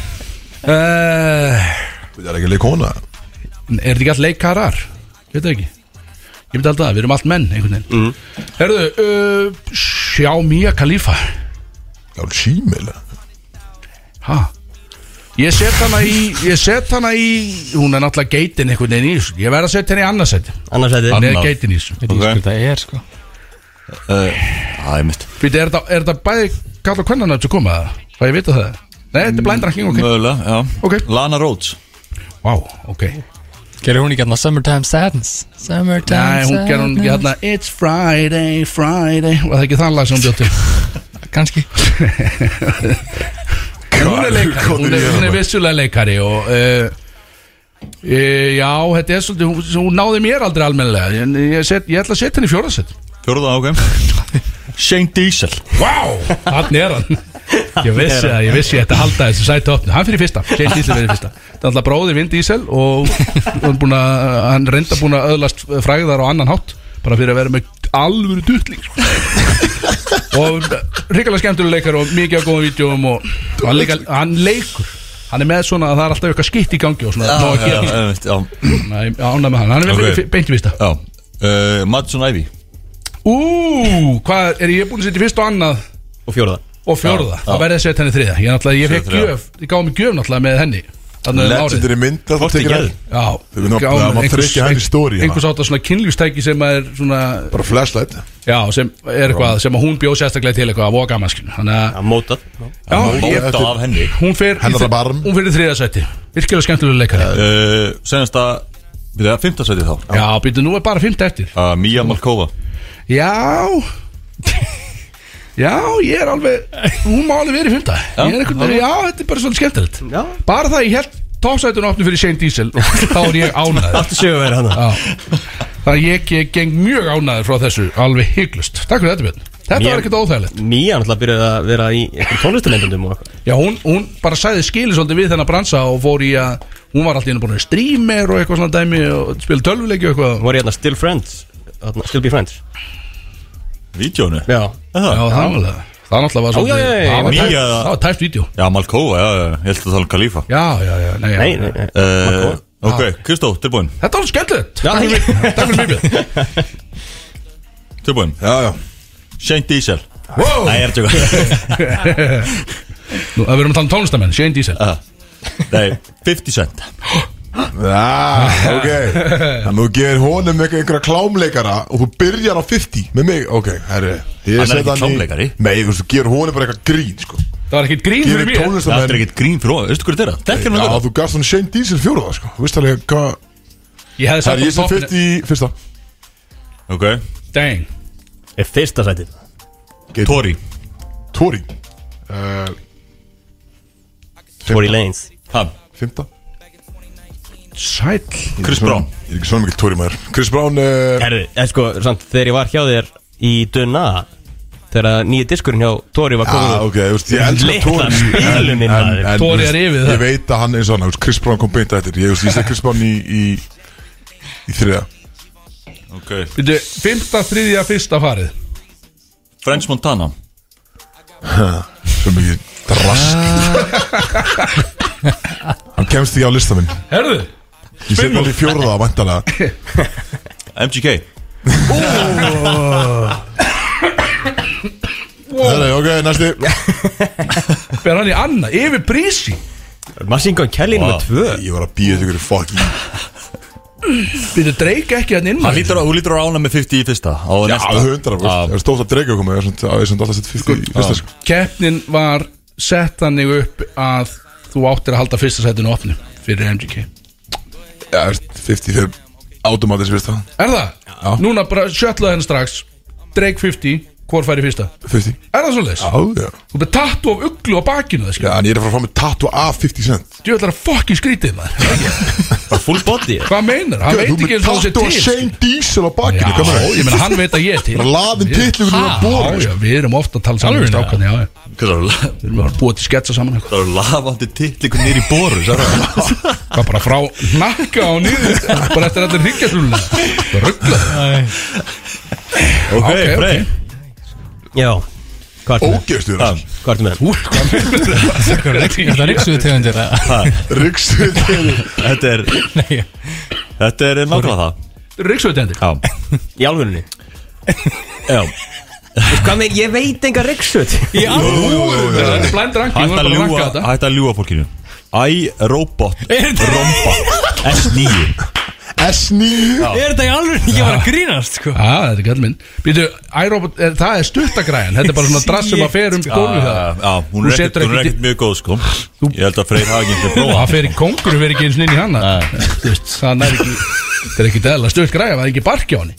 Speaker 2: Eh,
Speaker 1: Það er ekki leikona
Speaker 2: Er þetta ekki allt leikarar? Ég veit það ekki Ég myndi alltaf að við erum allt menn einhvern veginn
Speaker 4: Mhm.
Speaker 2: mm. Herðu, uh, sjá Mía Khalifa
Speaker 1: Já, símil
Speaker 2: Ha? Ég set hana í Ég set hana í Hún er náttúrulega geitin einhvern veginn í þessu. Ég verð að setja henni í annarsætt
Speaker 3: Annars hefði
Speaker 2: Hann er
Speaker 4: Annað.
Speaker 2: geitin í þessu
Speaker 7: Ég veit ekki hvað þetta er sko
Speaker 4: Eh, Það er mitt
Speaker 2: Fyrir, er, þetta- er þetta bæði kalla hvernan að koma það? Það ég veit að það Nei, þetta er blindranking, ok
Speaker 4: Mögulega, já
Speaker 2: Ok.
Speaker 4: Lana Rhodes
Speaker 2: Vá, ok
Speaker 7: Gerir hún ekki
Speaker 5: hérna
Speaker 7: hann Summertime Sadness Summertime
Speaker 2: Nei, hún gerði hún ekki
Speaker 7: Sadness.
Speaker 2: hérna It's Friday, Friday Var það ekki þann lag sem hún bjótti? *laughs*
Speaker 7: Kannski
Speaker 2: hún er leikari hún er, hún er vissulega leikari og uh, e, já, þetta er svolítið hún, hún náði mér aldrei almennilega ég, ég, set, ég ætla að setja henni í fjórðasett
Speaker 4: Fjórða, ok Shane Diesel
Speaker 2: Vá, hann er hann Ég vissi að ég vissi að þetta halda þessu sæti opni Hann fyrir fyrsta, Shane Diesel fyrir fyrsta Það er alltaf bróði Vin Diesel og hann, búin að, hann reynda búin að öðlast fræðar á annan hátt bara fyrir að vera með alvöru dutling sko. og ríkala skemmtulega leikar og mikið af góðum vídjóum og og hann, leika, hann leikur hann er með svona að það er alltaf eitthvað skitt í gangi og svona, nóg að
Speaker 4: Já,
Speaker 2: gera
Speaker 4: já, einmitt, já
Speaker 2: ánæg með hann, hann er
Speaker 4: Ok.
Speaker 2: okay. beint í fyrsta
Speaker 4: Já uh, Madison Ivy
Speaker 2: Ú, hvað er ég búin að setja í fyrsta og annað
Speaker 3: Og fjóruða
Speaker 2: og fjórða,
Speaker 4: Já,
Speaker 2: þá
Speaker 4: já.
Speaker 2: verði að setja henni þriða ég, náttúrulega- ég fekk
Speaker 4: Setja þriðja.
Speaker 2: gjöf, ég gáði mig gjöf náttúrulega með henni þannig um árið
Speaker 1: Legendary mynd að þú
Speaker 4: Hvort í
Speaker 1: tekir
Speaker 4: gerð?
Speaker 1: það.
Speaker 2: já,
Speaker 1: Þau veitum að-
Speaker 2: gáði
Speaker 1: það má
Speaker 2: mér
Speaker 1: tryggja henni story, já.
Speaker 2: einhvers átta svona kynlífstæki sem er svona
Speaker 1: Bara flashlight
Speaker 2: já, sem er eitthvað, sem að hún bjóð sérstaklega til eitthvað, voga gaman skilur þannig að,
Speaker 3: Það mótað
Speaker 2: já, ég,
Speaker 4: Móta af henni
Speaker 2: hún fer í
Speaker 1: Hennar
Speaker 2: þri-
Speaker 1: barm.
Speaker 2: hún fer í þriða sæti, virkilega skemmtilega leikari
Speaker 4: uh, Senast að Við erum að fymta sæti þá
Speaker 2: já, býtu, nú er bara fymta eftir
Speaker 4: uh, Mia Malkova
Speaker 2: já *laughs* já, ég er alveg hún má alveg verið fymta já, já, þetta er bara svona skemmtilegt
Speaker 3: Já
Speaker 2: bara það ég held topsætun opni fyrir Shane Diesel og þá er ég ánæður
Speaker 3: Aftur séu að vera hana
Speaker 4: Ah,
Speaker 2: þannig að ég, ég geng mjög ánæður frá þessu alveg hygglust, takk fyrir þetta Björn þetta
Speaker 3: Mér-
Speaker 2: var ekkert óþægilegt
Speaker 3: Mía náttúrulega byrjaði að vera í tónlistarlendundum og eitthvað
Speaker 2: já, hún, hún bara sæði skili svolítið við þennan bransa og fór í að hún var alltaf búin að vera streamer og eitthvað svona dæmi og spila tölvuleiki og eitthvað
Speaker 3: Hún var í hérna Still Friends hérna, Still Be Friends
Speaker 4: Vídeónu
Speaker 3: Já
Speaker 2: já, það var alveg það náttúrulega var
Speaker 3: Já, já, já, já,
Speaker 2: það var
Speaker 4: mjög-
Speaker 2: tæpt- það var tæft vídeo
Speaker 4: Já, Malkova, já, já, ég held að tala um Khalifa
Speaker 2: já, já, já, nei, já.
Speaker 3: Nei, nei, nei
Speaker 4: uh, Ok, Kristó, tilbúin
Speaker 2: þetta var skemmtilegt
Speaker 3: Já,
Speaker 2: takk fyrir mig- takk fyrir mig Björn.
Speaker 4: Tilbúin
Speaker 1: Já, já
Speaker 4: Shane Diesel
Speaker 2: Wow.
Speaker 4: Nei, ég er tjóka
Speaker 2: Nú, við erum að tala um tónlistamenn, Shane Diesel
Speaker 4: Nei, 50 cent
Speaker 1: Já,
Speaker 4: *laughs*
Speaker 1: ok Þannig þú gerir honum einhver- einhverja klámleikara og þú byrjar á 50 með mig Ok, herri ég
Speaker 4: Hann er
Speaker 1: set
Speaker 4: ekki
Speaker 1: í-
Speaker 4: klámleikari.
Speaker 1: Nei, þú veist, þú gerir honum bara eitthvað grín sko.
Speaker 2: það var ekkert grín fyrir
Speaker 1: Gerir
Speaker 2: mér
Speaker 4: Það er
Speaker 1: tónlistamenn
Speaker 4: ekkert grín fyrir ofan, veistu hverju þetta er? Þetta er
Speaker 1: Já,
Speaker 4: náttúrulega
Speaker 1: þú gafst hann Shane Diesel fjóruða sko. Þú veist alveg hvað
Speaker 2: ég
Speaker 1: Það
Speaker 2: hefði
Speaker 1: er
Speaker 2: sagt
Speaker 1: ég
Speaker 2: á
Speaker 1: sem
Speaker 2: toppinu-
Speaker 1: 50 í fyrsta
Speaker 4: Ok,
Speaker 2: dang
Speaker 3: Er fyrsta sætið
Speaker 4: Tori
Speaker 1: Tori uh,
Speaker 3: Tory Lanez
Speaker 4: Ham,
Speaker 1: Fymta
Speaker 2: Sæll
Speaker 4: Chris Brown.
Speaker 1: Ég er ekki svona mikil
Speaker 3: eh,
Speaker 1: Tori maður Chris Brown uh,
Speaker 3: Herri, en sko, samt þegar ég var hjá þér í Duna þegar nýja diskurinn hjá Tóri var komið
Speaker 1: Ah, ok, þú veist, ég elska
Speaker 3: Litla
Speaker 1: Tóri
Speaker 3: spilunin,
Speaker 1: En- en-
Speaker 3: maður.
Speaker 1: en,
Speaker 2: Tóri
Speaker 1: þú
Speaker 2: er
Speaker 1: veist,
Speaker 2: yfir það.
Speaker 1: Ég veit að hann er svona, þú veist, Chris Brown kom beint eftir Ég, þú veist, ég sé Chris Brown í, í, í þriða
Speaker 4: Ok,
Speaker 2: Býtu, 15.3. fyrsta farið
Speaker 4: French Montana
Speaker 1: Svo mikið drask Hann kemst ekki á lista minn
Speaker 2: Herðu,
Speaker 1: Ég sé hann í fjórða, vantanlega
Speaker 4: MGK
Speaker 1: Herra, ok, næsti
Speaker 2: fer hann í annað, yfir prísi
Speaker 3: Machine Gun Kelly nummer 2
Speaker 1: Ég var að býja þetta ykkur fokk í
Speaker 2: Býtu, dreik ekki hann inn
Speaker 4: Hann
Speaker 2: maður.
Speaker 4: lítur á- Þú lítur á ána með 50 í fyrsta á
Speaker 1: Já,
Speaker 4: næsta. Ah,
Speaker 1: hundra, það er stórt að dreika okkur með Það er svona alltaf sett fyrst í fyrsta sko
Speaker 2: Keppnin var sett þannig upp að þú áttir að halda fyrsta sætinu opnu fyrir MGK
Speaker 1: Já, þú veist, 55 Automatis fyrsta
Speaker 2: Er það? Já. Núna bara sjötlaði henni strax Drake 50, hvor fær í fyrsta?
Speaker 1: 50
Speaker 2: Er það svoleiðis?
Speaker 1: Já, já
Speaker 2: Þú byrði tattu af uglu á bakinu það
Speaker 1: Já,
Speaker 2: skilja
Speaker 1: en ég er að fara að fá mig tattu af 50 cent
Speaker 2: Þú ætlar að fokkin skrítið maður
Speaker 3: Full body
Speaker 2: Hvað meinar? Hann veit ekki eins og
Speaker 1: Tattu af
Speaker 2: það sé til sko.
Speaker 1: Shane Diesel á
Speaker 2: Já,
Speaker 1: bakinu hvað meina?
Speaker 2: ég meina hann veit að ég er til
Speaker 1: Bara sko. laðin titlingur
Speaker 2: Ha?
Speaker 1: úr að bora,
Speaker 2: Já, já, við erum ofta að tala saman um strákan Já, já,
Speaker 4: Hvað er það?
Speaker 2: við erum að búa til sketsa saman eitthvað.
Speaker 4: Það eru lafandi titlingur nýri í boru sagði hann.
Speaker 2: Hvað bara frá nakka á nýður Bara eftir allir hryggjarslunna Ruggla Ok,
Speaker 4: Ok,
Speaker 2: ok.
Speaker 4: Frey
Speaker 3: Já Hvað ertu með?
Speaker 1: Ógeðstu
Speaker 4: Ha,
Speaker 1: þér
Speaker 3: Hvað ertu með?
Speaker 7: Þetta ríksuðu tegundir
Speaker 4: ha,
Speaker 1: Ryggstu þér
Speaker 4: Þetta er
Speaker 7: Nei,
Speaker 4: Þetta er nákvæmlega það
Speaker 2: Ryggsveitendir
Speaker 4: Já
Speaker 3: Í alvörunni
Speaker 4: Já
Speaker 3: Veist Hvað með? Ég veit enga reksut
Speaker 2: Þetta er blind ranking,
Speaker 4: Hætt
Speaker 2: við erum
Speaker 4: að
Speaker 2: bara að
Speaker 4: ljúga
Speaker 2: ranka þetta
Speaker 4: Hætt að ljúga fólkinu I, robot Romba S9
Speaker 1: S9
Speaker 7: er þetta í alveg ekki bara að grínast sko
Speaker 2: Já, þetta er gæll minn Býtu, iRobot, er, það er stuttagræðan Þetta er bara svona drass sem að fer um gólfið
Speaker 4: Já,
Speaker 2: það
Speaker 4: Ah, já,
Speaker 2: Þú
Speaker 4: hún er ekkert
Speaker 2: setur
Speaker 4: Hún er
Speaker 2: ekki-
Speaker 4: ekkert mjög góð sko Ég held að Freyr hafa ekki einhvern
Speaker 2: Það
Speaker 4: prófa
Speaker 2: fer í kongur, fer ekki eins og inn í hana Þú veist, það næri ekki Þetta er ekki dæla stutt græða, það er ekki barki á henni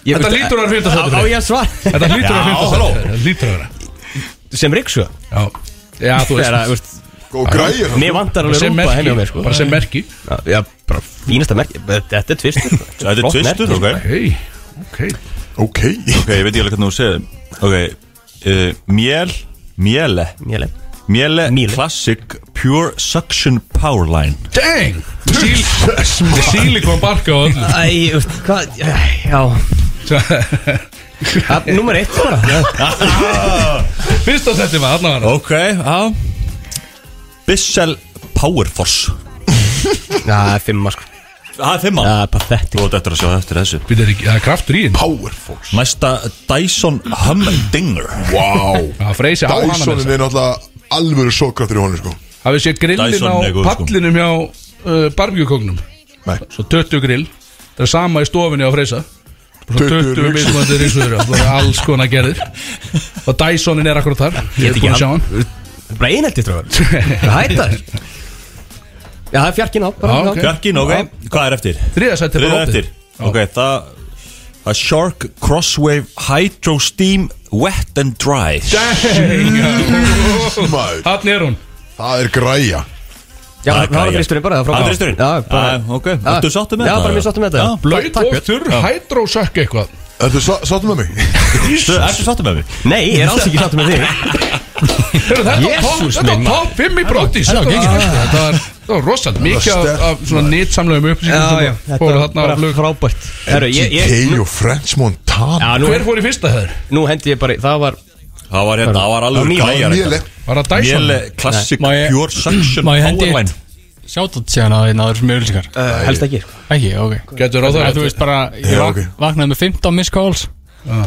Speaker 2: Þetta lítur að vera fyrta
Speaker 3: Á
Speaker 2: sæti
Speaker 3: á
Speaker 2: fyrir.
Speaker 3: ég að svara
Speaker 2: Þetta lítur að vera
Speaker 3: Já,
Speaker 2: fyrta
Speaker 3: halló.
Speaker 2: sæti fyrir. Þetta lítur að vera
Speaker 3: Sem reksut
Speaker 2: Já, já þú
Speaker 3: Þegar að,
Speaker 2: veist
Speaker 3: veist
Speaker 1: Og græðir
Speaker 3: Mér vantar alveg
Speaker 2: Sem
Speaker 3: rúpa henni á
Speaker 2: merki,
Speaker 3: mér sko
Speaker 2: bara sem merki
Speaker 3: Já, Já, bara fínasta merki Þetta er tvistur sko.
Speaker 4: *laughs* Þetta er
Speaker 3: Flott
Speaker 4: tvistur,
Speaker 3: merki,
Speaker 4: ok
Speaker 2: Hei, ok
Speaker 1: Ok
Speaker 4: Ok, ég veit ekki alveg hvernig þú segir Ok uh, Mjel Mjele
Speaker 3: sko. Mjög leið
Speaker 4: Mjele
Speaker 3: Mjele.
Speaker 4: Classic Pure Suction Powerline
Speaker 2: Dang, síl Sílikon barki á
Speaker 3: *laughs*
Speaker 2: öllu
Speaker 3: Æ, þú veist, hvað æ, Já Það er Númer eitt bara
Speaker 2: Fyrsta sæti var, þarna var það
Speaker 4: Ok, já Bissell Powerforce
Speaker 3: Það er fimma sko
Speaker 4: Það er fimmann
Speaker 3: Það er pathetic
Speaker 4: Þú átt eftir að sjá eftir þessu
Speaker 2: Býtu, er ekki- Það er kraftur í henni
Speaker 1: Powerforce
Speaker 4: Næsta Dyson Humdinger
Speaker 1: Wow
Speaker 2: Það freysi á hana með
Speaker 1: Dysonin er náttúrulega alvöru sókraftur í honum sko
Speaker 3: *laughs*
Speaker 2: hafið séð grillin
Speaker 4: Dyson
Speaker 2: á
Speaker 4: er góð, sko.
Speaker 2: pallinum hjá uh, barbjúkóknum
Speaker 1: Nei.
Speaker 2: svo 20 grill það er sama í stofinni á freysa Svo
Speaker 1: 20
Speaker 2: 20
Speaker 1: rigsur.
Speaker 2: mismandi rísuður það er alls konar gerðir og Dysonin er akkurat þar ég er
Speaker 3: ekki
Speaker 2: búin að sjá hann
Speaker 3: Bara
Speaker 2: *laughs*
Speaker 3: einhelti tróðan Hætta þér Já, það er fjarkin á
Speaker 2: Já,
Speaker 3: bara já.
Speaker 2: ok.
Speaker 4: Bjarkin, ok
Speaker 2: Já.
Speaker 4: Hvað er eftir?
Speaker 2: þriða sætti
Speaker 4: Þriða eftir Ok, það Það er Shark Crosswave Hydro Steam Wet and Dry
Speaker 1: Maður,
Speaker 2: hann er hún
Speaker 1: Það er græja
Speaker 3: Já,
Speaker 4: Það er
Speaker 3: það var
Speaker 4: græja.
Speaker 3: fristurinn bara
Speaker 4: Það
Speaker 3: frábært.
Speaker 4: er þristurinn?
Speaker 3: Já, bara
Speaker 4: Ah, ok. Ertu sáttur með
Speaker 3: Já,
Speaker 4: þetta?
Speaker 3: bara mér sáttu með
Speaker 4: Já.
Speaker 3: þetta
Speaker 2: blöyt
Speaker 3: Takk,
Speaker 2: og
Speaker 3: Björn.
Speaker 2: þurr hydrosökk eitthvað
Speaker 1: Ertu sa- sáttu með mig?
Speaker 4: Ertu sáttu með mig?
Speaker 3: Nei, ég er alls ekki sáttu
Speaker 2: *laughs*
Speaker 3: með þig
Speaker 2: Heyrðu, þetta var topp-
Speaker 3: Jesús
Speaker 2: þetta var
Speaker 3: minn,
Speaker 2: top 5 í brotis
Speaker 7: þetta var
Speaker 2: þetta
Speaker 7: geggjað.
Speaker 2: var- þetta var rosalt mikið
Speaker 1: sterkt,
Speaker 2: af- af svona nýtsamlegum
Speaker 3: Já, já,
Speaker 2: upplýsingum sem
Speaker 3: þetta
Speaker 2: fóru
Speaker 3: er
Speaker 2: þarna á
Speaker 3: bara
Speaker 2: flug
Speaker 3: frábært Herru, ég, ég
Speaker 1: K og French Montana
Speaker 3: Já, nú,
Speaker 2: hver fór í fyrsta höður?
Speaker 3: nú hendi ég bara, í- það var
Speaker 4: Það var hérna, það var alveg
Speaker 1: Það var
Speaker 4: græjar
Speaker 1: mjög
Speaker 2: var það Dyson?
Speaker 4: Mjele Classic
Speaker 7: Má ég-
Speaker 4: Pure Suction
Speaker 7: Má ég hendi
Speaker 4: Powerline
Speaker 7: Sjátt síðan að það er sem auðvilsingar
Speaker 3: uh, helst ekki sko.
Speaker 7: Ekki, ok
Speaker 2: getur ráð
Speaker 7: Þú
Speaker 2: það
Speaker 7: veist bara, ég
Speaker 1: Já,
Speaker 7: vak
Speaker 1: ok.
Speaker 7: vaknaði með 15 miss calls uh,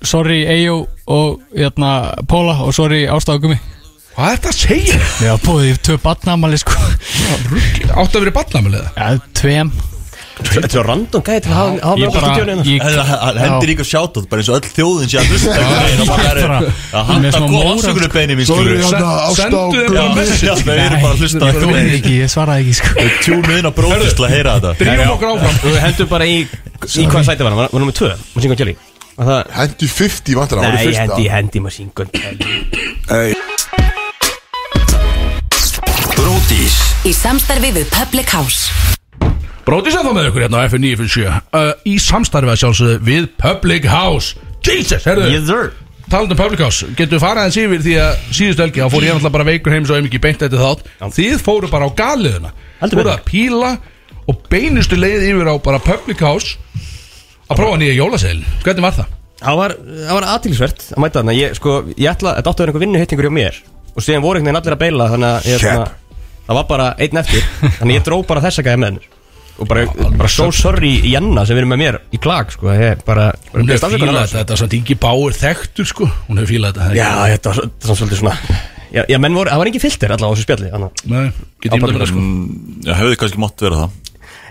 Speaker 7: Sorry Eyjó og jæna, Póla og sorry Ástáðgumi
Speaker 2: hvað er þetta að segja?
Speaker 7: Ég hafa búið í tvö batnamali sko
Speaker 2: Áttu að vera í ballamölu eða?
Speaker 7: Já, tveim
Speaker 3: Þetta var random gæði til að hafa- hafa
Speaker 7: Ég
Speaker 3: með á
Speaker 7: bara,
Speaker 3: stúdíónu hérna.
Speaker 7: ég
Speaker 4: Hendir líka sjátt Bara eins og öll þjóðin sé að hlusta Það var bara Það
Speaker 7: Með
Speaker 4: handa
Speaker 7: smá sko.
Speaker 4: góð
Speaker 7: móral,
Speaker 4: afsökunum beinu mín
Speaker 1: Sorry,
Speaker 4: skilur
Speaker 1: hann ást
Speaker 2: Sen-
Speaker 1: á
Speaker 2: sendu þeim
Speaker 1: gummi
Speaker 2: bara
Speaker 4: Já, þau eru bara að hlusta á
Speaker 7: Ég
Speaker 4: einhvern
Speaker 7: þorði
Speaker 4: veginn.
Speaker 7: ekki, ég svaraði ekki sko
Speaker 4: Þau Tjúnið inn á bróðis til að heyra þetta
Speaker 2: Drífum okkur áfram
Speaker 3: Þú hendur bara í Í hvað sæti var hann? Var- Var nummið tvö? Machine Gun Kelly Var það-
Speaker 1: Hendi 50 vantar hann var í
Speaker 3: Nei,
Speaker 1: fyrsta.
Speaker 3: hendi, hendi Machine Gun Kelly
Speaker 4: Bróðis
Speaker 6: Í samstarfi við Public House
Speaker 2: Brótið sem það með ykkur hérna á FN957 uh, Í samstarfið að sjálfsögðu við Public House Jesus, herðu
Speaker 3: Yes, sir.
Speaker 2: Talandi um Public House, getum við farað eins yfir því að síðustu helgi, þá fór ég náttúrulega bara veikur heim svo ef ekki beint eftir þátt, þið fóru bara á galiðuna
Speaker 3: Heldur
Speaker 2: fóru
Speaker 3: betur.
Speaker 2: að píla og beinustu leið yfir á bara Public House að prófa nýja jólaseil hvernig var það?
Speaker 3: Það var, það var aðtilsvert að mæta þarna Ég, sko, ég ætla, þetta átti að vera einhver vinnu hjá mér Og síðan voru einhvern veginn allir að beila Þannig að ég,
Speaker 1: Shit.
Speaker 3: svona, það var bara einn eftir Þannig að ég dró bara þessa gæði með hennur Og bara, bara so sorry Jenna sem verið með mér í klag sko. Ég bara, bara
Speaker 2: hún hefur
Speaker 3: biðst afsökunar á
Speaker 2: fílað
Speaker 3: þessu.
Speaker 2: þetta, þetta er svona Ingi Báur þekktur sko, hún hefur fílað þetta
Speaker 3: Já, þetta var svo- þetta var svolítið svona Já, já menn voru, það var engin filter allavega á þessu spjalli þannig að-
Speaker 2: Nei, get ég myndað mér það sko
Speaker 4: Mm, Já, hefði kannski mátt vera það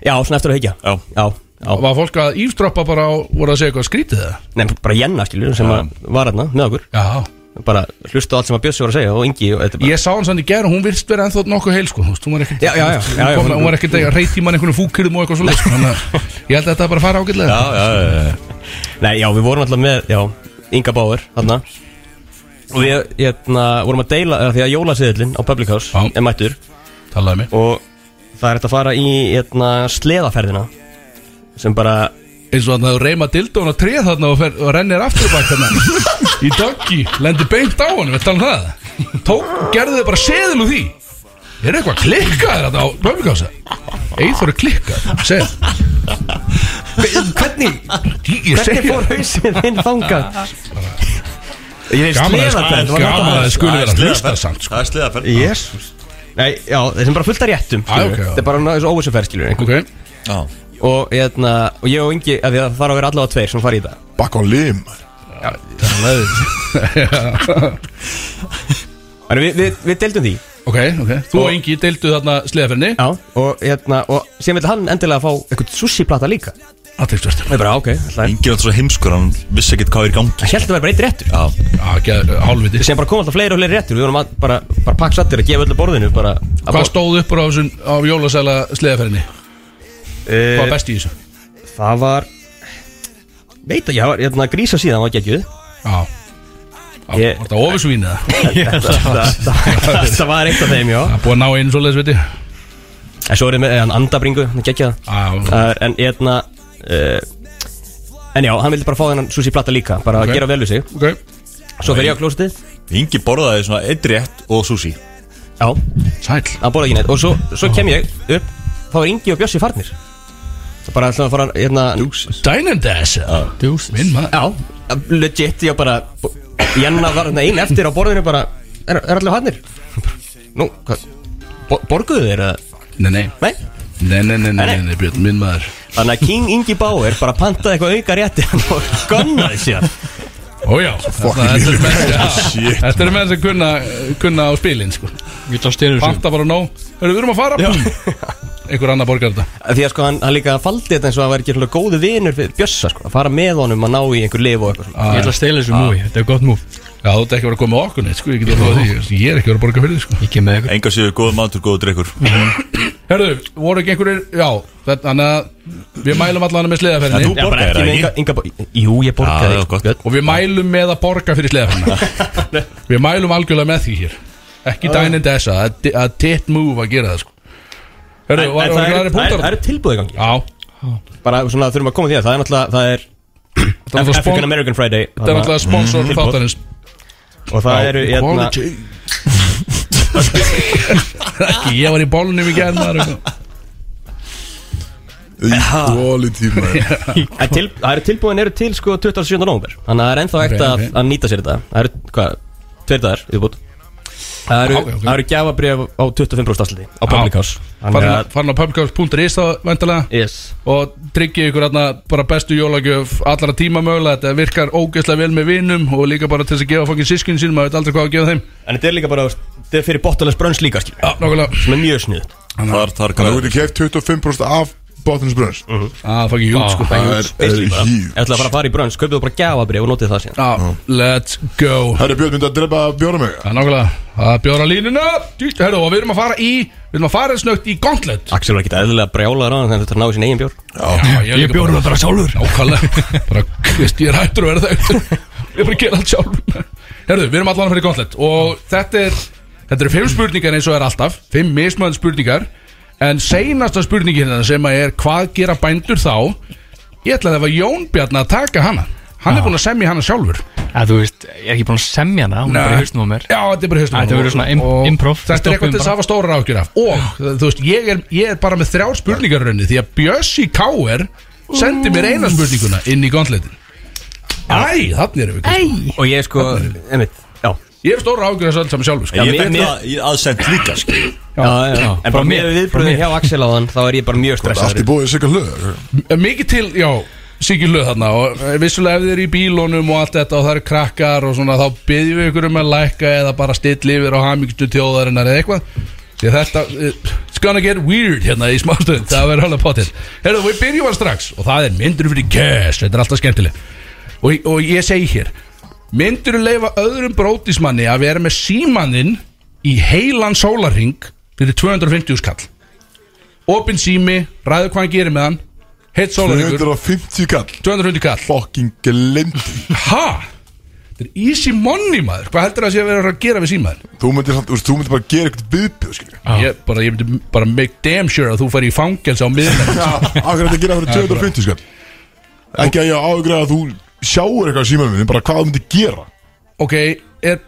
Speaker 3: Já, svona eftir að hekja
Speaker 4: Já.
Speaker 3: já, já.
Speaker 2: sko. Var fólk að ífdroppa bara á, voru að segja eitthvað skrítið það?
Speaker 3: Nei, bara Jenna skilur sem að var hérna með okkur
Speaker 2: Já,
Speaker 3: Bara hlusta á allt sem að Bjössi voru að segja og Ingi og þetta bara
Speaker 2: ég sá hann sann í gerð og hún virst vera ennþá nokkuð heil sko, þú veist, hún var ekkert
Speaker 3: Já, já, já, já, já,
Speaker 2: hún, kom,
Speaker 3: hún-
Speaker 2: hún var ekkert að reyti mann einhvern fúkirðum og eitthvað svona sko, þannig að ég held að þetta bara fara ágætlega
Speaker 4: Já, já, já, já, já.
Speaker 3: Nei, já, við vorum alltaf með, já, Inga Bauer, þarna Og við, hérna, vorum að deila, eða því að jólaseðlinn á Public House
Speaker 2: Já.
Speaker 3: er mættur
Speaker 2: talaði mig
Speaker 3: Og það er hægt að fara í, hérna, sleðaferðina Sem bara,
Speaker 2: eins og þannig að þú reyma dildón að treð þarna og, fer, og rennir aftur bak þarna í doggi, lendir beint á honum við tala um það Tók, gerðu þau bara seðil úr því er eitthvað klikkaðir þarna á Böfningása Eithor er klikkað, segð
Speaker 3: hvernig,
Speaker 2: Ég- ég
Speaker 3: hvernig
Speaker 2: segi
Speaker 3: fór hausinn þinn
Speaker 2: *laughs*
Speaker 3: þangað? Ég veist,
Speaker 2: Gaman að-
Speaker 3: sleðaferð, það var
Speaker 2: gaman að-
Speaker 3: náttúrulega
Speaker 2: skuli vera
Speaker 4: Það er
Speaker 2: hlusta
Speaker 4: sleðaferð.
Speaker 2: samt, sko.
Speaker 4: Það er sleðaferð
Speaker 3: Jésús Nei, já, þeir sem bara fullt að réttum, skilur
Speaker 2: ok, já.
Speaker 3: Þetta er bara þessu óvissuferð, skilur einhver.
Speaker 2: ok,
Speaker 4: Já.
Speaker 3: Og, hérna, og ég og Ingi, af því að það þarf að vera allavega tveir sem fara í þetta
Speaker 1: Bakk á lim
Speaker 3: Þannig við, við, við deildum því
Speaker 2: ok, ok þú og Ingi deildu þarna sleðaferni
Speaker 3: Já, og hérna, og síðan vil hann endilega fá eitthvað sushi-plata líka Og
Speaker 2: aðtilsvert,
Speaker 3: ég bara, ok, alltaf er
Speaker 4: Ingi var alltaf svo heimskur, hann vissi ekkert hvað er í gangi
Speaker 3: Ég held að það væri bara eitt réttur
Speaker 4: Já,
Speaker 2: hálfviti
Speaker 3: Síðan bara kom alltaf fleiri og fleiri réttur Við vorum að, bara, bara pakksattir að gefa öllu borðinu bara, að
Speaker 2: hvað
Speaker 3: bor-
Speaker 2: stóð upp úr á, þessum, á jólasæla sleðaferni hvað var
Speaker 3: Eh,
Speaker 2: best í þessu
Speaker 3: Það var Veit ekki, það var hérna, grísa síðan var geggjuð
Speaker 2: já, Já,
Speaker 3: Ég-
Speaker 2: var þetta ofisvín
Speaker 7: *laughs*
Speaker 2: eða
Speaker 3: Ah. *laughs* Það var eitt af þeim, já
Speaker 2: Það er búið að ná einu svoleiðis viti
Speaker 3: En svo er ég með eh, hann andabringu, hann geggjað
Speaker 2: Já,
Speaker 3: Það er- En hérna eh, En já, hann vildi bara fá þennan sushi-plata líka Bara
Speaker 2: Ok.
Speaker 3: að gera vel við sig
Speaker 2: ok
Speaker 3: Svo fer ég á klósitið
Speaker 4: Ingi borðaði svona eitt rétt og sushi
Speaker 3: Já,
Speaker 2: Sæl
Speaker 3: hann borða ekki neitt og svo, svo kem ég upp þá er Ingi og Bjössi farnir það bara ætlaði að fara hérna Dúsis.
Speaker 2: Dænum þess Minn maður
Speaker 3: já, legit ég bara Jenna var hérna einn eftir á borðinu bara er, er allir farnir nú, hvað bo- borguðu þeir að
Speaker 2: Nei, nei
Speaker 3: nei
Speaker 2: Nei, nei, nei, nei, nei, nei Björn, minn maður
Speaker 3: þannig að King Ingi Bauer bara pantaði eitthvað auka rétti hann og gunnaði sér
Speaker 2: Ójá Þetta þetta eru menn já, Þetta eru menn sem kunna, kunna á spilin sko.
Speaker 7: Ég ætla að styrir þessu
Speaker 2: Panta bara nóg Hörru, við erum að fara Einhver annar borgar þetta
Speaker 3: því að sko hann, hann líka faldi þetta eins og hann væri ekki svona góðu vinur fyrir Bjössa sko að fara með honum að ná í einhver lif og eitthvað svona
Speaker 2: Ah,
Speaker 7: Ég ætla að stela þessu múi, þetta er gott múf
Speaker 2: Já, þú ert ekki að vera að koma með okkur neitt sko. Ég, get að lofa því. ég er ekki að vera að borga fyrir því sko.
Speaker 7: Ég kem með eitthvað
Speaker 4: Enga séu góð matur, góð drikkur
Speaker 2: Hörru, voru ekki einhverjir Já, þetta- þannig að Við mælum allan með
Speaker 4: En
Speaker 2: sleðaferðinni
Speaker 4: þú
Speaker 3: Já, bara ekki
Speaker 4: borgaði það
Speaker 3: með
Speaker 4: ekki?
Speaker 3: Inga, Inga Bauer Jú, ég
Speaker 4: Já,
Speaker 3: borgaði
Speaker 4: það var gott.
Speaker 3: Björn.
Speaker 2: Og við mælum með að borga fyrir sleðaferðina
Speaker 3: *laughs*
Speaker 2: Við mælum algjörlega með því hér Ekki dænind þessa að- Að titt move að gera það sko Hörru,
Speaker 3: En-
Speaker 2: var
Speaker 3: en
Speaker 2: það
Speaker 3: það
Speaker 2: aðri
Speaker 3: eru- það
Speaker 2: punktar?
Speaker 3: eru er, er tilbúið í gangi
Speaker 2: Já,
Speaker 3: Bara svona þurfum að koma því að það er náttúrulega Það er
Speaker 2: það er náttúrulega
Speaker 3: African
Speaker 2: spon-
Speaker 3: American Friday
Speaker 2: þetta er náttúrulega sponsor
Speaker 3: tilboð.
Speaker 2: þáttarins
Speaker 3: Og *laughs* það eru hérna
Speaker 2: Quality Ekki, Ég var í bólnum í gerð maður
Speaker 1: Quality man
Speaker 3: *laughs* en til, Það eru tilbúin eru til sko 27. november Þannig að það er ennþá
Speaker 2: Ok,
Speaker 3: ekkert að,
Speaker 2: ok.
Speaker 3: að nýta sér þetta Það eru hvað Tveir dagar viðbútt Það eru,
Speaker 2: Já, ok,
Speaker 3: okay,
Speaker 2: ok.
Speaker 3: okay. eru gjafabrif á 25% afsluti Á Public House Þannig að
Speaker 2: Farin á pubcast.is þá væntalega
Speaker 3: Yes
Speaker 2: og tryggja ykkur aðna bara bestu jólagjöf allra tíma mögulega, þetta virkar ógeðslega vel með vinum og líka bara til þess að gefa fangin sískinu sínum, maður veit aldrei hvað að gefa þeim
Speaker 3: En þetta er líka bara Þetta er fyrir bottaless brönns líka skil
Speaker 2: Já, nokkulega,
Speaker 3: Sem er mjög snuð
Speaker 4: Þar, þar
Speaker 1: Þannig að
Speaker 4: kannu
Speaker 1: þú getur keft 25% af botninsbrunns
Speaker 3: Mhm.
Speaker 2: að fangin jút sko
Speaker 1: Það er- er
Speaker 3: Ég
Speaker 1: huge
Speaker 3: ætla að fara að fara í brönns Kaupið þú bara gjafabrif og notið það síðan
Speaker 2: Já, Ah, let's go
Speaker 1: Herri Björn myndi að drepa bjóra mig
Speaker 2: Það er nákvæmlega að bjóra línuna Dýrt, herru, og við erum að fara í Við erum að fara snögt í Gauntlet
Speaker 3: Axel var ekki eðlilega brjálaður á hann Þannig að þetta er náðu sín eigin bjór
Speaker 2: Já, ég, ég bjóra það bara sjálfur Nákvæmlega, bara, veist, ég er hættur að vera það Ég er bara að gera allt sjálfur Herru, við erum allan að fara í Gauntlet Og þetta er, þetta eru fimm spurningar eins og er alltaf Fimm mismöðan spurningar En seinasta spurningin hérna sem að er Hvað gera bændur þá Ég ætla að það var Jón Bjarn að taka hana Hann er búin að semja hana sjálfur
Speaker 7: að þú veist, ég er ekki búin að semja hana hún er bara í hausnum á mér
Speaker 2: Já, þetta er bara hausnum á
Speaker 7: Þetta
Speaker 2: mér.
Speaker 7: verður svona im-
Speaker 2: Og
Speaker 7: improv.
Speaker 2: Þetta er eitthvað til þess að hafa stórar ágjur af Og, þú veist, ég er, ég er bara með þrjár spurningar í rauninni Því að Bjössi Káer sendi mér eina spurninguna inn í gondleitin Æ, þannig erum við Æ
Speaker 3: Og ég sko, einmitt, já
Speaker 2: Ég hef stóra ágjur þessu öll saman sjálfur sko.
Speaker 3: Já,
Speaker 4: Ég
Speaker 3: mér-
Speaker 4: fekk
Speaker 3: mér-
Speaker 4: það í aðsend líka skil.
Speaker 3: Já, já, já En bara
Speaker 7: Frá
Speaker 3: með
Speaker 7: mér.
Speaker 3: viðbröðin hjá Axel á þann Þá er ég bara mjög
Speaker 1: Allt
Speaker 3: stressaður
Speaker 1: í bóðið sikka hlöður
Speaker 2: Eh, Mikið til, já Siggi löð þarna og eh, vissulega ef þið eru í bílónum og allt þetta og það eru krakkar og svona þá byggjum við ykkur um að lækka eða bara stilli yfir á hamingstu tjóðarinnar eða eitthvað því að þetta, eh, it's gonna get weird hérna í smástöðum, það verður alveg potið Herðu, við byrjum hann strax og það er myndur fyrir cash, þetta er alltaf skemmtileg og, og ég segi hér myndur leifa öðrum brótismanni að vera með símaninn í heilan sólarring fyrir 250 skall opinn sími, ræðu hvað hann gerir með hann heitt sólarringur
Speaker 1: 250 kall
Speaker 2: 250 kall
Speaker 1: Fucking glind
Speaker 2: Ha? Þetta er easy money maður Hvað heldur það að sé að vera að gera við símaður?
Speaker 1: Þú myndir samt, þú veist, þú myndir bara gera eitthvað byðbjöð skilur
Speaker 2: Ég, bara, ég myndi bara make damn sure að þú fær í fangelsa á
Speaker 1: *laughs*
Speaker 2: miðnætt
Speaker 1: Akkur þetta gera fyrir 250 skall Ekki að ég áhugur að þú sjáur eitthvað símanum minn Bara hvað þú myndir gera
Speaker 2: Ok, er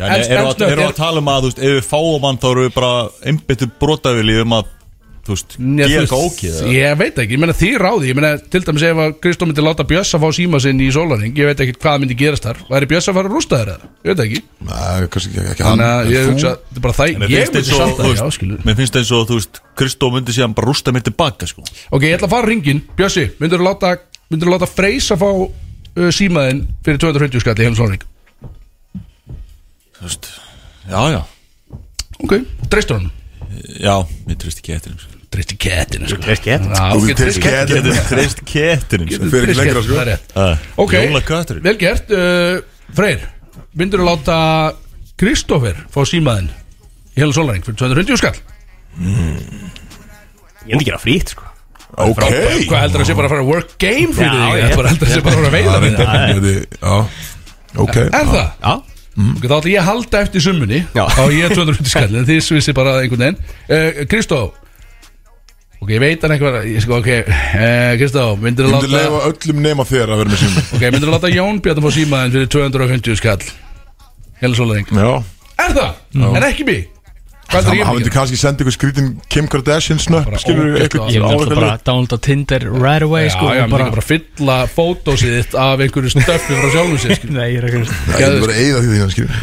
Speaker 4: Já, en
Speaker 2: Elst-
Speaker 4: Erum
Speaker 2: elst-
Speaker 4: við að, er,
Speaker 2: er-
Speaker 4: að tala um að, þú veist, ef við fáum hann þá erum við bara einbyttu brotavili um að, þú veist,
Speaker 2: Nei,
Speaker 4: gera
Speaker 2: þú
Speaker 4: eitthvað
Speaker 2: veist,
Speaker 4: ókið
Speaker 2: Ég veit ekki, ég meina því ráði Ég meina til dæmis ef að Kristó myndi láta Bjössa fá síma sinn í sólaring Ég veit ekki hvað myndi gerast þar Væri Bjössa að fara að rústa þér eða? Ég veit ekki
Speaker 1: Nei, kannski ekki, ekki hann
Speaker 2: Þannig að ég
Speaker 1: en þú-
Speaker 2: hugsa, þetta er bara
Speaker 4: En
Speaker 2: það
Speaker 4: mér
Speaker 2: Ég myndi
Speaker 4: finnst eins og,
Speaker 2: samt
Speaker 4: þú
Speaker 2: að já,
Speaker 4: veist,
Speaker 2: skilur
Speaker 4: mér finnst eins og, þú veist, Kristó myndi síðan bara rústa mér tilbaka, sko
Speaker 2: Ok, ég ætla að fara ringin Bjössi, myndur þú láta, myndirðu láta freysa fá uh, símaðinn fyrir 250 skall í heim sólaring
Speaker 4: Þú veist, já, já,
Speaker 2: Ok, dreistur hann
Speaker 4: já, ég trist ekki
Speaker 2: sko.
Speaker 4: eftir þeim,
Speaker 2: Tristi kettin sko.
Speaker 3: Treysti kettinum.
Speaker 2: Já, ok,
Speaker 1: Þú
Speaker 2: Tristi
Speaker 1: treysti kettinum.
Speaker 2: kettinum
Speaker 4: sko Ég trist kettinum, sko
Speaker 1: Þú fer ekki
Speaker 2: Tristi
Speaker 1: lengra,
Speaker 2: kettinum,
Speaker 1: sko.
Speaker 2: það er rétt. Ok,
Speaker 4: Ok Jólakötturinn
Speaker 2: vel gert uh, Freyr, myndur þú láta Kristófer fá símaðinn í hela sólaring fyrir 250 skall
Speaker 3: Ég myndi gera frýtt, sko
Speaker 1: Ok
Speaker 2: Hvað heldur það sé bara að fara að work game fyrir
Speaker 3: Já,
Speaker 2: þig
Speaker 3: ég-
Speaker 2: Það bara heldur það sé bara að fara að
Speaker 1: Það
Speaker 2: veiða
Speaker 1: er
Speaker 2: með
Speaker 1: reyndar-
Speaker 2: það
Speaker 1: ég veit- Já Ok
Speaker 2: Er það? Mm.
Speaker 3: Já
Speaker 2: Ok, þá ætla ég að halda eftir summunni
Speaker 3: Já.
Speaker 2: Á ég 250 skall En þið svissi bara einhvern veginn Eh, Kristó Ok, ég veit hann eitthvað ég sko, Ok, eh, Kristó, myndur
Speaker 1: Ég
Speaker 2: þú
Speaker 1: myndi
Speaker 2: láta
Speaker 1: leifa öllum nema þér að vera með símanum
Speaker 2: Ok, myndur þú láta Jón Bjartan fá símaðinn fyrir 250 skall Hela sólaring
Speaker 1: Já
Speaker 2: Er það? En ekki mig? Hvað
Speaker 1: Hann
Speaker 2: er ég
Speaker 1: hann
Speaker 2: mig?
Speaker 1: myndi kannski senda ykkur skrítin Kim Kardashian snöpp
Speaker 2: Bara
Speaker 1: Skilur
Speaker 2: ógeðslega-
Speaker 1: eitthvað
Speaker 7: ég
Speaker 1: á
Speaker 7: vil alltaf
Speaker 1: eitthvað
Speaker 7: bara downloada Tinder right away
Speaker 2: Já,
Speaker 7: sko,
Speaker 2: já,
Speaker 7: og
Speaker 2: bara, bara fylla fótósið þitt af einhverju stöffi frá sjálfum sér skilur.
Speaker 7: Nei, ég er ekki
Speaker 1: Ég myndi bara eigða því því hann skilur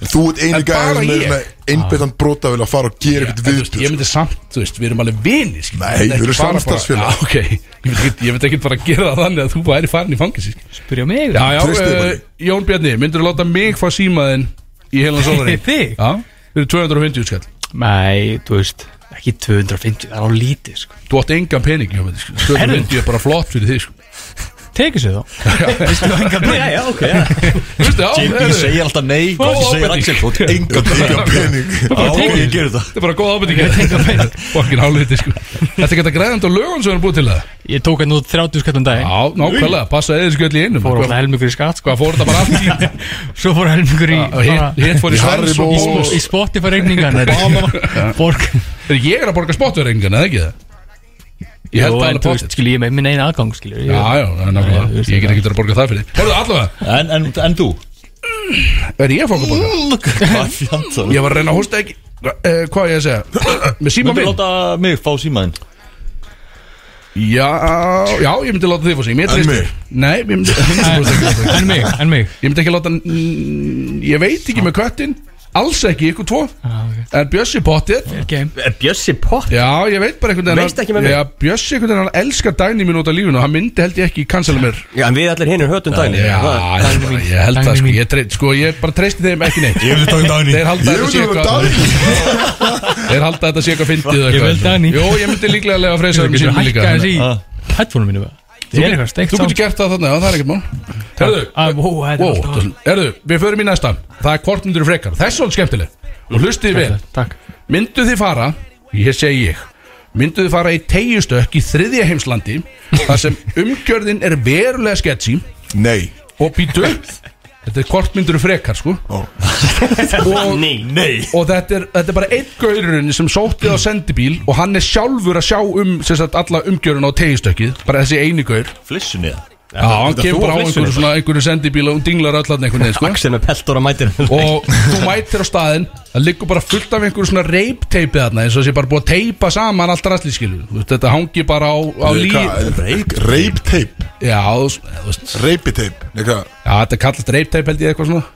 Speaker 1: Þú ert einu
Speaker 2: En bara
Speaker 1: gæðin
Speaker 2: ég.
Speaker 1: með einbættan brota að fara og gera eitthvað
Speaker 2: En, þú veist,
Speaker 1: viðbjöð
Speaker 2: Ég myndi samt, þú veist, við erum alveg vini skilur.
Speaker 1: Nei,
Speaker 2: Ég myndi
Speaker 1: við erum
Speaker 2: ekki fara bara-
Speaker 1: samstarfsfélag.
Speaker 2: Já, ok, ég myndi ekki- ég myndi ekkert bara að gera það þannig að þú væri farin í fangins
Speaker 7: Spyrja mig
Speaker 2: Já, já,
Speaker 1: Treystu Sko, þér
Speaker 2: uh,
Speaker 1: bara.
Speaker 2: Jón Bjarni, myndur þú láta mig fá símaðinn í helan sólarinn?
Speaker 7: Þig?
Speaker 2: Já, við erum 250 skall
Speaker 7: Nei, þú veist, ekki 250, það er á lítið sko.
Speaker 2: Þú átt engan pening, Jón Bjarni, skilur. 250 er bara flott fyrir þig, sko
Speaker 7: Tekið sér þá
Speaker 3: Já, já, ok, já
Speaker 2: Þú veist, já,
Speaker 4: JB
Speaker 2: heyrðu,
Speaker 4: segir alltaf nei, hvað segir
Speaker 2: ábending.
Speaker 4: Axel Þú ert enga
Speaker 1: Enga pening
Speaker 4: Já, ég gerir það
Speaker 2: Þetta er bara góð ábyrting Fokkin hálfviti sko Þetta er gæta græðand á lögum sem er búið til það
Speaker 7: Ég tók hérna út 30 skattum dag
Speaker 2: Já, nákvæmlega, passa eða þessu göll í einum
Speaker 7: Fór alltaf
Speaker 2: Hvað
Speaker 7: helmingur í skatt sko.
Speaker 2: hvað fór þetta bara *laughs* allt í
Speaker 7: Svo fór helmingur í,
Speaker 2: Og hitt-
Speaker 7: bara-
Speaker 2: Hitt fór í
Speaker 1: Í Harry
Speaker 2: Svens og
Speaker 1: Bowl.
Speaker 2: Bós
Speaker 7: í Spotify *laughs* regningan Fólk
Speaker 2: Þegar ég er að borga spotturrengan, eða ekki það? Ég held
Speaker 7: Jó,
Speaker 2: það
Speaker 7: en
Speaker 2: alveg
Speaker 7: þú veist,
Speaker 2: potið
Speaker 7: skil ég er með minn eina aðgang skil ég
Speaker 2: Já, já, það er nákvæmlega,
Speaker 7: Nei, þú veist
Speaker 2: ég get
Speaker 7: það.
Speaker 2: ekki að borga það fyrir þig. Hörðu, allavega,
Speaker 4: En, en, en þú?
Speaker 2: er ég að fóka borga?
Speaker 4: Hvað fjantar?
Speaker 2: Ég var að reyna að hósta ekki Eh, Hvað á ég að *coughs* segja? Með síma
Speaker 4: Myndur
Speaker 2: minn?
Speaker 4: láta mig fá símaðinn?
Speaker 2: Já, já, ég myndi láta þig fá sig
Speaker 1: En
Speaker 2: Mér treysti
Speaker 1: mig?
Speaker 2: þér. Nei, ég myndi *laughs* 100% láta *laughs* þig.
Speaker 7: En mig, en mig
Speaker 2: Ég myndi ekki láta mm, Ég veit ekki með köttin Alls ekki ykkur tvo
Speaker 7: ah, okay.
Speaker 2: En Bjössi pottir
Speaker 7: Er game
Speaker 3: Er Bjössi pott?
Speaker 2: Já, ég veit bara einhvern veginn
Speaker 3: Veist ekki með mig?
Speaker 2: Já, Bjössi einhvern veginn Hann elskar dæni mín út af lífinu Og hann myndi held ég ekki cancela mér
Speaker 3: Já, en við allir hinir hötum dæni
Speaker 2: Já,
Speaker 3: Það-
Speaker 2: ég, bara, ég held
Speaker 7: Dagný
Speaker 2: það sko
Speaker 7: mín.
Speaker 2: Ég, treyst, sko, ég bara treysti þeim ekki neitt
Speaker 4: Ég vil taka dæni
Speaker 2: Þeir halda
Speaker 1: Ég
Speaker 2: þetta sé
Speaker 1: myndi um vera
Speaker 2: eitthvað
Speaker 1: dæmi
Speaker 2: Þeir halda þetta sé eitthvað fyndið eða
Speaker 7: Ég
Speaker 2: eitthvað.
Speaker 7: vil Dagný.
Speaker 2: Jó, ég myndi líklega að lega að freysa
Speaker 7: Þú
Speaker 2: um
Speaker 7: getur
Speaker 2: síma líka
Speaker 7: hækkað þessi
Speaker 2: þannig.
Speaker 7: í headphone mínu bara. Ég er eitthvað steikt
Speaker 2: Þú getur
Speaker 7: sá
Speaker 2: gert það þannig, já, það er ekkert mál Herðu,
Speaker 7: Ah, wow, þetta er
Speaker 2: Wow,
Speaker 7: alltaf-
Speaker 2: það- Herðu, við förum í næsta Það er hvort myndur frekar, það er svolítið skemmtileg Og hlustið vel,
Speaker 7: Takk
Speaker 2: myndu þið fara Ég segi ég Myndu þið fara í tegjustökk í þriðja heimslandi Þar *laughs* sem umgjörðin er verulega sketchy
Speaker 1: Nei
Speaker 2: Og býtu Þetta er hvort myndur frekar sko
Speaker 1: Ó.
Speaker 2: *laughs* Og
Speaker 3: Nei, nei
Speaker 2: og þetta er, þetta er bara einn gaururinn sem sótti á sendibíl og hann er sjálfur að sjá um sem sagt, alla umgjörun á tegistökkið bara þessi eini gaur
Speaker 4: Flissunni það
Speaker 2: Já, hann kemur bara á einhverju svona einhverju sendibíla og hún dinglar öll hann einhvern veginn sko.
Speaker 3: Axel með peltor og mætir
Speaker 2: og þú mætir á staðinn það liggur bara fullt af einhverju svona reipteipið þarna eins og sé bara búið að teipa saman allt rastli skilur Þú veist, þetta hangi bara á, á lí
Speaker 1: Reip, reip teip
Speaker 2: já, þú veist já,
Speaker 1: Reipi teip Nei, hvað?
Speaker 2: þetta kallast reipteip held ég eitthvað svona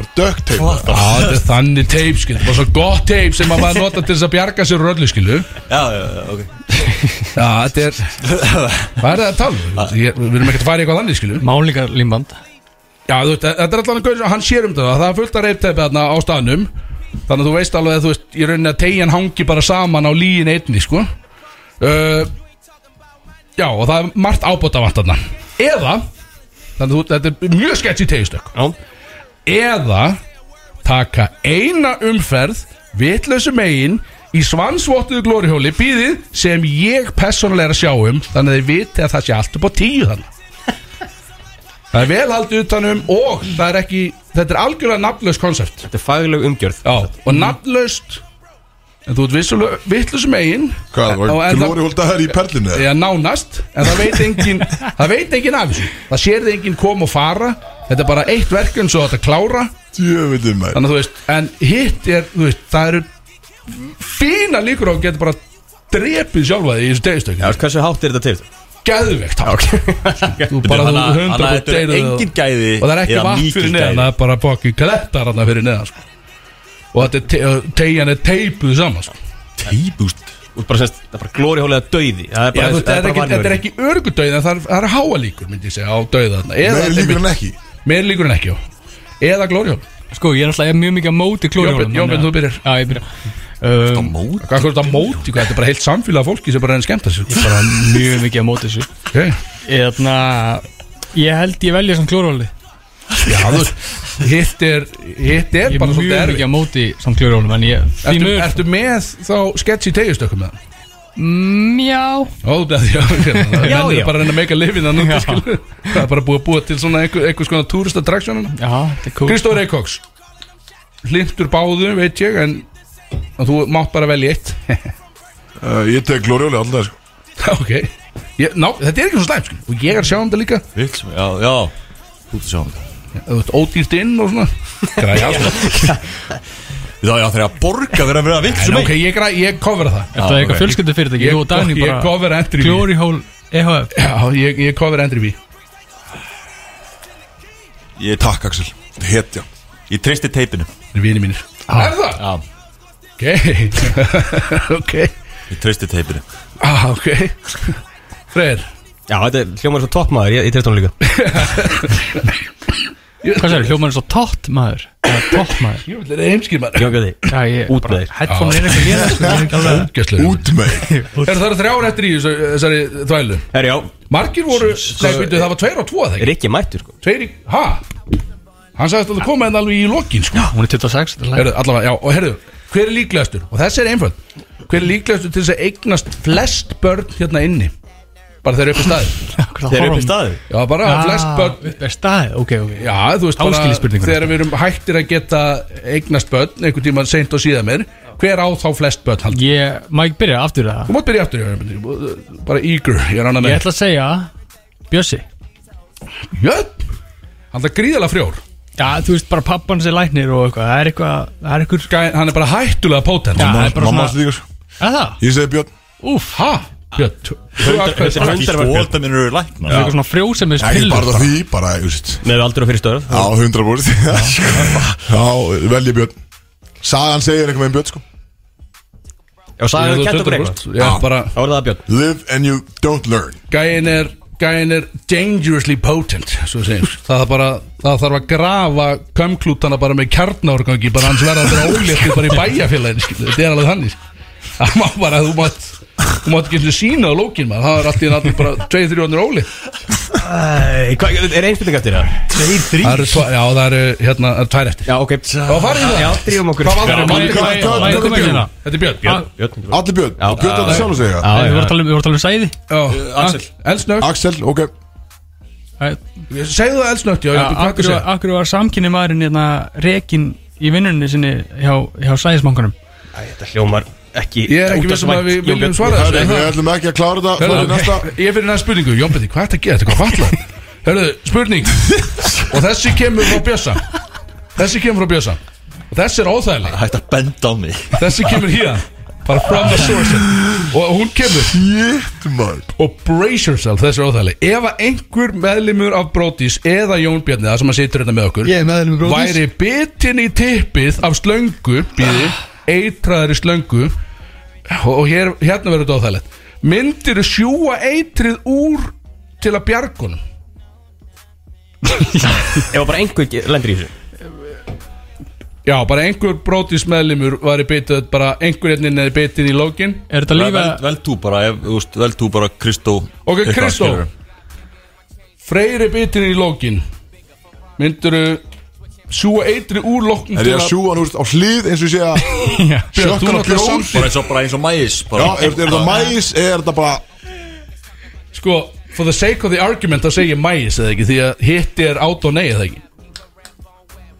Speaker 1: Bara dökk teip
Speaker 2: já, þetta er þannig teip skilur bara svo gott teip sem að maður nota til þess að bjarga sér úr öllu skilur
Speaker 4: Já, já, já, ok
Speaker 2: já, þetta
Speaker 4: *laughs*
Speaker 2: er hvað er það að tala? um? Ég- við erum ekkert að fara í eitthvað þannig skilur
Speaker 7: Málingar límband
Speaker 2: Já, þú veist, þetta er allan gaur, hann sér um þetta það er fullt að reypteipi þarna á staðnum þannig að þú veist alveg að þú veist, í rauninni að tegjan hangi bara saman á líin einni, sko uh, Já, og það er margt ábóta vant þarna eða, þannig að þú, þetta er mjög sketchy tegjastök
Speaker 3: Já.
Speaker 2: eða taka eina umferð vitlausu megin í svansvottuðu glórihjóli býðið sem ég persónulega er að sjá um þannig að þið viti að það sé allt upp á tíu þannig Það er vel haldið utanum og það er ekki, þetta er algjörlega nafnlaust konsept
Speaker 3: Þetta er fagleg umgjörð
Speaker 2: Já Og nafnlaust, en þú ert vissulega vittlusum eigin
Speaker 1: Hvað,
Speaker 2: Já,
Speaker 1: var
Speaker 2: Oh, en það-
Speaker 1: glóri hóldaður í perlinu? eða?
Speaker 2: eða nánast, en það veit engin, það veit engin af þessu Það sér þið engin kom og fara, þetta er bara eitt verkefn svo þetta klára
Speaker 1: Djöfullinn maður
Speaker 2: Þannig að þú veist, en hitt er, þú veist, það eru fína líkur á að geta bara drepið sjálfaði í þessu
Speaker 3: Já,
Speaker 2: degistökk
Speaker 3: veist hversu hátt er þetta til?
Speaker 2: Geðvegt hátt Þú bara þú
Speaker 4: Þannig að- þannig að
Speaker 2: 100%
Speaker 4: þetta er
Speaker 2: deyrið og-
Speaker 4: engin gæði
Speaker 2: og það er ekki
Speaker 4: eða
Speaker 2: vatn
Speaker 4: mikil
Speaker 2: fyrir neðan
Speaker 4: gæði.
Speaker 2: það er bara bókin klettar hann fyrir neðan sko. og þetta er te- og tegjan er teipuð saman sko.
Speaker 4: Típust
Speaker 3: Þú ert bara semst, það er bara glóri hólið að dauði Það
Speaker 2: Já,
Speaker 3: er bara,
Speaker 2: þú veist, það er
Speaker 3: bara
Speaker 2: ekki, þetta er
Speaker 3: vanvirðing.
Speaker 2: ekki örgudauð en það er, það er háa líkur myndi ég segja á dauða þarna Eða
Speaker 1: Meir
Speaker 2: þetta er
Speaker 1: líkur en
Speaker 2: mitt-
Speaker 1: ekki
Speaker 2: meiri líkur en ekki já. eða glórihjól
Speaker 7: Sko, ég er alltaf mjög mikið á móti
Speaker 2: Jón
Speaker 7: klórihjólum
Speaker 2: Björn- Jón Björn, þú byrjar.
Speaker 7: Já, ég byrjar um,
Speaker 4: Mót
Speaker 2: hvað er þetta á móti hvað þetta er bara heilt samfélag af fólki sem bara er enn skemmt þessu
Speaker 7: Ég er bara mjög mikið á móti þessu
Speaker 2: okay.
Speaker 7: Eðna, Ég held ég velja samt klórihjóli
Speaker 2: já þú veist hitt er hitt er
Speaker 7: Ég er
Speaker 2: bara
Speaker 7: mjög
Speaker 2: svolítið
Speaker 7: mikið
Speaker 2: erfið
Speaker 7: á móti samt klórihjólum En ég, því
Speaker 2: Ertu,
Speaker 7: mjög
Speaker 2: ertu með þá sketch í tegjastökkum með það?
Speaker 7: Já,
Speaker 2: Ó, það já, já, já.
Speaker 7: já.
Speaker 2: er bara að reyna að meika lifin að núna,
Speaker 7: Já.
Speaker 2: skilu. Það er bara búið að búa til svona einhver, einhvers konar túristattraksjónuna.
Speaker 7: já, þetta er cool
Speaker 2: Kristóf Reykjóks Lindur báðu, veit ég En en þú mátt bara velja eitt
Speaker 1: Uh, Ég tek glóri hólið alltaf sko.
Speaker 2: Ok ég, ná, Þetta er ekki svo slæm sko. Og ég er að sjá um þetta líka
Speaker 4: Vilt, já, já Út að sjá um þetta
Speaker 2: Þú veist, Ódýrt inn og svona *laughs* Græja sko.
Speaker 4: Já, já, þegar að borga fyrir að vera um vilt
Speaker 2: En
Speaker 4: sem
Speaker 2: Ok, ég, græ, ég cover það
Speaker 7: Þetta er eitthvað
Speaker 4: ok.
Speaker 7: fjölskyldu fyrirtæki
Speaker 2: Ég,
Speaker 7: Þú og Dani
Speaker 2: ég
Speaker 7: bara E
Speaker 2: cover entry fee
Speaker 7: Glórihjól EHF
Speaker 2: Já, ég, ég cover entry fee
Speaker 4: einn Ég takk Axel
Speaker 1: Hetja
Speaker 4: Ég treysti teipinu
Speaker 2: Það er vini mínir Er það?
Speaker 4: Já
Speaker 2: Ok *laughs* Ok
Speaker 4: Ég treysti teipinu
Speaker 2: ah, Ok *laughs* Freyr
Speaker 3: Já, þetta er hljómar svo toppmaður, ég, ég trefst hún líka
Speaker 7: Hvað sér, hljómaður svo tótt maður Já, tótt maður
Speaker 2: Ég vil leira heimskir maður
Speaker 3: Jón Gjöði
Speaker 7: Já, ég
Speaker 3: Út með þig.
Speaker 7: Headphone er eitthvað hér sko, ég er ekki alveg-
Speaker 2: Ógæslega
Speaker 1: Út með
Speaker 2: Er það þrjár eftir í þessu- þessari þvælu?
Speaker 3: Herri, já,
Speaker 2: Margir voru Nei, býttu, það var tveir og tvo þegar
Speaker 3: Rikki mættur sko
Speaker 2: Tveir í, ha? Hann sagðist að það koma en alveg í lokin sko.
Speaker 7: Hún er 26 þetta er læg.
Speaker 2: herðu, allavega, já, og herðu, hver er líklegastur? Og þessi er einföld Hver er líklegastur til þess að eignast flest börn hérna inni? Bara þeir eru upp í staði
Speaker 7: Hvað
Speaker 3: Þeir
Speaker 7: er
Speaker 3: eru upp
Speaker 7: horfum?
Speaker 3: í staðu
Speaker 2: Já, bara
Speaker 7: Ah,
Speaker 2: flest börn
Speaker 7: Upp er stað, ok, ok
Speaker 2: Já, þú veist
Speaker 7: Þá skil ég spurninguna.
Speaker 2: þegar við erum hættir að geta eignast börn einhvern tíma seint og síðan meir Hver á þá flest börn? Haldur?
Speaker 7: Ég, má ég byrja aftur það
Speaker 2: Þú mátt byrja aftur, ég er bara eager Ég er annað
Speaker 7: Ég
Speaker 2: með
Speaker 7: ætla að segja Bjössi
Speaker 2: Jöp, hann er gríðalega frjór
Speaker 7: Já, þú veist bara pappan sem er læknir og eitthvað Það er eitthvað, það er eitthvað
Speaker 2: Gæ- Hann er bara hættulega potent
Speaker 7: Já, það er bara
Speaker 1: Mamma
Speaker 7: svona
Speaker 1: slíkur
Speaker 7: Það það?
Speaker 1: Ég segi Björn
Speaker 2: Úf, ha? Björn, þú- þú
Speaker 3: Þetta er
Speaker 4: Ekki
Speaker 3: hundar var
Speaker 4: skóta minn eru lækna
Speaker 7: Það er eitthvað svona frjósemis
Speaker 1: Ekki
Speaker 7: pillur
Speaker 1: bara því Bara, þú veist
Speaker 3: Með aldur og fyrir stöðu
Speaker 1: *laughs* Já, 100 búrst Já, velji Björn Sagan segir eitthvað með Björn sko
Speaker 3: Já, sagði hann kent okkur eitthvað
Speaker 2: Já, bara
Speaker 3: Þá er það Björn
Speaker 1: Live and you don't learn
Speaker 2: Gæin er, gæin er dangerously potent svo segjum. það, er bara, það þarf að grafa kömklútana bara með kjarnárgangi bara hans verða þetta óléttið bara í bæjarfélagin þetta er alveg þannig sko. það má bara þú mátt þú mátt ekki einu sinni sína á lókin maður það er allt í náttúrulega bara 2-3 honir óli
Speaker 3: Æ, hvað- Er einspilning eftir það? Tveir, þrý
Speaker 2: það eru tva- já það eru hérna það eru tvær eftir
Speaker 3: Já, ok
Speaker 2: þá farið það
Speaker 3: Já, drífum okkur
Speaker 2: hvað var
Speaker 7: Já,
Speaker 2: það
Speaker 7: má ég- má ég- má ég koma inn hérna?
Speaker 2: þetta er Björn Björn
Speaker 3: Björn
Speaker 1: Allir Björn
Speaker 3: Já,
Speaker 1: Björn
Speaker 3: já,
Speaker 1: átti sjálf að segja
Speaker 7: Við vorum að tala um- við vorum að tala um sæði
Speaker 2: Já,
Speaker 4: Axel.
Speaker 2: eldsnögt
Speaker 1: Axel, ok
Speaker 7: Það-
Speaker 2: segðu það eldsnögt já, já,
Speaker 7: Já,
Speaker 2: hvað
Speaker 7: Akkur
Speaker 2: þú
Speaker 7: var,
Speaker 2: segir
Speaker 7: akkur var samkynni maðurinn hérna rekin í vinnunni sinni hjá, hjá sæðismangunum
Speaker 3: Þetta hljómar ekki
Speaker 2: ég er ekki vissum að við viljum svara
Speaker 1: Herri,
Speaker 2: þessu
Speaker 1: Við ætlum ekki að klára þetta
Speaker 2: Hörðu,
Speaker 1: Fyrir næsta
Speaker 2: Ég er fyrir næsta spurningu, Jón Bindi, hvað er þetta að gera? Þetta er hvað falla? Hörðu, spurning Og þessi kemur frá Bjössa Þessi kemur frá Bjössa Og þessi er óþægileg
Speaker 4: Hætti að benda á mig
Speaker 2: Þessi kemur hér Bara from the source Og hún kemur
Speaker 1: Shit, man
Speaker 2: Og brace yourself, þessi er óþægileg Ef að einhver meðlimur af Brótis Eða Jón Bjarni, það sem að situr hérna með okkur
Speaker 5: Ég er meðlum í bróðis
Speaker 2: Væri bitin í tippið af slöngu Býði, eitraðar í slöngu Og, og hér, hérna verður þetta óþægilegt Myndirðu sjúa eitrið úr Til að bjargunum
Speaker 3: Ef bara einhver ge- lendir í þessu
Speaker 2: Já, bara einhver brótis meðlimur Væri bitið, bara einhver hérna inni er bitin í lókin
Speaker 7: Er þetta
Speaker 4: Vel,
Speaker 7: lífa
Speaker 4: vel tú bara, ef, þú veist, vel tú bara Kristó
Speaker 2: Ok,
Speaker 4: eitthvað,
Speaker 2: Kristó.
Speaker 4: skilurðu.
Speaker 2: Freyri bitin í lókin Myndirðu sjúa eitrið úr lókin
Speaker 1: Er ég að sjúa hann úr á hlið eins og ég sé að
Speaker 2: Þú
Speaker 1: Sjökkan á
Speaker 2: náttúrulega
Speaker 1: bjór
Speaker 2: samt-
Speaker 4: Bara eins og, bara eins og mæs
Speaker 1: Já,
Speaker 4: bara,
Speaker 1: er, er það mæs eða er það bara
Speaker 2: Sko, for the sake of the argument þá segi ég mæs eða ekki því að hitti er át og nei eða ekki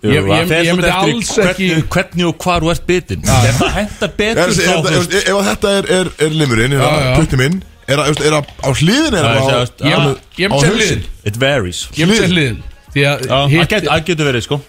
Speaker 4: Jú,
Speaker 2: ég-
Speaker 4: það
Speaker 2: ég-
Speaker 4: fer
Speaker 2: ég myndi
Speaker 4: svolítið eftir í
Speaker 2: alls
Speaker 4: hvernig,
Speaker 2: ekki-
Speaker 4: hvernig og hvar þú ert bitin Ef það hendar
Speaker 1: er,
Speaker 4: betur
Speaker 1: er,
Speaker 4: þá
Speaker 1: er,
Speaker 4: þú
Speaker 1: er,
Speaker 4: veist,
Speaker 1: ef, ef að þetta er, er, er limurinn, er
Speaker 2: Já, já.
Speaker 1: það puttum inn Er það er það á hliðin er
Speaker 4: Já,
Speaker 1: það
Speaker 4: ég
Speaker 1: á
Speaker 4: segi að-
Speaker 2: Ég- Ég myndi segja hliðin
Speaker 4: It varies
Speaker 2: Ég myndi segja hliðin Því að
Speaker 4: Já, Það
Speaker 2: hitt
Speaker 4: get- það getur verið sko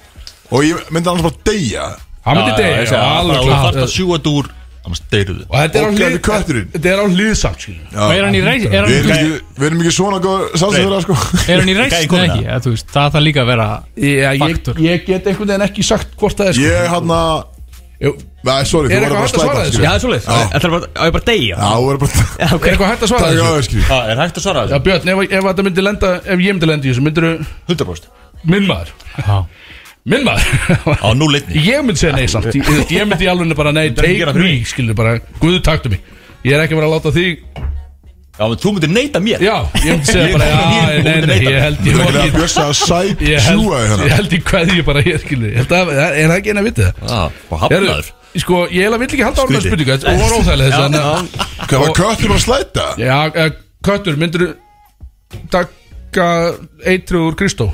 Speaker 1: Og ég myndi annars bara deyja
Speaker 2: Hann myndi
Speaker 4: Já, já, ég
Speaker 2: degja
Speaker 4: segi að
Speaker 2: alveg
Speaker 4: bara Þú þarfst að
Speaker 2: klart
Speaker 4: sjúa þetta úr Annars deyru þið
Speaker 2: Og þetta er á
Speaker 1: Og
Speaker 2: hlið
Speaker 1: gerði kötturinn.
Speaker 2: Þetta er á hlýðsamt skilur
Speaker 7: Og er hann í reis Er
Speaker 1: Við erum
Speaker 7: hann,
Speaker 1: ekki, við erum ekki svona góð sástæður sko.
Speaker 7: er hann í reis
Speaker 4: Gæi
Speaker 7: Nei
Speaker 4: kominn,
Speaker 7: ekki, eða, þú veist, það þarf líka að vera
Speaker 2: Já, ég,
Speaker 7: Faktur.
Speaker 2: ég get einhvern veginn ekki sagt hvort það er sko.
Speaker 1: Ég hann að
Speaker 2: Jú,
Speaker 1: Nei, sorry, þú
Speaker 2: Er
Speaker 1: verður bara
Speaker 2: eitthvað hægt að
Speaker 1: slæta
Speaker 2: svara þessu?
Speaker 1: skilur.
Speaker 3: Já, það er svolítið
Speaker 1: Já.
Speaker 3: Það er bara, á ég bara degja
Speaker 1: Já, þú verður bara
Speaker 2: Er eitthvað hægt að svara
Speaker 1: Takk á
Speaker 2: þessu?
Speaker 1: þessu
Speaker 4: Já, er hægt að svara
Speaker 2: Já,
Speaker 4: þessu?
Speaker 2: Björn, ef, ef þetta myndi lenda Ef ég myndi lenda í þessu, myndir
Speaker 4: 100%
Speaker 2: Minn maður
Speaker 7: Já.
Speaker 2: Minn maður
Speaker 4: Á núleitni
Speaker 2: Ég myndi segja nei samt Ég, ég myndi í alveg bara nei
Speaker 4: er ekki að
Speaker 2: Take
Speaker 4: gera
Speaker 2: me, skilur bara Guð taktu mig Ég er ekki að vera að láta þig
Speaker 4: Já, menn þú myndir neita mér
Speaker 2: Já, ég myndi segja bara Já,
Speaker 4: Ég-
Speaker 2: nei, nei, ég held
Speaker 1: Þú
Speaker 2: Ég
Speaker 1: verður að
Speaker 2: held
Speaker 1: bjösa að sæt
Speaker 2: Ég
Speaker 1: sjúa
Speaker 2: held,
Speaker 1: þig
Speaker 2: ég
Speaker 1: hérna
Speaker 2: held í kveðju bara hér skilur Ég held að, er það ekki eina vitið það?
Speaker 4: Já, og
Speaker 2: Heru,
Speaker 4: hafnaður
Speaker 2: sko, ég held að vill ekki halda ára með
Speaker 4: Skrítið.
Speaker 2: spurningu Þetta var óþægileg þess að
Speaker 1: Hvað var köttur að slæta?
Speaker 2: Já, eh, Köttur, myndir taka eitru úr Kristó?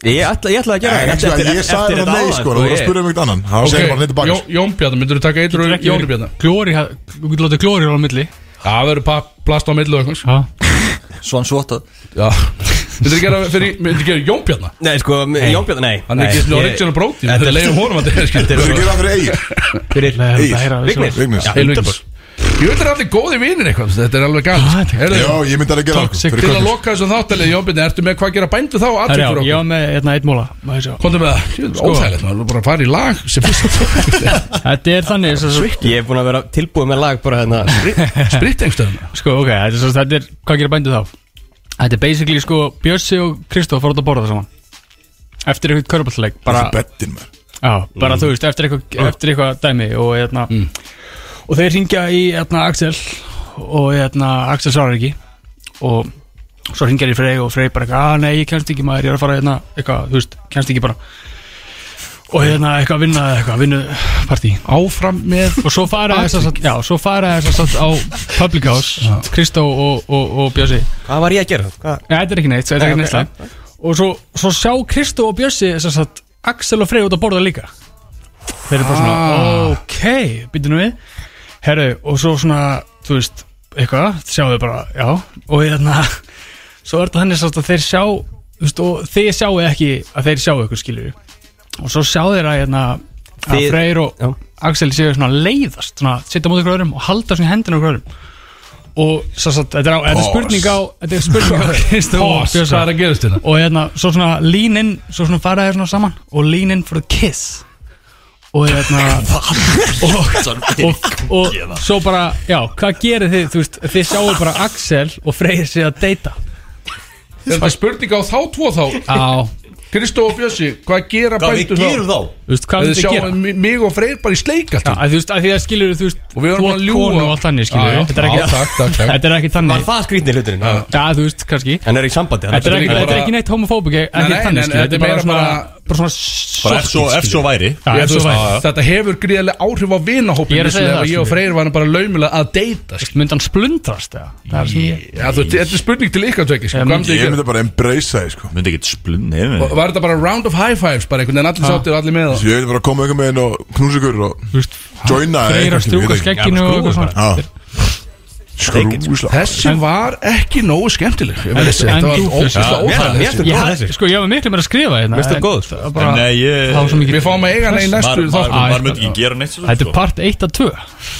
Speaker 3: Ég ætla, ég ætla að gera
Speaker 1: Nei,
Speaker 3: það
Speaker 1: sko, Ég sagði það nei sko, þú verður að spurja um eitt annan Það segir bara neitt sko. tilbaka
Speaker 2: Jón- Jón Bjarnar, myndir taka eitru úr Jóni Bjarnar?
Speaker 7: Glóri, þú getur látið glóri á milli
Speaker 2: Það verður pa- plast á millu og eitthvað
Speaker 7: Já
Speaker 4: Svansvota
Speaker 2: Já Myndir gera, fyrir, myndir gera Jón Bjarnar?
Speaker 3: Nei, sko, Jón Björn, nei
Speaker 2: Hann er ekki svona
Speaker 3: Ég-
Speaker 2: original bróti
Speaker 3: Þetta
Speaker 2: Þetta
Speaker 3: er-
Speaker 2: leiðum honum að þetta
Speaker 1: Þú verður að gera það fyrir eigin
Speaker 3: Fyrir
Speaker 7: Nei, það er að-
Speaker 3: Vignir
Speaker 1: Vignis
Speaker 2: Helvingis Ég veit að það er allir góði vinir eitthvað Þetta er alveg
Speaker 7: Já,
Speaker 2: galt
Speaker 7: þetta er-
Speaker 1: Já,
Speaker 2: Heyrðu,
Speaker 1: ég myndi alveg að gera það sko,
Speaker 7: Toxic
Speaker 1: fyrir
Speaker 2: Til að
Speaker 1: köttur.
Speaker 2: loka þessum þáttalið Jónbjörn, ertu með hvað gera bændu þá
Speaker 7: Herra, Sko.
Speaker 2: Aðtökur
Speaker 7: já, ég
Speaker 2: okkur
Speaker 7: var með einna eitt móla Má ég sjá.
Speaker 2: Kondum með það Jú, Óþægilegt, maður er bara að fara í lag sem fyrst
Speaker 7: *laughs* Þetta er þannig svo, svo,
Speaker 3: Ég hef búin að vera tilbúið með lag bara hérna
Speaker 2: Spritt engstöðum
Speaker 7: Sko, ok, þetta er, svo, þetta er Hvað gerir bændu þá? Þetta er basically sko Bjössi og Kristof fór út að borða saman Eftir eitthvað körbállleik Bara
Speaker 1: Fyrir bettin maður
Speaker 7: Já, bara
Speaker 2: Mm.
Speaker 7: þú veist, eftir eitthvað, eftir eitthvað dæmi og, eitna, og þeir ringja í eitna, Axel og eitna, Axel svarar ekki og svo ringjar ég Frey og Frey bara eitthvað, að nei, ég kemst ekki maður, ég er að fara eitna, eitthvað, þú veist, kemst ekki bara og eitna, eitthvað að vinna eitthvað, vinnu partí
Speaker 2: Áfram með
Speaker 7: og svo fara þess að, já, svo fara þess að á Public House, Kristó og, og, og Bjössi
Speaker 3: Hvað var ég að gera? Hvað?
Speaker 7: Nei, þetta er ekki neitt, þetta er
Speaker 3: Nei,
Speaker 7: ekki
Speaker 3: ok,
Speaker 7: neitt slæmt Og svo, svo sjá Kristó og Bjössi sem sagt, Axel og Frey út að borða líka Þeir eru
Speaker 3: Ah.
Speaker 7: bara svona Ok, býtum við Herru, og svo svona, þú veist Eitthvað, sjáum við bara, já Og hérna, *laughs* svo er þetta þannig sem sagt að þeir sjá þú veist, Og þeir sjáu ekki að þeir sjáu eitthvað skilur Og svo sjá þeir að hérna að
Speaker 3: Þið-
Speaker 7: Freyr og
Speaker 3: Já.
Speaker 7: Axel séu svona að leiðast svona, sitja á móti hverjum og halda svona í hendina hverjum og svo satt, þetta er, á, þetta er spurning á þetta er
Speaker 2: *laughs*
Speaker 7: spurning á Kristó og
Speaker 2: Pós, hvað
Speaker 7: Björsa
Speaker 2: er að gerast hérna?
Speaker 7: og hérna, svo svona lean in svo svona fara þér svona saman og lean in for the kiss og
Speaker 2: *laughs*
Speaker 7: hérna og, og, og svo bara, já, hvað gerir þið þú veist, þið sjáu bara Axel og Freyr sig að deyta
Speaker 2: Er þetta spurning á þá tvo þá?
Speaker 7: á,
Speaker 2: Kristó og Bjössi, hvað gera
Speaker 4: Hvað við
Speaker 2: bændu þá?
Speaker 4: gerum þá?
Speaker 7: þú veist, hvað
Speaker 2: Að
Speaker 7: er
Speaker 2: Þið
Speaker 7: þið að
Speaker 2: sjáum
Speaker 7: gera
Speaker 2: mi- mig og Freyr bara í sleik
Speaker 7: Já,
Speaker 2: alltaf
Speaker 7: að þú veist, að því að skilur þú veist,
Speaker 2: Og við
Speaker 7: þú
Speaker 2: erum að
Speaker 7: ert
Speaker 2: ljúga
Speaker 7: konu og allt þannig skilur
Speaker 2: Já, já,
Speaker 7: þetta er
Speaker 2: já, takk, takk,
Speaker 7: ekki,
Speaker 2: takk.
Speaker 7: þetta er ekki
Speaker 3: Var
Speaker 7: þannig
Speaker 3: það skrýtnir hluturinn?
Speaker 7: já, þú veist, kannski
Speaker 3: En er í sambandi hann
Speaker 7: Þetta
Speaker 2: er
Speaker 7: er ekki,
Speaker 2: líka
Speaker 7: þetta er
Speaker 2: bara-
Speaker 7: ekki neitt homofóbik
Speaker 2: Nei,
Speaker 7: ekki
Speaker 2: nei,
Speaker 7: þannig,
Speaker 2: nei,
Speaker 7: skilur,
Speaker 2: þetta er
Speaker 7: þetta er bara
Speaker 2: meira
Speaker 7: svona
Speaker 2: bara-
Speaker 7: bara svona
Speaker 4: Bara
Speaker 7: soft,
Speaker 4: ef svo- ef svo væri
Speaker 7: Já,
Speaker 2: Ég,
Speaker 7: ef
Speaker 2: þú
Speaker 7: svo
Speaker 2: veist,
Speaker 7: væri.
Speaker 2: Þetta hefur gríðarlega áhrif á vinahópin
Speaker 7: Ég er að segja
Speaker 2: Ég
Speaker 7: það,
Speaker 2: og
Speaker 7: skilur.
Speaker 2: Freyr varum bara laumulega að deyta skilur.
Speaker 7: myndi hann splundrast eða? það er sem ég
Speaker 2: Já, þú- Þetta er spurning til ykkar tvekki sko,
Speaker 7: Ég
Speaker 2: hvað
Speaker 1: Ég
Speaker 2: myndið þið gera?
Speaker 1: myndi bara embrace það sko
Speaker 4: Myndi ekki splunni Nei, nei,
Speaker 2: Og Var þetta bara round of high fives bara einhvern veginn allir sáttir og allir með
Speaker 1: Ég myndi bara að koma eitthvað með henn og knúsa ykkur og
Speaker 7: Þú veist,
Speaker 1: joina eða
Speaker 7: Freyr að
Speaker 1: eitthvað, skilur, ég
Speaker 7: strjúka
Speaker 1: veit ekki.
Speaker 7: skegginu og eitthvað svona
Speaker 1: Já. Skrúsla
Speaker 2: Þessi var ekki nógu skemmtileg Ég verð að segja,
Speaker 7: En
Speaker 2: Þetta var
Speaker 7: þú-
Speaker 2: ógæslega
Speaker 11: Já, mér-
Speaker 2: óþægileg
Speaker 11: mér-
Speaker 2: þessi.
Speaker 11: mér-
Speaker 7: Ég,
Speaker 11: góð
Speaker 7: haf-
Speaker 11: þessi.
Speaker 7: sko, ég var miklu meir að skrifa hérna
Speaker 11: Mér finnst það
Speaker 7: en
Speaker 11: góð,
Speaker 7: það var bara-
Speaker 4: Nei, ég
Speaker 7: Það var svo mikið
Speaker 2: Við fáum að eiga hana í næstu
Speaker 4: Maður-
Speaker 2: þátt
Speaker 4: maður-
Speaker 7: Æ,
Speaker 4: Maður myndi ekki gera neitt svo
Speaker 7: Þetta er part 1 af 2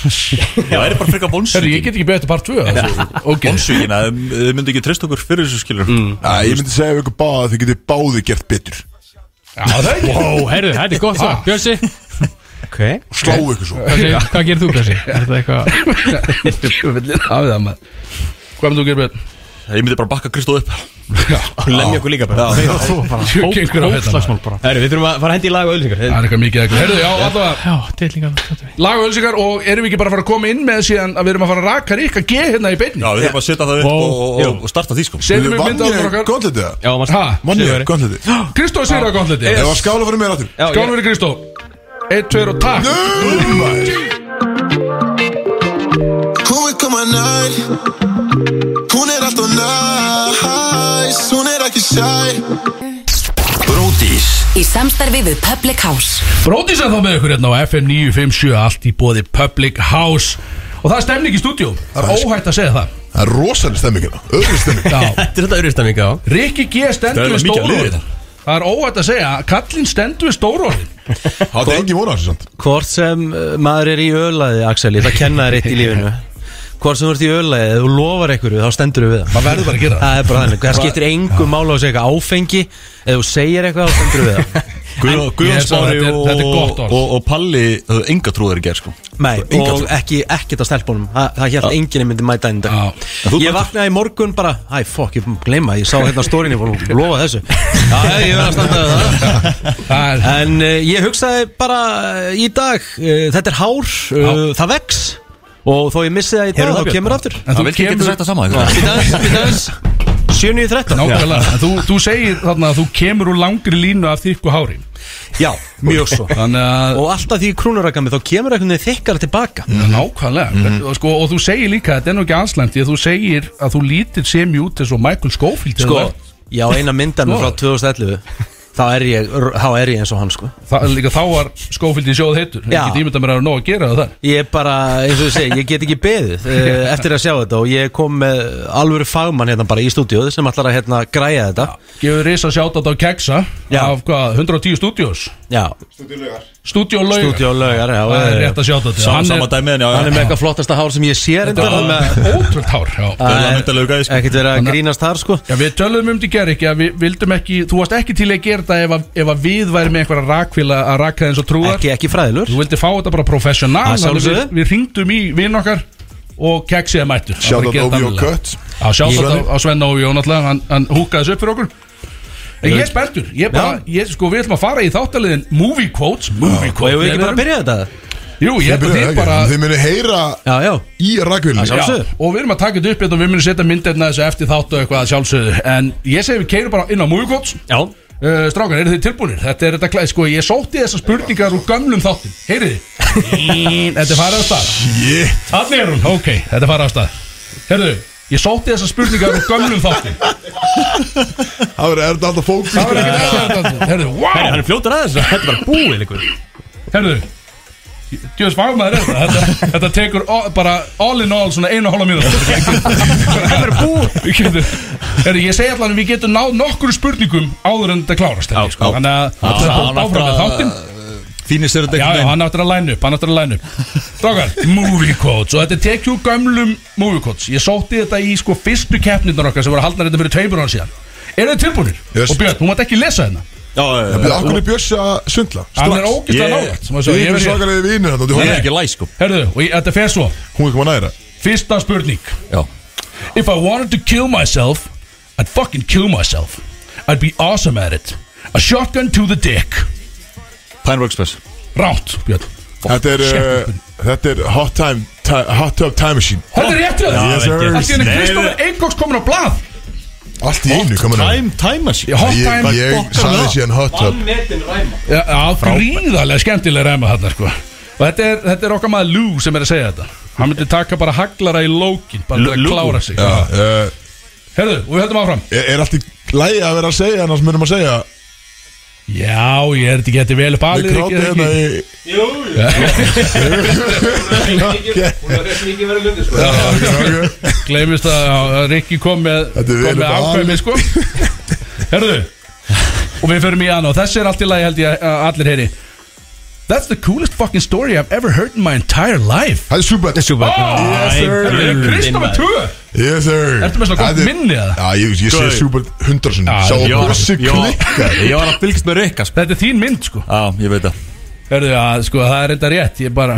Speaker 4: Ég væri bara frekar
Speaker 2: Herri, ég
Speaker 4: vonsvíkin
Speaker 2: get ekki beðið þetta part 2 altså. Ok,
Speaker 4: Vonsvíkin að þið myndi ekki treyst okkur fyrir þessu skilur
Speaker 1: Æ, ég myndi segja við ykkur báða að þið getið báði gert betur
Speaker 2: já, það er ekki
Speaker 7: Ó, herru, þetta er gott
Speaker 2: Ah.
Speaker 7: það Björsi,
Speaker 11: Ok
Speaker 1: og sláu ykkur svo
Speaker 7: hvað segir- hvað gerir þú Björsi? Er þetta
Speaker 2: *laughs*
Speaker 7: eitthvað
Speaker 2: Ég vil *laughs* lina af það maður Hvað með þú gerir beðið?
Speaker 4: Ég myndi bara bakka Kristóð upp
Speaker 11: Lemja okkur líka bara
Speaker 2: Ég gengur á hérna. þetta,
Speaker 7: Hófslagsmál bara
Speaker 11: Herru, við þurfum að fara að hendi í lag og
Speaker 2: Það
Speaker 11: ölsingar
Speaker 2: er eitthvað mikið eitthvað Herri, já, allavega
Speaker 7: Já, tillinga Þetta
Speaker 2: Lag og ölsingar og erum við ekki bara að fara að koma inn með síðan að við erum að fara að raka ríka G hérna í beinni
Speaker 4: Já, við þurfum að setja það upp
Speaker 7: Wow.
Speaker 4: og- og- og- og starta því sko
Speaker 2: Setjum við
Speaker 1: Vann
Speaker 2: mynda á
Speaker 1: ég
Speaker 2: okkar
Speaker 1: gondliti það?
Speaker 11: Já, maður
Speaker 2: Ha,
Speaker 1: Vann ég gondliti? Ég
Speaker 2: Kristóð sigur að gondliti
Speaker 1: var að skála fyrir mér áttur
Speaker 11: Já,
Speaker 2: Skálum við Kristóð 1, 2 og takk
Speaker 12: Hún vil koma nær Hún er allt og næs Hún er ekki sær
Speaker 6: Í samstarfi við Public House
Speaker 2: Bróðis er þá með ykkur hérna á FM 957 Allt í bóði Public House Og það er stemning í stúdíu Það er óhætt að segja það
Speaker 1: Það er rosalega stemmingina Öðru stemming hérna.
Speaker 2: Já,
Speaker 11: Þetta er þetta öðru stemming á
Speaker 2: Rikki G stendur
Speaker 4: Það er
Speaker 2: við
Speaker 4: mikið að
Speaker 2: stóróðin
Speaker 4: liða.
Speaker 2: Það er óhætt að segja að Kallinn stendur við stóróðin
Speaker 1: Það er engin vona þessu samt
Speaker 3: Hvort sem uh, maður er í ölaði Axel, ég ætla að kenna þér eitt í lífinu Hvort sem þú ert í ölaði, ef þú lofar einhverju þá stendur við það
Speaker 2: Maður verður bara að gera það
Speaker 3: Það er bara þannig, það skiptir engum mála að segja eitthvað áfengi Ef þú segir eitthvað, þá stendur við það
Speaker 4: Guðjón-
Speaker 2: Ég
Speaker 4: Guðjón
Speaker 2: hef sagt,
Speaker 4: Smári
Speaker 2: þetta er- þetta er
Speaker 4: og,
Speaker 2: gott orð.
Speaker 4: og, og Palli höfðu enga trúðar í gerð sko
Speaker 3: Nei,
Speaker 1: Enga
Speaker 3: og
Speaker 1: trú.
Speaker 3: ekki, ekkert á stelpunum Það, það hjælt enginn myndi mæta enn dag
Speaker 2: Já.
Speaker 4: En þú
Speaker 3: Ég
Speaker 4: mættir?
Speaker 3: vaknaði í morgun bara, æ, fokk, ég búin að gleyma Ég sá hérna stórinni, ég búin að lofa þessu Já, ég verð að standa við það
Speaker 2: Það er
Speaker 3: En uh, ég hugsaði bara uh, í dag uh, Þetta er hár, uh, það vex Og þó ég missi það í dag,
Speaker 11: Heyrðu það,
Speaker 3: þá
Speaker 11: Björn?
Speaker 3: kemur aftur
Speaker 2: En
Speaker 4: Það
Speaker 2: þú
Speaker 4: vil ekki geta
Speaker 2: kemur
Speaker 4: sagt það sama einhvern veginn.
Speaker 3: Býta aðeins, býta *laughs* aðeins 7.13
Speaker 2: Nákvæmlega, en þú, þú segir þarna að þú kemur úr langri línu af þykku hári
Speaker 3: Já, mjög svo
Speaker 2: Þannig að,
Speaker 3: *laughs* Og alltaf því krúnurakami þá kemur einhvern veginn þykkara tilbaka
Speaker 2: nákvæmlega og, sko, og þú segir líka, þetta er nú ekki anslæmt Því að þú segir að þú lítir semi út eins og Michael Schofield
Speaker 3: Sko,
Speaker 2: þegar þú ert-
Speaker 3: já, eina myndan frá 2011 Þá er ég, þá er ég eins og hann sko
Speaker 2: það, líka, Þá var Schofield í sjóð heitur Ég
Speaker 3: Já.
Speaker 2: get ímynda mér að það er nóg að gera það
Speaker 3: Ég er bara, eins og ég segi, ég get ekki *laughs* beðið eh, Eftir að sjá þetta og ég kom með Alvöru fagmann hérna bara í stúdíóð Sem ætlar að hérna græja þetta
Speaker 2: Gefur risa sjátt á keksa
Speaker 3: Já.
Speaker 2: Af hvað, 110 stúdíós
Speaker 3: Já,
Speaker 2: Stúdíó laugar
Speaker 3: stúdíó laugar já,
Speaker 2: Það er
Speaker 3: eh,
Speaker 2: rétt að sjátt á
Speaker 4: Sama- Sama dæmi en já,
Speaker 3: Hann er
Speaker 4: já
Speaker 3: með eitthvað flottasta hár sem ég sé reyndar, þannig að-
Speaker 2: Ótrúld hár, já
Speaker 3: Það er
Speaker 4: myndarlegur gæði, sko.
Speaker 3: Ekkert verið að grínast þar sko
Speaker 2: Já, við töluðum um þetta í gerð ekki að við vildum ekki, þú varst ekki til í að gera þetta ef, að- ef að við væri með einhverja rakvila að rakka eins og trúar
Speaker 3: Ekki, ekki fræðilur
Speaker 2: Þú vildi fá þetta bara professional
Speaker 3: Að
Speaker 2: þannig við,
Speaker 3: sjálfsögðu.
Speaker 2: við ringdum í vinn okkar og keksiði mættur
Speaker 1: Sjátt að Óvi og Kött
Speaker 2: Já, sjátt á Svenna Óvi og náttúrulega hann, hann húkaði þessu upp fyrir okkur En ég er spenntur, ég bara, ég, sko, við ætlum að fara í þáttaliðin Movie Quotes, Movie
Speaker 3: Og hefur
Speaker 2: Quotes
Speaker 3: við ekki bara að byrja þetta?
Speaker 2: Jú, ég held að þið bara
Speaker 1: Þið munu heyra
Speaker 3: Já, já
Speaker 1: í rakvilni
Speaker 3: Já,
Speaker 2: Já,
Speaker 3: Sjálfsögðu.
Speaker 2: og við erum að taka þetta upp hérna og við munum setja myndirna þessu eftir þátt og eitthvað að sjálfsögðu En ég segi við keirum bara inn á Movie Quotes
Speaker 11: Já
Speaker 2: uh, Strákar, eru þið tilbúinir? Þetta er þetta klæð, sko, ég sótti þessar spurningar úr gamlum þáttum Heyrið þið? þetta er farið á stað
Speaker 1: Yeah.
Speaker 2: Þannig er hún, ok, þetta er farið á stað Herðu, ég sótti þessar spurningar úr gamlum þáttum
Speaker 1: Það verður erða alltaf fókus
Speaker 2: Það var ekkert aðeins þáttum Herðu,
Speaker 11: Herru, hann
Speaker 2: wow,
Speaker 11: er fljótur aðeins Þetta er bara búið líkur
Speaker 2: herðu Djóðs fagmaður er þetta Þetta, þetta tekur all, bara all in all svona einu og hálfa mínúti
Speaker 11: Þetta er búið
Speaker 2: Við getum- Herri, ég segi allan að við getum náð nokkur spurningum áður en þetta klárast held ég, sko.
Speaker 4: já.
Speaker 2: Þannig að þetta er
Speaker 4: hann
Speaker 2: bótt áfram með
Speaker 4: átti að-
Speaker 2: þáttinn
Speaker 4: Þínir sér
Speaker 2: Já,
Speaker 4: þetta
Speaker 2: já,
Speaker 4: einhvern veginn
Speaker 2: hann áttur að læna upp, hann áttur að læna upp Strákar, movie quotes Og þetta er tekið úr gömlum movie quotes Ég sótti þetta í sko fyrstu keppnirnar okkar sem voru haldnar þetta fyrir tveimur ára síðan Eru þið tilbúinir?
Speaker 1: Yes.
Speaker 2: Og Björn, þú mátt ekki lesa hérna
Speaker 4: Já, já, já
Speaker 1: Akkur er Björs að svindla
Speaker 2: Hann
Speaker 1: Strax.
Speaker 2: er ógæslega
Speaker 4: Ég-
Speaker 2: nálægt sem að
Speaker 1: Við
Speaker 2: segja, ég
Speaker 1: erum
Speaker 2: verð hér.
Speaker 1: svakalegi vinir þetta
Speaker 4: Hún
Speaker 1: Hún
Speaker 4: er ekki læg sko
Speaker 2: Herðu, og ég- þetta fer svo
Speaker 1: er koma næra
Speaker 2: Fyrsta spurning
Speaker 4: Já
Speaker 2: If I wanted to kill myself, I'd fucking kill myself. I'd be awesome at it. A shotgun to the dick.
Speaker 4: Pine Workspace
Speaker 2: Ránt, Björn.
Speaker 1: Þetta er uh, Þetta er Hot Time ti- Hot Tub Time Machine
Speaker 2: Þetta er rétt að
Speaker 1: Yes, sir.
Speaker 2: Það sé henni
Speaker 4: Nei,
Speaker 2: Kristófur Eikóks komin á blað.
Speaker 1: Allt í einu komin að
Speaker 4: Time, time machine
Speaker 2: Ég hot
Speaker 1: Ég,
Speaker 2: time.
Speaker 1: ég sagði síðan Hot Tub
Speaker 2: Já, já, gríðarlega skemmtilega ræma þarna, sko. Og þetta er, þetta er okkar maður Lou sem er að segja þetta. Hann myndi taka bara haglara í lókin, bara til að
Speaker 4: Lou?
Speaker 2: klára sig.
Speaker 1: Já, uh,
Speaker 2: Herðu, og við höldum áfram.
Speaker 1: Er er allt í lægi að vera að segja Annars munum að segja
Speaker 2: Já, ég er þetta ekki þetta er vel upp alið
Speaker 1: Við krátið hérna í
Speaker 2: Jú,
Speaker 1: *laughs*
Speaker 2: jú Gleimist að að Rikki kom með
Speaker 1: vel
Speaker 2: kom með
Speaker 1: upp á
Speaker 2: ákvæmi sko Herðu Og við förum í annað og þessi er allt í lagi held ég að allir heyri That's the coolest fucking story I've ever heard in my entire life
Speaker 1: Það er súbætt
Speaker 2: Það er súbætt
Speaker 1: Oh, Yes, sir.
Speaker 2: Kristoffer 2
Speaker 1: Yes sir
Speaker 2: Ertu með svona gott
Speaker 1: Þetta er-
Speaker 2: minni, eða?
Speaker 1: Já, ég, ég sé
Speaker 2: Gaur.
Speaker 1: súbært hundra sinni
Speaker 2: Já,
Speaker 1: Sá
Speaker 2: ég var-
Speaker 1: brossi
Speaker 2: ég var-
Speaker 1: klikkar
Speaker 2: ég var
Speaker 1: að fylgst með reyka
Speaker 2: Þetta er þín mynd sko
Speaker 4: Já, ég veit það
Speaker 2: Hörðu að sko það er þetta rétt Ég bara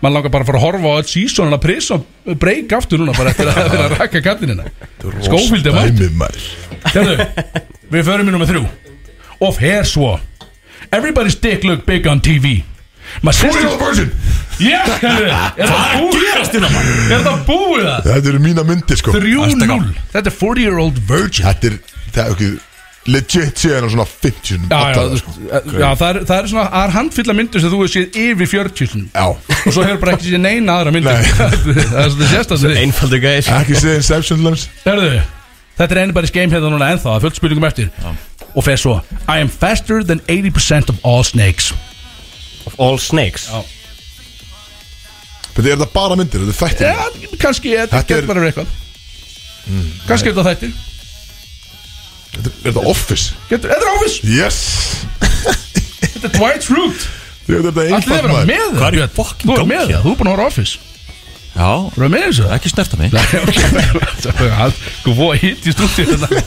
Speaker 2: Man langar bara að fara að horfa á öll sísonuna Prisa breyk aftur núna Bara eftir að *laughs* það vera að rakka kattinina Skófild er mætt Hörðu Við förum í nummer þrjú Of hair svo Everybody's dick look big on TV My sister version Já, *laughs* hörðu Er hérna, það búið gerast innan Er það búið það
Speaker 1: Þetta eru mína myndir sko
Speaker 2: 3-0 Þetta er 40 year old virgin
Speaker 1: Þetta er, það er ekki Legit séðan á svona 50 sinum
Speaker 2: Já, já,
Speaker 1: allar,
Speaker 2: þú- eh,
Speaker 1: sko.
Speaker 2: já það, er, það er svona Það er handfylla myndir sem þú hefur séð yfir 40 sinum.
Speaker 1: Já
Speaker 2: Og svo hefur bara ekki séð neina aðra myndir *laughs* Það er svona sérstæðan við
Speaker 3: Einfaldur gæðis
Speaker 1: Ekki séð Inception lands
Speaker 2: Hörðu, þetta er anybody's game hérna núna ennþá Það er fullt spurningum eftir Og fer svo I am faster than 80% of all snakes
Speaker 3: Of all snakes
Speaker 2: Já
Speaker 1: Þetta er það bara myndir, þetta er þættir
Speaker 2: Já, kannski Þetta
Speaker 1: Þetta er-
Speaker 2: getur bara verið eitthvað Kannski er þetta þættir
Speaker 1: Þetta er- Er það Office?
Speaker 2: Getur- Þetta er office
Speaker 1: Yes
Speaker 2: Þetta er Dwight's Root
Speaker 1: Ég veit að þetta er
Speaker 2: Allir
Speaker 1: einfalt
Speaker 2: vera
Speaker 1: maður
Speaker 2: með það
Speaker 4: Hvað er ég
Speaker 2: Björn.
Speaker 4: fucking
Speaker 2: Þú er
Speaker 4: gangi
Speaker 2: með það,
Speaker 4: hérna?
Speaker 2: þú er búin að horfa á office
Speaker 4: Já,
Speaker 2: Þú er með
Speaker 4: *laughs*
Speaker 2: þessu
Speaker 4: ekki snerta mig
Speaker 2: Hvað fóða hitt í stúdíu þetta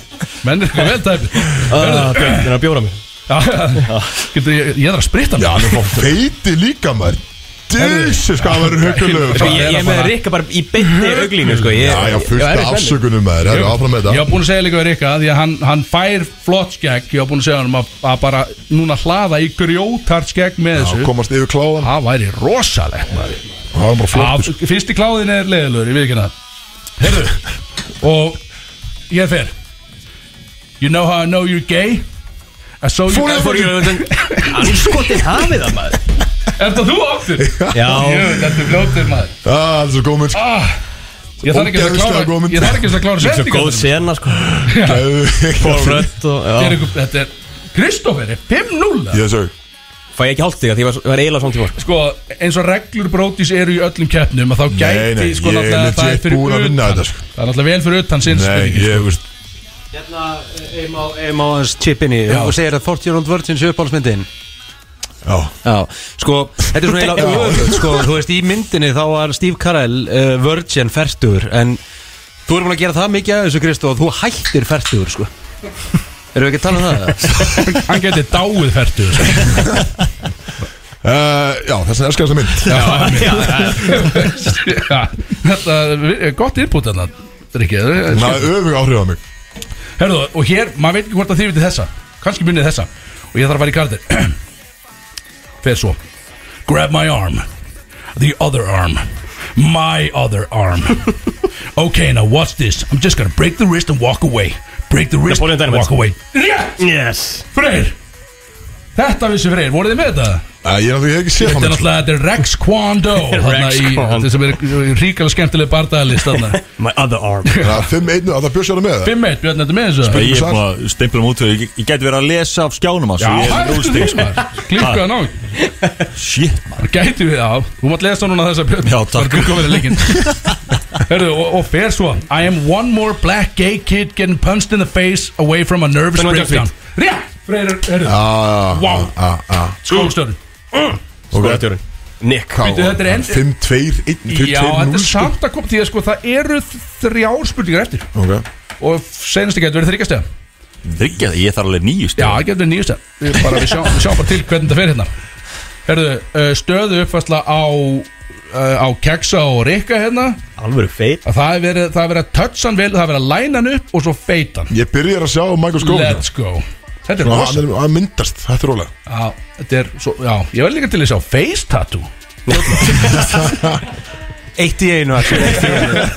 Speaker 2: Menn er eitthvað vel tæpi
Speaker 3: Björn, það er að bjóra mig
Speaker 2: Getur ég, ég er að spritta
Speaker 1: Já,
Speaker 2: mig
Speaker 1: hann er fá feiti líka maður Jesus, hvað verður
Speaker 3: Sko,
Speaker 1: hugulegur
Speaker 3: Ég ég er með Rikka bara í beinni auglínu sko Ég-
Speaker 1: Já, já,
Speaker 3: ég
Speaker 1: fullt
Speaker 3: er í
Speaker 1: af
Speaker 3: spennu.
Speaker 1: afsökunum maður Það er áfram með
Speaker 2: Ég
Speaker 1: þetta
Speaker 2: var búin að segja líka við Rikka Því að hann, hann fær flott skegg Ég var búin að segja hann að, að bara núna hlaða í grjótart skegg með
Speaker 1: Já,
Speaker 2: þessu
Speaker 1: Komast yfir kláðan
Speaker 2: Það væri rosalegt maður
Speaker 1: Það var bara flottur
Speaker 2: Af- Fyrsti kláðin er leiðilegur, ég veit ekki hana Heyrðu Og ég fer You know how I know you're gay I saw you
Speaker 3: Það fór ég að Anskotin hafið það maður
Speaker 2: Er það þú áttur?
Speaker 3: Já
Speaker 2: Jú, þetta er fljóttur maður
Speaker 1: Ah, Það er svo góð mynd
Speaker 2: ah, Ég þarf ekki að
Speaker 1: Ógeðslega góð
Speaker 2: klára
Speaker 1: mynd.
Speaker 2: Ég þarf ekki að klára
Speaker 3: Svo góð
Speaker 2: setningarnar. hérna.
Speaker 3: sena sko
Speaker 1: Gæðu-
Speaker 3: Rött og
Speaker 2: Þetta er
Speaker 3: já.
Speaker 2: einhver- Þetta er Kristófer er 5-0 eða?
Speaker 1: *laughs* Yes sir
Speaker 3: Fæ ég ekki hálft þig að því ég var- var eiginlega svona tíma
Speaker 2: sko, eins og reglur brótis eru í öllum keppnum að þá gæti
Speaker 1: Nei, nei,
Speaker 2: sko
Speaker 1: ég er
Speaker 2: náttúrulega það er
Speaker 1: legit
Speaker 2: fyrir
Speaker 1: búinn að vinna
Speaker 2: utan
Speaker 1: þetta, sko.
Speaker 2: það er náttúrulega vel fyrir utan sinn
Speaker 1: Nei,
Speaker 2: spurningi
Speaker 1: ég veist
Speaker 13: Hérna eim á hans chipinni og segir að 40 Year Old Virgin séu uppáhaldsmyndin
Speaker 1: Já
Speaker 13: Já, sko, þetta er svona
Speaker 3: *laughs*
Speaker 13: eiginlega öfugt, sko, þú veist, í myndinni þá var Steve Carell uh, Virgin færtur en þú erum búin að gera það mikið að þessu Kristó að þú hættir færtur, sko Erum við ekki að tala um það?
Speaker 2: hann geti dáið færtu sko.
Speaker 1: Uh, Já, þess að elskar þessa mynd
Speaker 2: *laughs* Já, þetta er gott innbútt þarna Rikki, það er-
Speaker 1: Það er öfug áhrif á mig
Speaker 2: Herðu, og hér, maður veit ekki hvort að þið vitið þessa kannski munið þessa og ég þarf að fara í kardir *clears throat* fer svo grab my arm the other arm my other arm ok, now watch this I'm just gonna break the wrist and walk away break the wrist
Speaker 3: Napoleon
Speaker 2: and
Speaker 3: Dynamite.
Speaker 2: walk away rétt,
Speaker 3: Yes
Speaker 2: Freyr þetta vissi Freyr, voruð þið með þetta?
Speaker 1: Æ, Ég er náttúrulega ekki séð
Speaker 2: Þetta er
Speaker 1: hann
Speaker 2: náttúrulega, þetta er Rex Kwando þarna í-
Speaker 3: Kwon.
Speaker 2: Þetta sem er ríkala skemmtileg bardagalist þarna.
Speaker 3: My other arm
Speaker 1: Það er 5-1 að það björs ég á það með það
Speaker 2: 5-1, Björn, þetta með þessu?
Speaker 4: Ég er búin að stempla mútu Ég ég gæti verið að lesa af skjánum hans
Speaker 2: Já,
Speaker 4: og ég er
Speaker 2: það er
Speaker 4: með núll
Speaker 2: þetta
Speaker 4: stig, sko.
Speaker 2: þín Klikkaðan á
Speaker 4: Shit, maður
Speaker 2: Það gæti við á Þú mátt lesa núna þessa björn
Speaker 4: Já, takk.
Speaker 2: Það er komin að leikin Herðu, og, og fer svo I am one more black gay kid getting punched in the face away from a nervous
Speaker 3: Benoit
Speaker 2: breakdown Rétt, Freyr, herðu
Speaker 1: Já, já, já,
Speaker 2: Vá.
Speaker 1: já, já.
Speaker 2: Skólastjórn
Speaker 1: Ok,
Speaker 3: Skóratjórun Nick
Speaker 1: Ká,
Speaker 2: Bíddu, þetta er enn-
Speaker 1: 5-2 1-2-0
Speaker 2: Já, þetta er samt að koma Því að sko, það eru þrjár spurningar eftir
Speaker 1: Ok
Speaker 2: Og senast ekki að þetta verið þryggjastega
Speaker 4: Þryggja það, ég þarf alveg nýju
Speaker 2: Já,
Speaker 4: stíð
Speaker 2: það getur verið nýjasta Við bara, við, sjáum, við sjáum bara til hvernig það fer hérna Herðu, uh, stöðu uppfærsla á uh, á keksa og rikka hérna
Speaker 13: um-
Speaker 3: Alvöru feit
Speaker 2: að það er verið, það er verið að toucha hann vel það er verið að læna hann upp og svo feita hann
Speaker 1: Ég byrjar að sjá Michael Scoville
Speaker 2: Let's go Þetta er
Speaker 1: Svona,
Speaker 2: rosa
Speaker 1: Sko, hann er að myndast, þetta er rólega
Speaker 2: Já, þetta er svo, já, ég verð líka til að sjá face tattoo
Speaker 13: Eitt í einu allir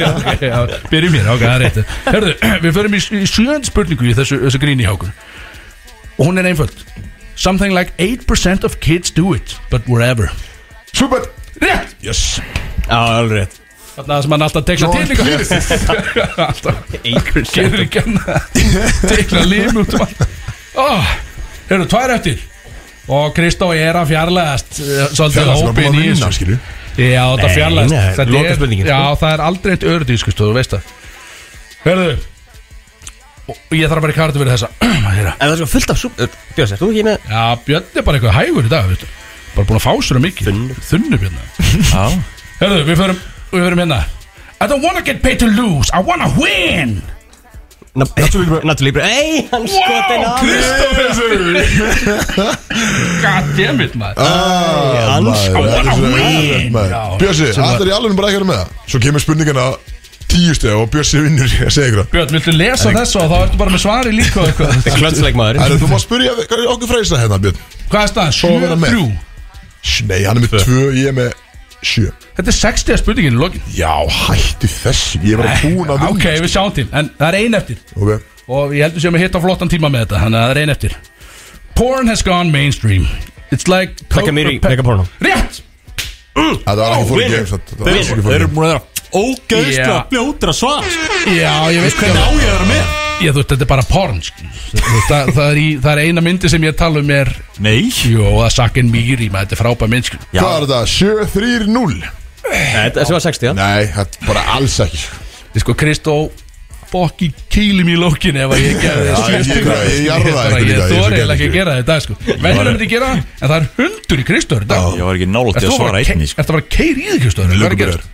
Speaker 2: Ok, já, Byrjum hér, ok, það er rétt Herðu, *clears throat* við förum í, í sjönd spurningu í þessu, þessu gríni hjá okkur Og hún er einföld Something like 8% of kids do it But wherever
Speaker 1: Super
Speaker 2: Rétt!
Speaker 1: Yes
Speaker 3: Já, alveg rétt
Speaker 2: Þarna sem hann alltaf tekna til líka *laughs* Alltaf
Speaker 3: Einhvern
Speaker 2: Gerir ekki hann Tekna lim út um allt oh, Eru tvær eftir Og Kristó er að fjarlæðast eh, Svolítið
Speaker 1: Fjarlægast, hann er búinn að
Speaker 2: hópin í
Speaker 1: vinna,
Speaker 2: þessu.
Speaker 1: skilju.
Speaker 2: Já, þetta
Speaker 1: Nei,
Speaker 2: fjarlæðast
Speaker 1: nei,
Speaker 2: Þetta er-
Speaker 1: lokaspurningin, sko.
Speaker 2: Já, það er aldrei eitt ördu, sko, þú veist það Hörðu Og ég þarf bara í kartu fyrir þessa *clears throat* En
Speaker 3: það er svo fullt af súper Eh, Björn, er þú ekki með
Speaker 2: Já, Björn er bara eitthvað hægur í dag, veistu Bara búin að fá sér um mikið Þunnur Þunnur
Speaker 1: *laughs*
Speaker 2: Björn
Speaker 4: Já
Speaker 2: Hörðu, við förum, við förum hérna I don't wanna get paid to lose, I wanna win
Speaker 3: Natalie Brey Ei, hann skotin af
Speaker 2: *laughs* Goddammit maður
Speaker 1: Ah, maður,
Speaker 2: I
Speaker 1: þetta er
Speaker 2: wanna
Speaker 1: svo
Speaker 2: win
Speaker 1: eðlilegt, maður.
Speaker 2: Já,
Speaker 1: Bjössi,
Speaker 2: sko- sem
Speaker 1: allir í
Speaker 2: var-
Speaker 1: alveg bara ekki að vera með það Svo kemur spurningina tíu steg og Bjössi vinnur að segja ykkur
Speaker 2: Björn, viltu lesa þessu og þá ertu bara með svari líka og eitthvað
Speaker 1: Æra, Þú má spyrja við- hvað er okkur freysa hérna Björn
Speaker 2: Hvað er staðan?
Speaker 1: Svo að vera með.
Speaker 2: 7-3
Speaker 1: Sh, Nei, hann er með tvö, ég er með sjö
Speaker 2: Þetta er 60 spurningin í lokin
Speaker 1: Já, hættu þessu, ég var að búin að vinna sko.
Speaker 2: Ok, við sjáum til En það er ein eftir
Speaker 1: Ok.
Speaker 2: Og ég heldur sem að hitta flottan tíma með þetta Þannig að það er ein eftir Porn has gone mainstream It's like
Speaker 3: Taka mér í megaporno
Speaker 2: Rétt
Speaker 1: Það var ekki fór í game samt, þetta var ekki fór í game.
Speaker 4: búin að vera ógeðslega
Speaker 2: Já.
Speaker 4: fljótur að svara
Speaker 2: Já, ég veist
Speaker 4: Hvernig á ég að vera með?
Speaker 2: Já, þú veist, þetta er bara porn skilur. Þú veist, það, það, er í, það er eina myndi sem ég tala um er
Speaker 4: Nei
Speaker 2: Jó, það er Sakin Mýri maður, Þetta er frábær mynd sko. skilur.
Speaker 1: Hvað er þetta? 7-3-0
Speaker 3: Þetta var 60, já
Speaker 1: Nei, þetta er bara alls ekki sko.
Speaker 2: Þið sko, Kristó Fokki kýlum í lókin ef að ég gerði
Speaker 1: Já, ég- ég- ég- ég jarða
Speaker 2: bara-
Speaker 1: ykkur í
Speaker 2: Ég
Speaker 1: dag, ég svo
Speaker 2: þóri eiginlega
Speaker 1: gerði
Speaker 2: ekki að
Speaker 1: ekki.
Speaker 2: gera þetta sko. Venjulega myndi ég gera það, En það er hundur í Kristóður í dag
Speaker 4: Ég var ekki nálægt
Speaker 2: Ert
Speaker 4: til að
Speaker 2: þú bara
Speaker 4: svara
Speaker 2: að ke-
Speaker 4: einni sko.
Speaker 2: Ertu bara að keiri í þig Kristóður? Hvað er að
Speaker 4: Lögreglumaður.
Speaker 2: gera?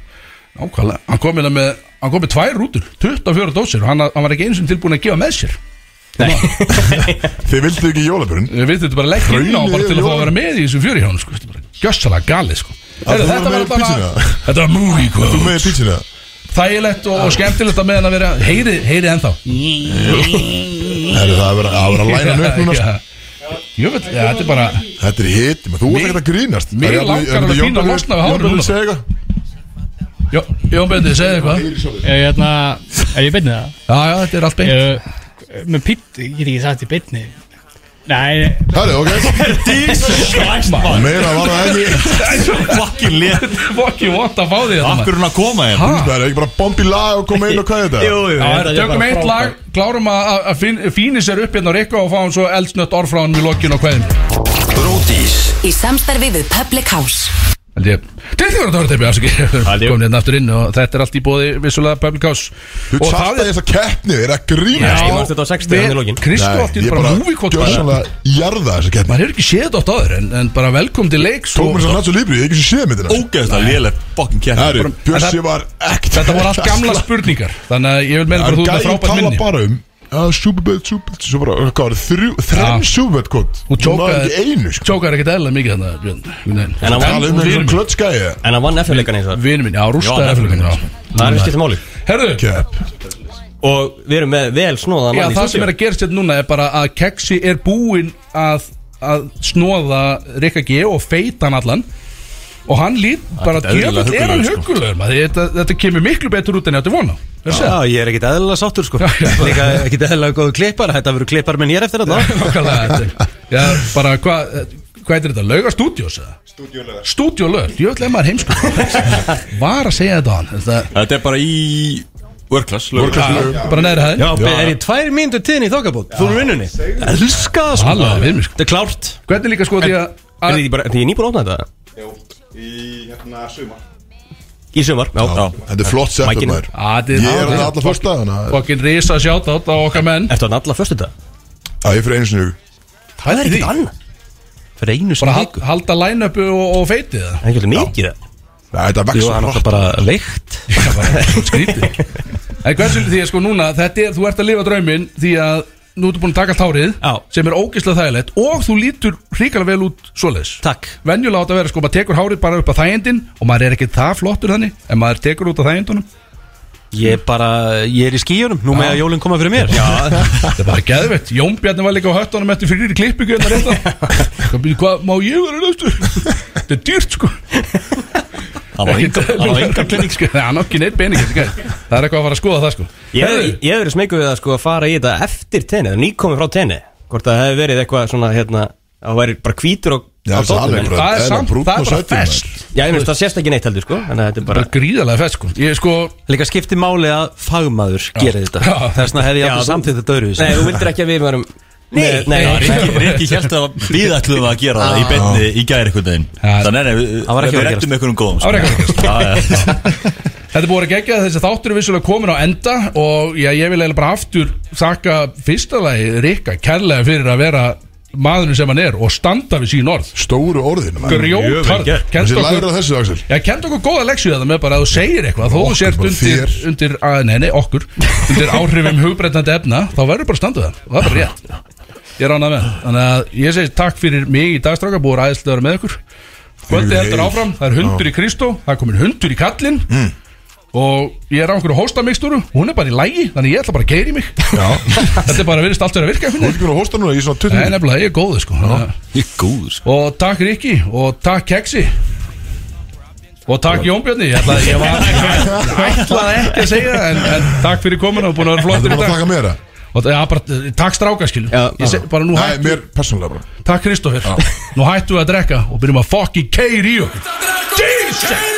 Speaker 2: Nákvæmlega Hann kom inn með Hann kom með tvær rútur 24 dósir Og hann, hann var ekki eins og tilbúin að gefa með sér
Speaker 1: Þið vildu ekki jólabjörn
Speaker 2: Við veitum þetta bara að leggja inn á
Speaker 1: Hraunið
Speaker 2: Bara til að fá að
Speaker 1: jólin.
Speaker 2: vera með í þessum fjöri hjá hann sko. Þetta er bara Gjössalega galið sko. Heyrðu,
Speaker 1: þú
Speaker 2: Þetta
Speaker 1: með
Speaker 2: var
Speaker 1: pítsuna?
Speaker 2: alltaf Þetta var movie
Speaker 1: Þú
Speaker 2: quote
Speaker 1: með pítsina
Speaker 2: Þægilegt og, og skemmtilegt að meðan að vera Heyrið heyri ennþá
Speaker 1: Herru, Það er verið- það er verið að læna
Speaker 2: *laughs*
Speaker 1: hann upp núna sko.
Speaker 2: Jú veit, ja, þetta er bara
Speaker 1: Þetta er hitt, menn þú ert
Speaker 2: Mig-
Speaker 1: ekkert að grínast
Speaker 2: mig langar alveg pínu að losna við hárinu núna.
Speaker 1: núna
Speaker 2: Jó, Jón Böndi, segðu eitthvað
Speaker 7: Ég er hérna, er ég beinnið það?
Speaker 2: Já, já, þetta er allt beint
Speaker 7: Ég, með pít, ég get ekki sagt í beinni Nei,
Speaker 1: Herru,
Speaker 2: *laughs*
Speaker 1: ok Meira var það ekki
Speaker 4: Fucking létt
Speaker 2: Fokki vant að fá hérna. því þetta maður.
Speaker 4: Akkur hún að koma þér
Speaker 2: Ha?
Speaker 1: Það er ekki bara bomb í lag og koma inn og hvað er þetta
Speaker 4: Jú, jú
Speaker 2: Já,
Speaker 4: þetta er
Speaker 2: Tökum
Speaker 4: bara
Speaker 2: eitt
Speaker 4: frábært.
Speaker 2: lag, klárum að að fin- fíni sér upp hérna á Rikka og fáum svo eldsnött orð frá hann í lokin og kveðin
Speaker 6: Í samstarfi við Public House
Speaker 2: Held ég Til því voru að það voru teppi Komin hérna aftur inn og þetta er allt í bóði vissulega Public House
Speaker 1: Þú tjátt að þess að keppni er að grínast
Speaker 3: Ég varst þetta á 60 hann í lokin
Speaker 1: Nei,
Speaker 2: Kristó átti
Speaker 1: ég
Speaker 2: bara
Speaker 1: bara
Speaker 2: húvíkot
Speaker 1: gjössanlega jarða þessa keppni
Speaker 2: Maður hefur ekki séð þetta átt áður en, en bara velkom til leiks
Speaker 1: Tók
Speaker 2: og
Speaker 1: mér svo natsu líbri, ég hef ekki séð myndina
Speaker 4: Ógeðslega léleg Fucking kjærn
Speaker 1: Herru, Bjössi var ekkert
Speaker 2: Þetta voru allt gamla spurningar Þannig að ég vil meina bara að þú ert með
Speaker 1: Gæði
Speaker 2: frábært
Speaker 1: tala
Speaker 2: minni
Speaker 1: bara um að Superbad, Superbad, svo bara, hvað var það, þrjú, þrenn Superbad kod
Speaker 2: Þú tjókaði-
Speaker 1: ekki einu, sko
Speaker 2: Tjókar ekkert eðla mikið þannig Björn Nei.
Speaker 3: En hann
Speaker 1: Tala um
Speaker 2: Vinur
Speaker 1: það svo
Speaker 2: minn.
Speaker 1: klötskæði
Speaker 3: En hann vann F-leikan eins og
Speaker 2: Vinur minn, já,
Speaker 4: Já,
Speaker 2: rústaði eflugin
Speaker 3: það Það er skilt máli
Speaker 2: Herðu,
Speaker 1: Kepp
Speaker 3: Og við erum með vel snóðan
Speaker 2: já,
Speaker 3: mann í
Speaker 2: það sem
Speaker 3: stúdíu.
Speaker 2: er að gerast hérna núna er bara að Keksi er búinn að, að snóða Rikka G og feita hann allan og hann lít bara
Speaker 4: er eðlilega
Speaker 2: djöfull er hann
Speaker 4: huggulegur, sko.
Speaker 2: huggulegur maður. þetta, þetta kemur miklu betur út en ég átti vona *laughs*
Speaker 13: Já, ég er ekkit eðlilega sáttur sko *laughs* Líka ekkit eðlilega góðu klippar Þetta verður klippar minn hér eftir þetta
Speaker 2: Já, bara hvað Hvað heitir þetta? Lauga stúdjós eða? Stúdjólög Stúdjólög, jöfnlega maður heimsku Var að segja þetta á hann þetta,
Speaker 4: Þetta er bara í Work class lög.
Speaker 2: Bara neðri hæðin
Speaker 13: Já, er ég tvær mínútur tíðin í þokkabót Þú erum vinnunni Elska það sko
Speaker 2: Alla, við erum sko.
Speaker 13: Þetta er klárt
Speaker 2: Hvernig líka sko því að
Speaker 3: Er
Speaker 2: að-
Speaker 3: þið bara, þið er nýbúin að opna þetta? Í sumar já. já
Speaker 1: Þetta er flott setup
Speaker 3: Mækinu.
Speaker 1: maður
Speaker 2: Á, þetta er-
Speaker 1: Ég er
Speaker 2: á,
Speaker 1: hann
Speaker 2: þetta er-
Speaker 1: alla fyrsta þannig að-
Speaker 2: Fokkin risa sjátt á okkar menn
Speaker 3: Ertu hann alla fyrstu þetta?
Speaker 1: Já, ég fyrir einu sinni í viku.
Speaker 2: Það er
Speaker 3: ekkert annað Fyrir einu sem
Speaker 2: Bara
Speaker 3: viku
Speaker 2: hal- halda line-upu og, og feitið það
Speaker 3: Það er ekki alltaf mikið það
Speaker 1: Nei, Þetta vex
Speaker 13: Jú,
Speaker 1: svo
Speaker 13: hann
Speaker 1: hratt.
Speaker 13: átti bara leikt
Speaker 2: Það var bara skrítið En hversu því að sko núna Þetta er, þú ert að lifa drauminn Því að nú ertu búin að taka allt hárið
Speaker 13: Já.
Speaker 2: Sem er ógeðslega þægilegt Og þú lítur hrikalega vel út svoleiðis
Speaker 13: Takk
Speaker 2: Venjulega átt að vera sko Maður tekur hárið bara upp að þægindin Og maður er ekki það flottur þannig En maður tekur út að þægindunum
Speaker 13: Ég bara, ég er í skíunum Nú með að jólinn koma fyrir mér Já,
Speaker 2: Það er bara geðvett Jón Bjarni var líka á höttunum Eftir fyrir í klippu Hvað býr- hvað má ég vera næstu Þetta er dýrt sko
Speaker 4: Það var enga Það var enga
Speaker 2: klinik sko Nei, hann á ekki neitt pening þessi gæði. Það er eitthvað að fara að skoða það sko
Speaker 3: Ég hef-
Speaker 2: Heyrðu,
Speaker 3: ég hef verið smeykuð við að sko að fara í þetta eftir tenni Það er nýkomið frá tenni Hvort að það hefur verið eitthvað svona hérna að Það væri bara hvítur og
Speaker 1: Já,
Speaker 3: á
Speaker 1: þessi
Speaker 3: dótinu,
Speaker 1: alveg
Speaker 3: en-
Speaker 1: bara-
Speaker 2: Það er
Speaker 1: Eðla,
Speaker 2: samt,
Speaker 1: brúnn
Speaker 2: það er
Speaker 1: og
Speaker 2: bara
Speaker 1: sætur,
Speaker 2: fest
Speaker 3: Já, ég finnst það sést ekki neitt heldur sko Þannig að þetta er
Speaker 2: Bara
Speaker 3: bara
Speaker 2: gríðarlega fest sko Ég sko
Speaker 13: líka skipti máli að fagmaður gerir þetta
Speaker 2: Já.
Speaker 13: Þess vegna hefði ég
Speaker 3: Já,
Speaker 13: alltaf
Speaker 3: þú-
Speaker 13: samtíð þetta öðru
Speaker 3: Nei, þú vildir ekki að við varum
Speaker 4: Nei, nei,
Speaker 13: Nei.
Speaker 4: Rikki, Rikki held að við ætlum að gera það í beinni í gæri einhvern veginn Þannig að við,
Speaker 2: var ekki
Speaker 4: við
Speaker 2: að
Speaker 4: rettum einhvern góðum sko.
Speaker 2: Það var ekki
Speaker 4: að gera
Speaker 2: Þetta er búið að gegja þessi þáttur er vissulega komin á enda og já, ég vil eiginlega bara aftur þakka fyrsta lagi Rikka kærlega fyrir að vera maðurinn sem hann er og standa við sín orð
Speaker 1: Stóru orðin maður. Mjög vel
Speaker 2: Grjóthard
Speaker 1: gert. Þessi læra þessu, Axel.
Speaker 2: Já, kent okkur góða leksju það með bara að þú segir eitthvað þó þú
Speaker 1: Okkur,
Speaker 2: sért
Speaker 1: bara
Speaker 2: undir, undir að, nei, nei, okkur undir áhrifum hugbreytandi efna þá verður bara að standa það og það er bara rétt Ég er ánað með það. Þannig að ég segi takk fyrir mig í dagstráka Búið ræðislega að vera með ykkur Kvöldi heldur áfram, það er hundur í Kristó Það er komin hundur í kallinn
Speaker 1: Mm.
Speaker 2: Og ég er á einhverju hóstamikstúru og Hún er bara í lægi, þannig ég ætla bara að keiri mig *laughs* Þetta er bara virðist allt verið að virka Þú er
Speaker 1: ekki verið að hósta núna, ég er svona
Speaker 2: 20 Nei, nefnilega, ég er góður sko Ég er góður sko Og takk Rikki og takk Keksi Og takk Jón Björni Ég ætlaði, ég *laughs* var, ég ætlaði ekki að segja það en, en takk fyrir komuna og búin að vera flottur
Speaker 1: Þetta er bara að taka meira
Speaker 2: Og það- Já, bara, eh, takk stráka skilu Ég seg- bara nú
Speaker 1: Nei,
Speaker 2: hættu-
Speaker 1: mér persónulega bara
Speaker 2: Takk Kristoffer Nú hættum við að drekka og byrjum að fucking keiri í okkur Jesus